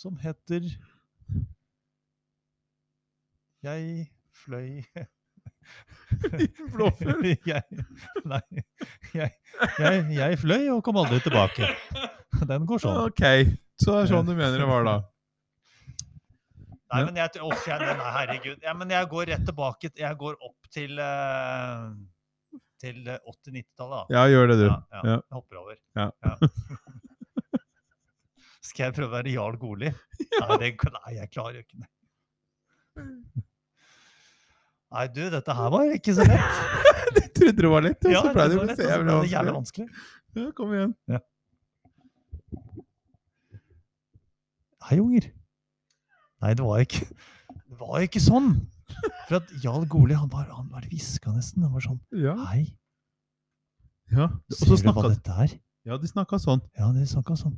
Speaker 4: som heter Jeg fløy
Speaker 1: blåfugl?
Speaker 4: Jeg, nei, jeg, jeg, jeg fløy og kom aldri tilbake. Den går sånn.
Speaker 1: Ok, så det er sånn du mener det var da.
Speaker 4: Nei, men jeg, uff, jeg, nei, herregud. Ja, men jeg går rett tilbake. Jeg går opp til, eh, til eh, 80-90-tallet. da.
Speaker 1: Ja, gjør det du.
Speaker 4: Ja, ja.
Speaker 1: Ja.
Speaker 4: Jeg hopper over.
Speaker 1: Ja.
Speaker 4: Skal jeg prøve å være Jarl Goli? Nei, det, nei, jeg klarer jo ikke det.
Speaker 1: Mm.
Speaker 4: Nei, du, dette her var ikke så lett.
Speaker 1: Du trodde det var lett, og
Speaker 4: Ja,
Speaker 1: så ble
Speaker 4: dette
Speaker 1: det
Speaker 4: var
Speaker 1: så
Speaker 4: lett, og så
Speaker 1: jævlig
Speaker 4: ble det jævlig
Speaker 1: vanskelig.
Speaker 4: vanskelig.
Speaker 1: Ja, kom igjen.
Speaker 4: Hei, unger. Nei, det var ikke, det var ikke sånn. For at Jarl Goli, han var, han var hviska nesten. Han var sånn
Speaker 1: Ja.
Speaker 4: Hei,
Speaker 1: ja. Og så
Speaker 4: ser du hva
Speaker 1: snakka de.
Speaker 4: dette er?
Speaker 1: Ja, de snakka sånn.
Speaker 4: Ja, de snakka sånn.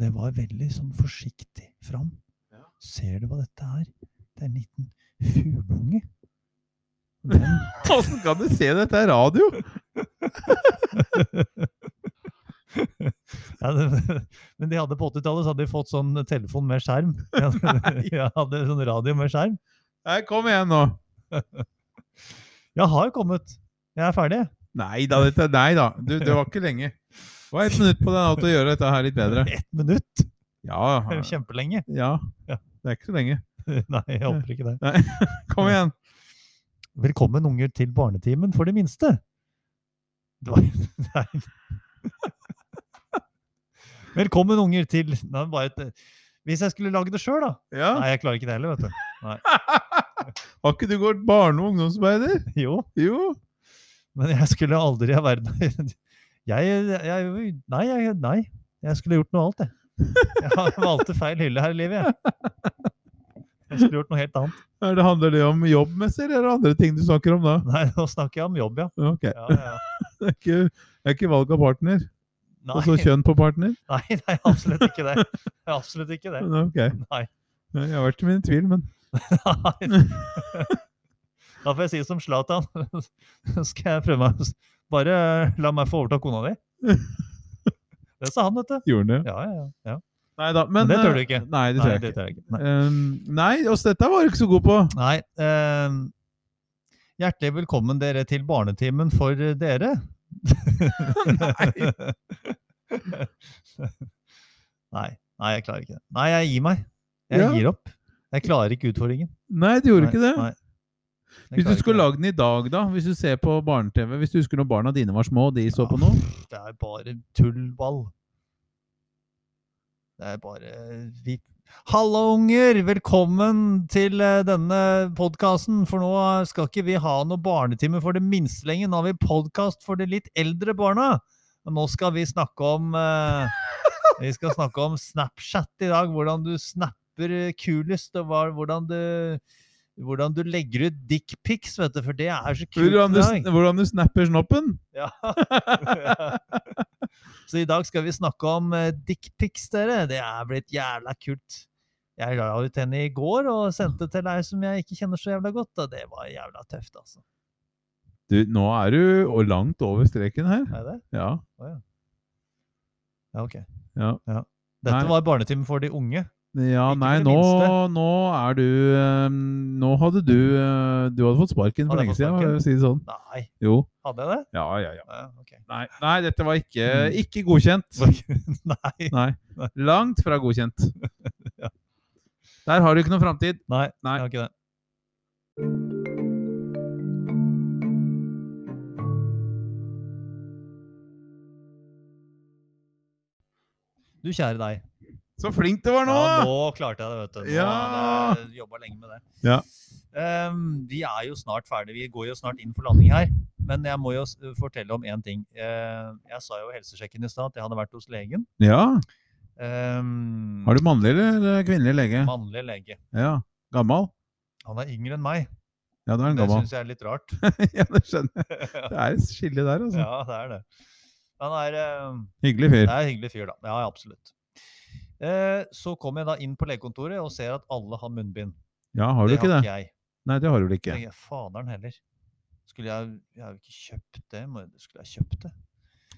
Speaker 4: Det var veldig sånn forsiktig fram. Ser du hva dette er? Det er en liten fugleunge. Den,
Speaker 1: Åssen kan du se dette er radio?
Speaker 4: ja, det, men de hadde på 80-tallet så hadde de fått sånn telefon med skjerm. Ja,
Speaker 1: Nei.
Speaker 4: ja, hadde sånn radio med skjerm.
Speaker 1: Nei, kom igjen nå.
Speaker 4: Jeg har kommet. Jeg er ferdig.
Speaker 1: Nei da, dette Nei da. Du, det var ikke lenge. Det var ett minutt på deg nå til å gjøre dette her litt bedre.
Speaker 4: Ett minutt. Det
Speaker 1: Ja.
Speaker 4: er jo kjempelenge.
Speaker 1: ja.
Speaker 4: Ja.
Speaker 1: Det er ikke så lenge.
Speaker 4: Nei, jeg håper ikke det.
Speaker 1: Kom igjen.
Speaker 4: Velkommen unger til barnetimen for de minste. Det var, nei. Velkommen unger til nei, bare et, Hvis jeg skulle lage det sjøl, da.
Speaker 1: Ja.
Speaker 4: Nei, jeg klarer ikke det heller, vet du.
Speaker 1: Har ikke du gått barne- og ungdomsarbeider?
Speaker 4: Jo,
Speaker 1: Jo.
Speaker 4: men jeg skulle aldri ha vært jeg, jeg, Nei, jeg, nei. Jeg skulle gjort noe annet, jeg. Jeg valgte feil hylle her i livet, jeg. Jeg skulle gjort noe helt annet.
Speaker 1: Er det, handler det om jobbmessig, eller er det andre ting du snakker om da?
Speaker 4: Nei, nå snakker jeg om jobb, ja.
Speaker 1: Ok.
Speaker 4: ja, ja.
Speaker 1: Det er ikke, det er ikke valg av partner?
Speaker 4: Nei,
Speaker 1: Og så kjønn på partner?
Speaker 4: nei, nei, absolutt ikke det. Absolutt ikke det.
Speaker 1: Ok.
Speaker 4: Nei.
Speaker 1: Jeg har vært i min tvil, men
Speaker 4: Nei. Da får jeg si som Zlatan. Skal jeg prøve meg Bare la meg få overta kona di. Det sa han, vet du.
Speaker 1: gjorde den det.
Speaker 4: Ja, ja, ja.
Speaker 1: Nei da.
Speaker 4: Men
Speaker 1: Men,
Speaker 4: det tør du
Speaker 1: eh,
Speaker 4: ikke.
Speaker 1: Nei, det
Speaker 4: Nei,
Speaker 1: tør jeg
Speaker 4: det
Speaker 1: ikke.
Speaker 4: tør jeg ikke. Nei.
Speaker 1: Um, nei, oss dette var du ikke så god på.
Speaker 4: Nei ehm, hjertelig velkommen dere til barnetimen for dere. Nei. Nei, jeg klarer ikke det. Nei, jeg gir meg. Jeg
Speaker 1: Ja.
Speaker 4: gir opp. Jeg klarer ikke utfordringen.
Speaker 1: Nei, du gjorde
Speaker 4: Nei,
Speaker 1: ikke det.
Speaker 4: nei. Jeg
Speaker 1: Hvis
Speaker 4: klarer
Speaker 1: du
Speaker 4: ikke
Speaker 1: skulle
Speaker 4: det.
Speaker 1: lagd den i dag, da, hvis du ser på barne-TV, hvis du husker når barna dine var små og de så på noe
Speaker 4: Det er bare tullball. Det er bare eh, vi... Halla, unger! Velkommen til eh, denne podkasten. For nå eh, skal ikke vi ha noe barnetime for det minste lenger. Nå har vi podkast for de litt eldre barna. Og nå skal vi snakke om eh, Vi skal snakke om Snapchat i dag. Hvordan du snapper eh, kulest, og hva, hvordan du hvordan du legger ut dickpics, vet du, for det er så kult. i
Speaker 1: hvordan du,
Speaker 4: dag.
Speaker 1: hvordan du snapper snoppen?
Speaker 4: Ja. Så i dag skal vi snakke om eh, dickpics, dere. Det er blitt jævla kult. Jeg la ut en i går og sendte til ei som jeg ikke kjenner så jævla godt, og det var jævla tøft, altså.
Speaker 1: Du, nå er du og langt over streken her.
Speaker 4: Er det?
Speaker 1: Ja.
Speaker 4: Ja, ok.
Speaker 1: ja.
Speaker 4: Dette
Speaker 1: Nei.
Speaker 4: var barnetimen for de unge.
Speaker 1: Ja,
Speaker 4: Ikke
Speaker 1: nei,
Speaker 4: for det
Speaker 1: nå,
Speaker 4: minste.
Speaker 1: nå er du øhm, Nå hadde du øh, Du hadde fått sparken for lenge
Speaker 4: Hadde jeg fått
Speaker 1: siden,
Speaker 4: sparken?
Speaker 1: for å si det sånn.
Speaker 4: Nei,
Speaker 1: Jo.
Speaker 4: hadde jeg det?
Speaker 1: Ja, ja, ja.
Speaker 4: Ja, ok.
Speaker 1: Nei, nei dette var ikke,
Speaker 4: Mm.
Speaker 1: ikke godkjent.
Speaker 4: Nei.
Speaker 1: Nei.
Speaker 4: Nei.
Speaker 1: Langt fra godkjent.
Speaker 4: Ja.
Speaker 1: Der har du ikke noen framtid.
Speaker 4: Nei,
Speaker 1: Nei.
Speaker 4: jeg har ikke det. Du kjære deg.
Speaker 1: Så flink du var nå!
Speaker 4: Ja, nå klarte jeg det, vet du. Nå
Speaker 1: Ja!
Speaker 4: hadde jeg jobba lenge med det.
Speaker 1: Ja.
Speaker 4: Ehm, vi er jo snart ferdig. Vi går jo snart inn for landing her. Men jeg må jo s- fortelle om én ting. Ehm, jeg sa jo i helsesjekken i stad at jeg hadde vært hos legen.
Speaker 1: Ja.
Speaker 4: Ehm,
Speaker 1: Har du mannlig eller eh, kvinnelig lege?
Speaker 4: Mannlig lege.
Speaker 1: Ja. Gammal?
Speaker 4: Han er yngre enn meg.
Speaker 1: Ja, da er han
Speaker 4: Det
Speaker 1: gammal.
Speaker 4: syns jeg er litt rart.
Speaker 1: ja, det skjønner jeg. Det er et skille der, altså.
Speaker 4: ja, det er det. Han er ehm,
Speaker 1: Hyggelig fyr.
Speaker 4: Det er en hyggelig fyr, da. Ja, ja, absolutt. Eh, Så kommer jeg da inn på legekontoret og ser at alle har munnbind.
Speaker 1: Ja, har du
Speaker 4: det
Speaker 1: ikke
Speaker 4: har
Speaker 1: det?
Speaker 4: ikke jeg.
Speaker 1: Nei, det har du vel ikke.
Speaker 4: Tenker jeg, Faderen heller. Skulle jeg Jeg har jo ikke kjøpt det. Må, skulle jeg kjøpt det?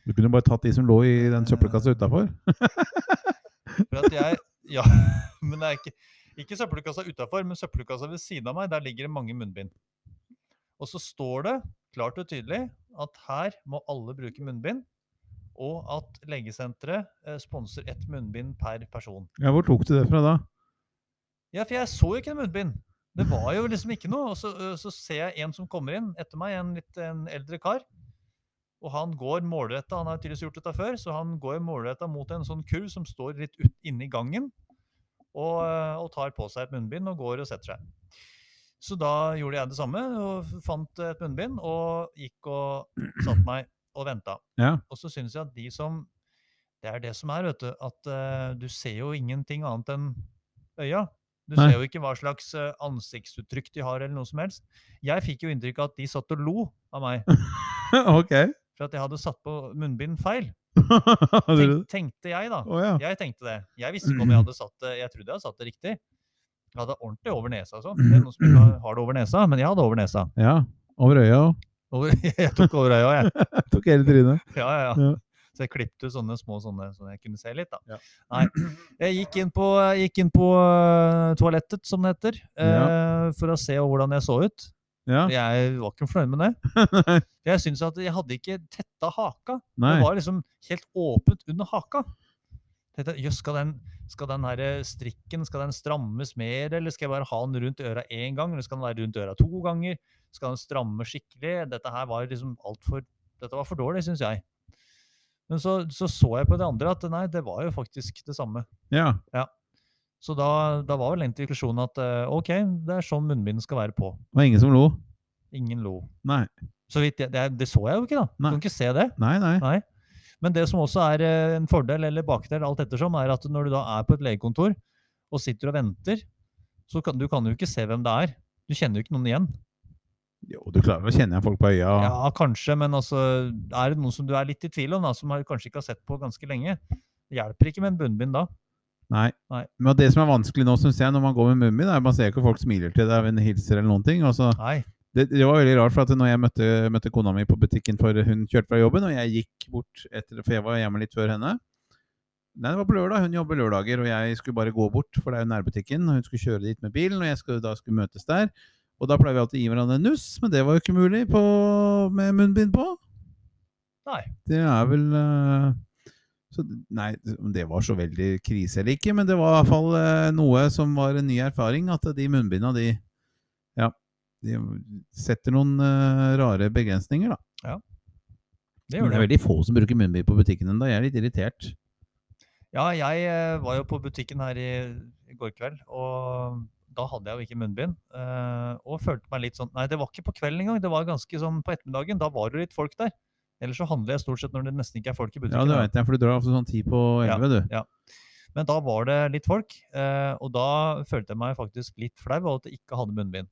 Speaker 1: Du kunne bare tatt de som lå i den søppelkassa utafor.
Speaker 4: For at jeg Ja, men det er ikke, ikke søppelkassa utafor, men søppelkassa ved siden av meg. Der ligger det mange munnbind. Og så står det klart og tydelig at her må alle bruke munnbind, og at legesenteret eh, sponser ett munnbind per person.
Speaker 1: Ja, hvor tok du det fra da?
Speaker 4: Ja, for jeg så jo ikke munnbind. Det var jo liksom ikke noe. Og så, ø, så ser jeg en som kommer inn etter meg, en litt en eldre kar. Og han går målretta, han har tydeligvis gjort dette før, så han går målretta mot en sånn kurv som står litt ut inne i gangen, og, ø, og tar på seg et munnbind og går og setter seg. Så da gjorde jeg det samme, og f- fant et munnbind og gikk og satte meg og venta.
Speaker 1: Ja.
Speaker 4: Og så syns jeg at de som Det er det som er, vet du, at ø, du ser jo ingenting annet enn øya. Du
Speaker 1: Nei.
Speaker 4: ser jo ikke hva slags eh, ansiktsuttrykk de har, eller noe som helst. Jeg fikk jo inntrykk av at de satt og lo av meg
Speaker 1: ok.
Speaker 4: for at jeg hadde satt på munnbind feil.
Speaker 1: Hadde du
Speaker 4: Tenk,
Speaker 1: det?
Speaker 4: tenkte jeg, da.
Speaker 1: Å ja.
Speaker 4: Jeg tenkte det. Jeg visste ikke om jeg hadde satt det Jeg trodde jeg hadde satt det riktig. Jeg hadde ordentlig over nesa og sånn. Det er noen som ikke har- har det over nesa, men jeg hadde over nesa.
Speaker 1: ja. Over øya òg.
Speaker 4: Over, jeg tok over øya, jeg.
Speaker 1: Tok hele trynet.
Speaker 4: Ja, ja, ja.
Speaker 1: Ja.
Speaker 4: Så jeg klippet ut sånne små sånne, så jeg kunne se litt, da.
Speaker 1: Ja.
Speaker 4: Nei. Jeg gikk inn på, jeg gikk inn på eh, toalettet, som det heter, eh, for å se hvordan jeg så ut.
Speaker 1: Ja.
Speaker 4: Jeg var ikke fornøyd med det.
Speaker 1: Nei.
Speaker 4: Jeg syns at jeg hadde ikke tetta haka.
Speaker 1: Nei.
Speaker 4: Det var liksom helt åpent under haka. Tenkte, jeg, Jøss, skal den, skal den her eh, strikken skal den strammes mer, eller skal jeg bare ha den rundt øra én gang, eller skal den være rundt øra to ganger? Skal den stramme skikkelig? Dette her var liksom altfor Dette var for dårlig, syns jeg. Men så, så så jeg på det andre at nei, det var jo faktisk det samme.
Speaker 1: Ja.
Speaker 4: Så da, da var vel egentlig konklusjonen at eh, ok, det er sånn munnbind skal være på.
Speaker 1: Det var ingen som lo.
Speaker 4: Ingen lo.
Speaker 1: Nei.
Speaker 4: Så vidt jeg, det, det så jeg jo ikke, da. Du
Speaker 1: Nei.
Speaker 4: kan ikke se det.
Speaker 1: Nei, nei.
Speaker 4: Nei. Men det som også er eh, en fordel eller bakdel, alt ettersom, er at når du da er på et legekontor og sitter og venter, så kan du kan jo ikke se hvem det er. Du kjenner jo ikke noen igjen.
Speaker 1: Jo, du klarer å kjenne igjen folk på øya.
Speaker 4: Ja, kanskje, men altså, er det noen som du er litt i tvil om, da, som har- kanskje ikke har sett på ganske lenge? Det hjelper ikke med en bunnbind da.
Speaker 1: Nei.
Speaker 4: Nei.
Speaker 1: Men det som er vanskelig nå, synes jeg, når man går med munnbind, er at man ser ikke folk smiler til deg eller hilser eller noen ting. og så-
Speaker 4: Nei.
Speaker 1: det, det var veldig rart, for at når jeg møtte, møtte kona mi på butikken for hun kjørte fra jobben, og jeg gikk bort etter, for jeg var hjemme litt før henne Nei, det var på lørdag. Hun jobber lørdager, og jeg skulle bare gå bort, for det er jo nærbutikken. og Hun skulle kjøre dit med bilen, og jeg skulle, da skulle møtes der. Og da pleier vi alltid å gi hverandre en nuss, men det var jo ikke mulig på, med munnbind på.
Speaker 4: Nei.
Speaker 1: Det er vel eh, så, Nei, om det var så veldig krise eller ikke, men det var i hvert fall eh, noe som var en ny erfaring, at de munnbinda, de Ja. De setter noen eh, rare begrensninger, da. Men
Speaker 4: Det gjør
Speaker 1: det er
Speaker 4: det.
Speaker 1: veldig få som bruker munnbind på butikken ennå. Jeg er litt irritert.
Speaker 4: Ja, jeg eh, var jo på butikken her i, i går kveld, og da hadde jeg jo ikke munnbind. eh, og følte meg litt sånn Nei, det var ikke på kvelden engang. Det var ganske sånn på ettermiddagen. Da var det litt folk der. Ellers så handler jeg stort sett når det nesten ikke er folk i
Speaker 1: Ja,
Speaker 4: butikken.
Speaker 1: det
Speaker 4: da.
Speaker 1: veit jeg, for du drar ofte sånn ti på
Speaker 4: Ja.
Speaker 1: elleve, du.
Speaker 4: Men da var det litt folk, eh, og da følte jeg meg faktisk litt flau over at jeg ikke hadde munnbind.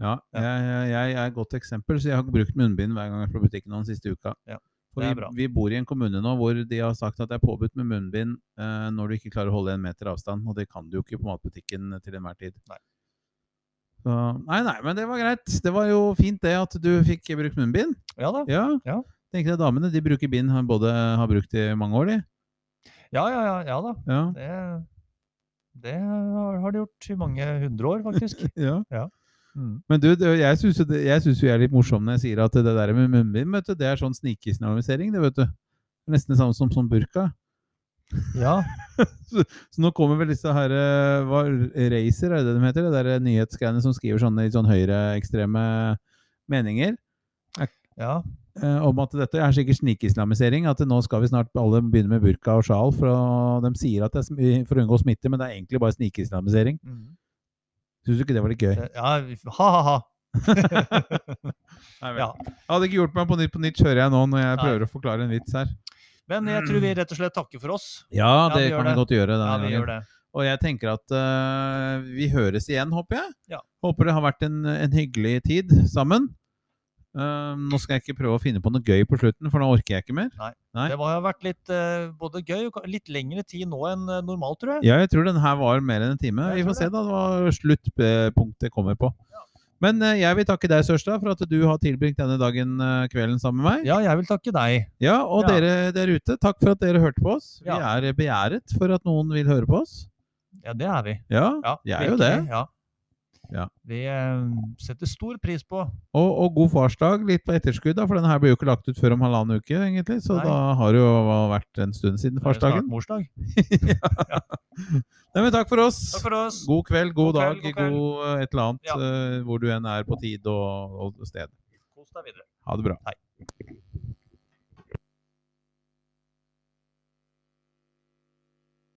Speaker 1: Ja,
Speaker 4: Ja.
Speaker 1: jeg, jeg, jeg er et godt eksempel, så jeg har brukt munnbind hver gang jeg er på butikken nå den siste uka.
Speaker 4: Ja,
Speaker 1: For
Speaker 4: det er
Speaker 1: vi,
Speaker 4: bra.
Speaker 1: vi bor i en kommune nå hvor de har sagt at det er påbudt med munnbind eh, når du ikke klarer å holde en meter avstand, og det kan du jo ikke på matbutikken til enhver tid.
Speaker 4: Nei.
Speaker 1: Så, nei, nei, men det var greit. Det var jo fint det at du fikk brukt munnbind.
Speaker 4: Ja da.
Speaker 1: Ja.
Speaker 4: Ja.
Speaker 1: Tenker jeg damene de bruker bind, har både har brukt i mange år, de.
Speaker 4: Ja, ja, ja, ja da.
Speaker 1: Ja.
Speaker 4: Det, det har har de gjort i mange hundre år, faktisk.
Speaker 1: ja.
Speaker 4: Mm.
Speaker 1: Men du, det, jeg syns jo, det- jeg synes jo jeg er litt morsom når jeg sier at det der med munnbind, vet du, det er sånn snikislamisering, det, vet du. Det er Nesten det samme som sånn burka.
Speaker 4: Ja.
Speaker 1: Så nå kommer vel disse her eh, hva, Racer, er det det de heter? Det der nyhetsgreiene som skriver sånne litt sånn høyreekstreme meninger
Speaker 4: ja.
Speaker 1: eh, om at dette er sikkert snikislamisering. At nå skal vi snart alle begynne med burka og sjal. For å, de sier at det er smi- for å unngå smitte, men det er egentlig bare snikislamisering.
Speaker 4: Mm.
Speaker 1: Syns du ikke det var litt gøy?
Speaker 4: Det- ja Ha-ha-ha.
Speaker 1: Nei, vel.
Speaker 4: ja.
Speaker 1: Jeg hadde ikke hjulpet meg på Nytt på Nytt, hører jeg nå, når jeg
Speaker 4: Nei.
Speaker 1: prøver å forklare en vits her.
Speaker 4: Men jeg tror vi rett og slett takker for oss.
Speaker 1: Ja,
Speaker 4: Ja,
Speaker 1: det
Speaker 4: vi gjør
Speaker 1: kan vi
Speaker 4: det.
Speaker 1: godt gjøre.
Speaker 4: Ja,
Speaker 1: denne
Speaker 4: vi
Speaker 1: gangen.
Speaker 4: gjør det.
Speaker 1: Og jeg tenker at eh, vi høres igjen, håper jeg.
Speaker 4: Ja.
Speaker 1: Håper det har vært en, en hyggelig tid sammen. Eh, nå skal jeg ikke prøve å finne på noe gøy på slutten, for nå orker jeg ikke mer. Nei.
Speaker 4: Det har vært litt eh, både gøy og ka- litt lengre tid nå enn eh, normalt, tror jeg.
Speaker 1: Ja, jeg tror den her var mer enn en time.
Speaker 4: Jeg
Speaker 1: Vi
Speaker 4: tror
Speaker 1: får se da hva sluttpunktet kommer på. Men eh, jeg vil takke deg, Sørstad, for at du har tilbringt denne dagen, eh, kvelden sammen med meg.
Speaker 4: Ja, jeg vil takke deg.
Speaker 1: Ja, og
Speaker 4: Ja.
Speaker 1: dere der ute, takk for at dere hørte på oss. Vi
Speaker 4: Ja.
Speaker 1: er begjæret for at noen vil høre på oss.
Speaker 4: Ja, det er vi.
Speaker 1: Ja,
Speaker 4: Ja,
Speaker 1: vi er jo
Speaker 4: virkelig,
Speaker 1: det.
Speaker 4: Ja.
Speaker 1: Ja.
Speaker 4: Vi eh, setter stor pris på. eh,
Speaker 1: Og, og god farsdag litt på etterskudd, da, for denne her blir jo ikke lagt ut før om halvannen uke, egentlig. Så
Speaker 4: Nei.
Speaker 1: da har det jo vært en stund siden
Speaker 4: Det er jo snart
Speaker 1: farsdagen.
Speaker 4: Morsdag.
Speaker 1: Nei, men takk for oss.
Speaker 4: Takk for oss.
Speaker 1: God kveld, god,
Speaker 4: God
Speaker 1: dag,
Speaker 4: kveld, god kveld.
Speaker 1: god eh, et eller annet,
Speaker 4: Ja.
Speaker 1: eh, hvor du enn er på tid og, og sted.
Speaker 4: Kos deg videre.
Speaker 1: Ha det bra.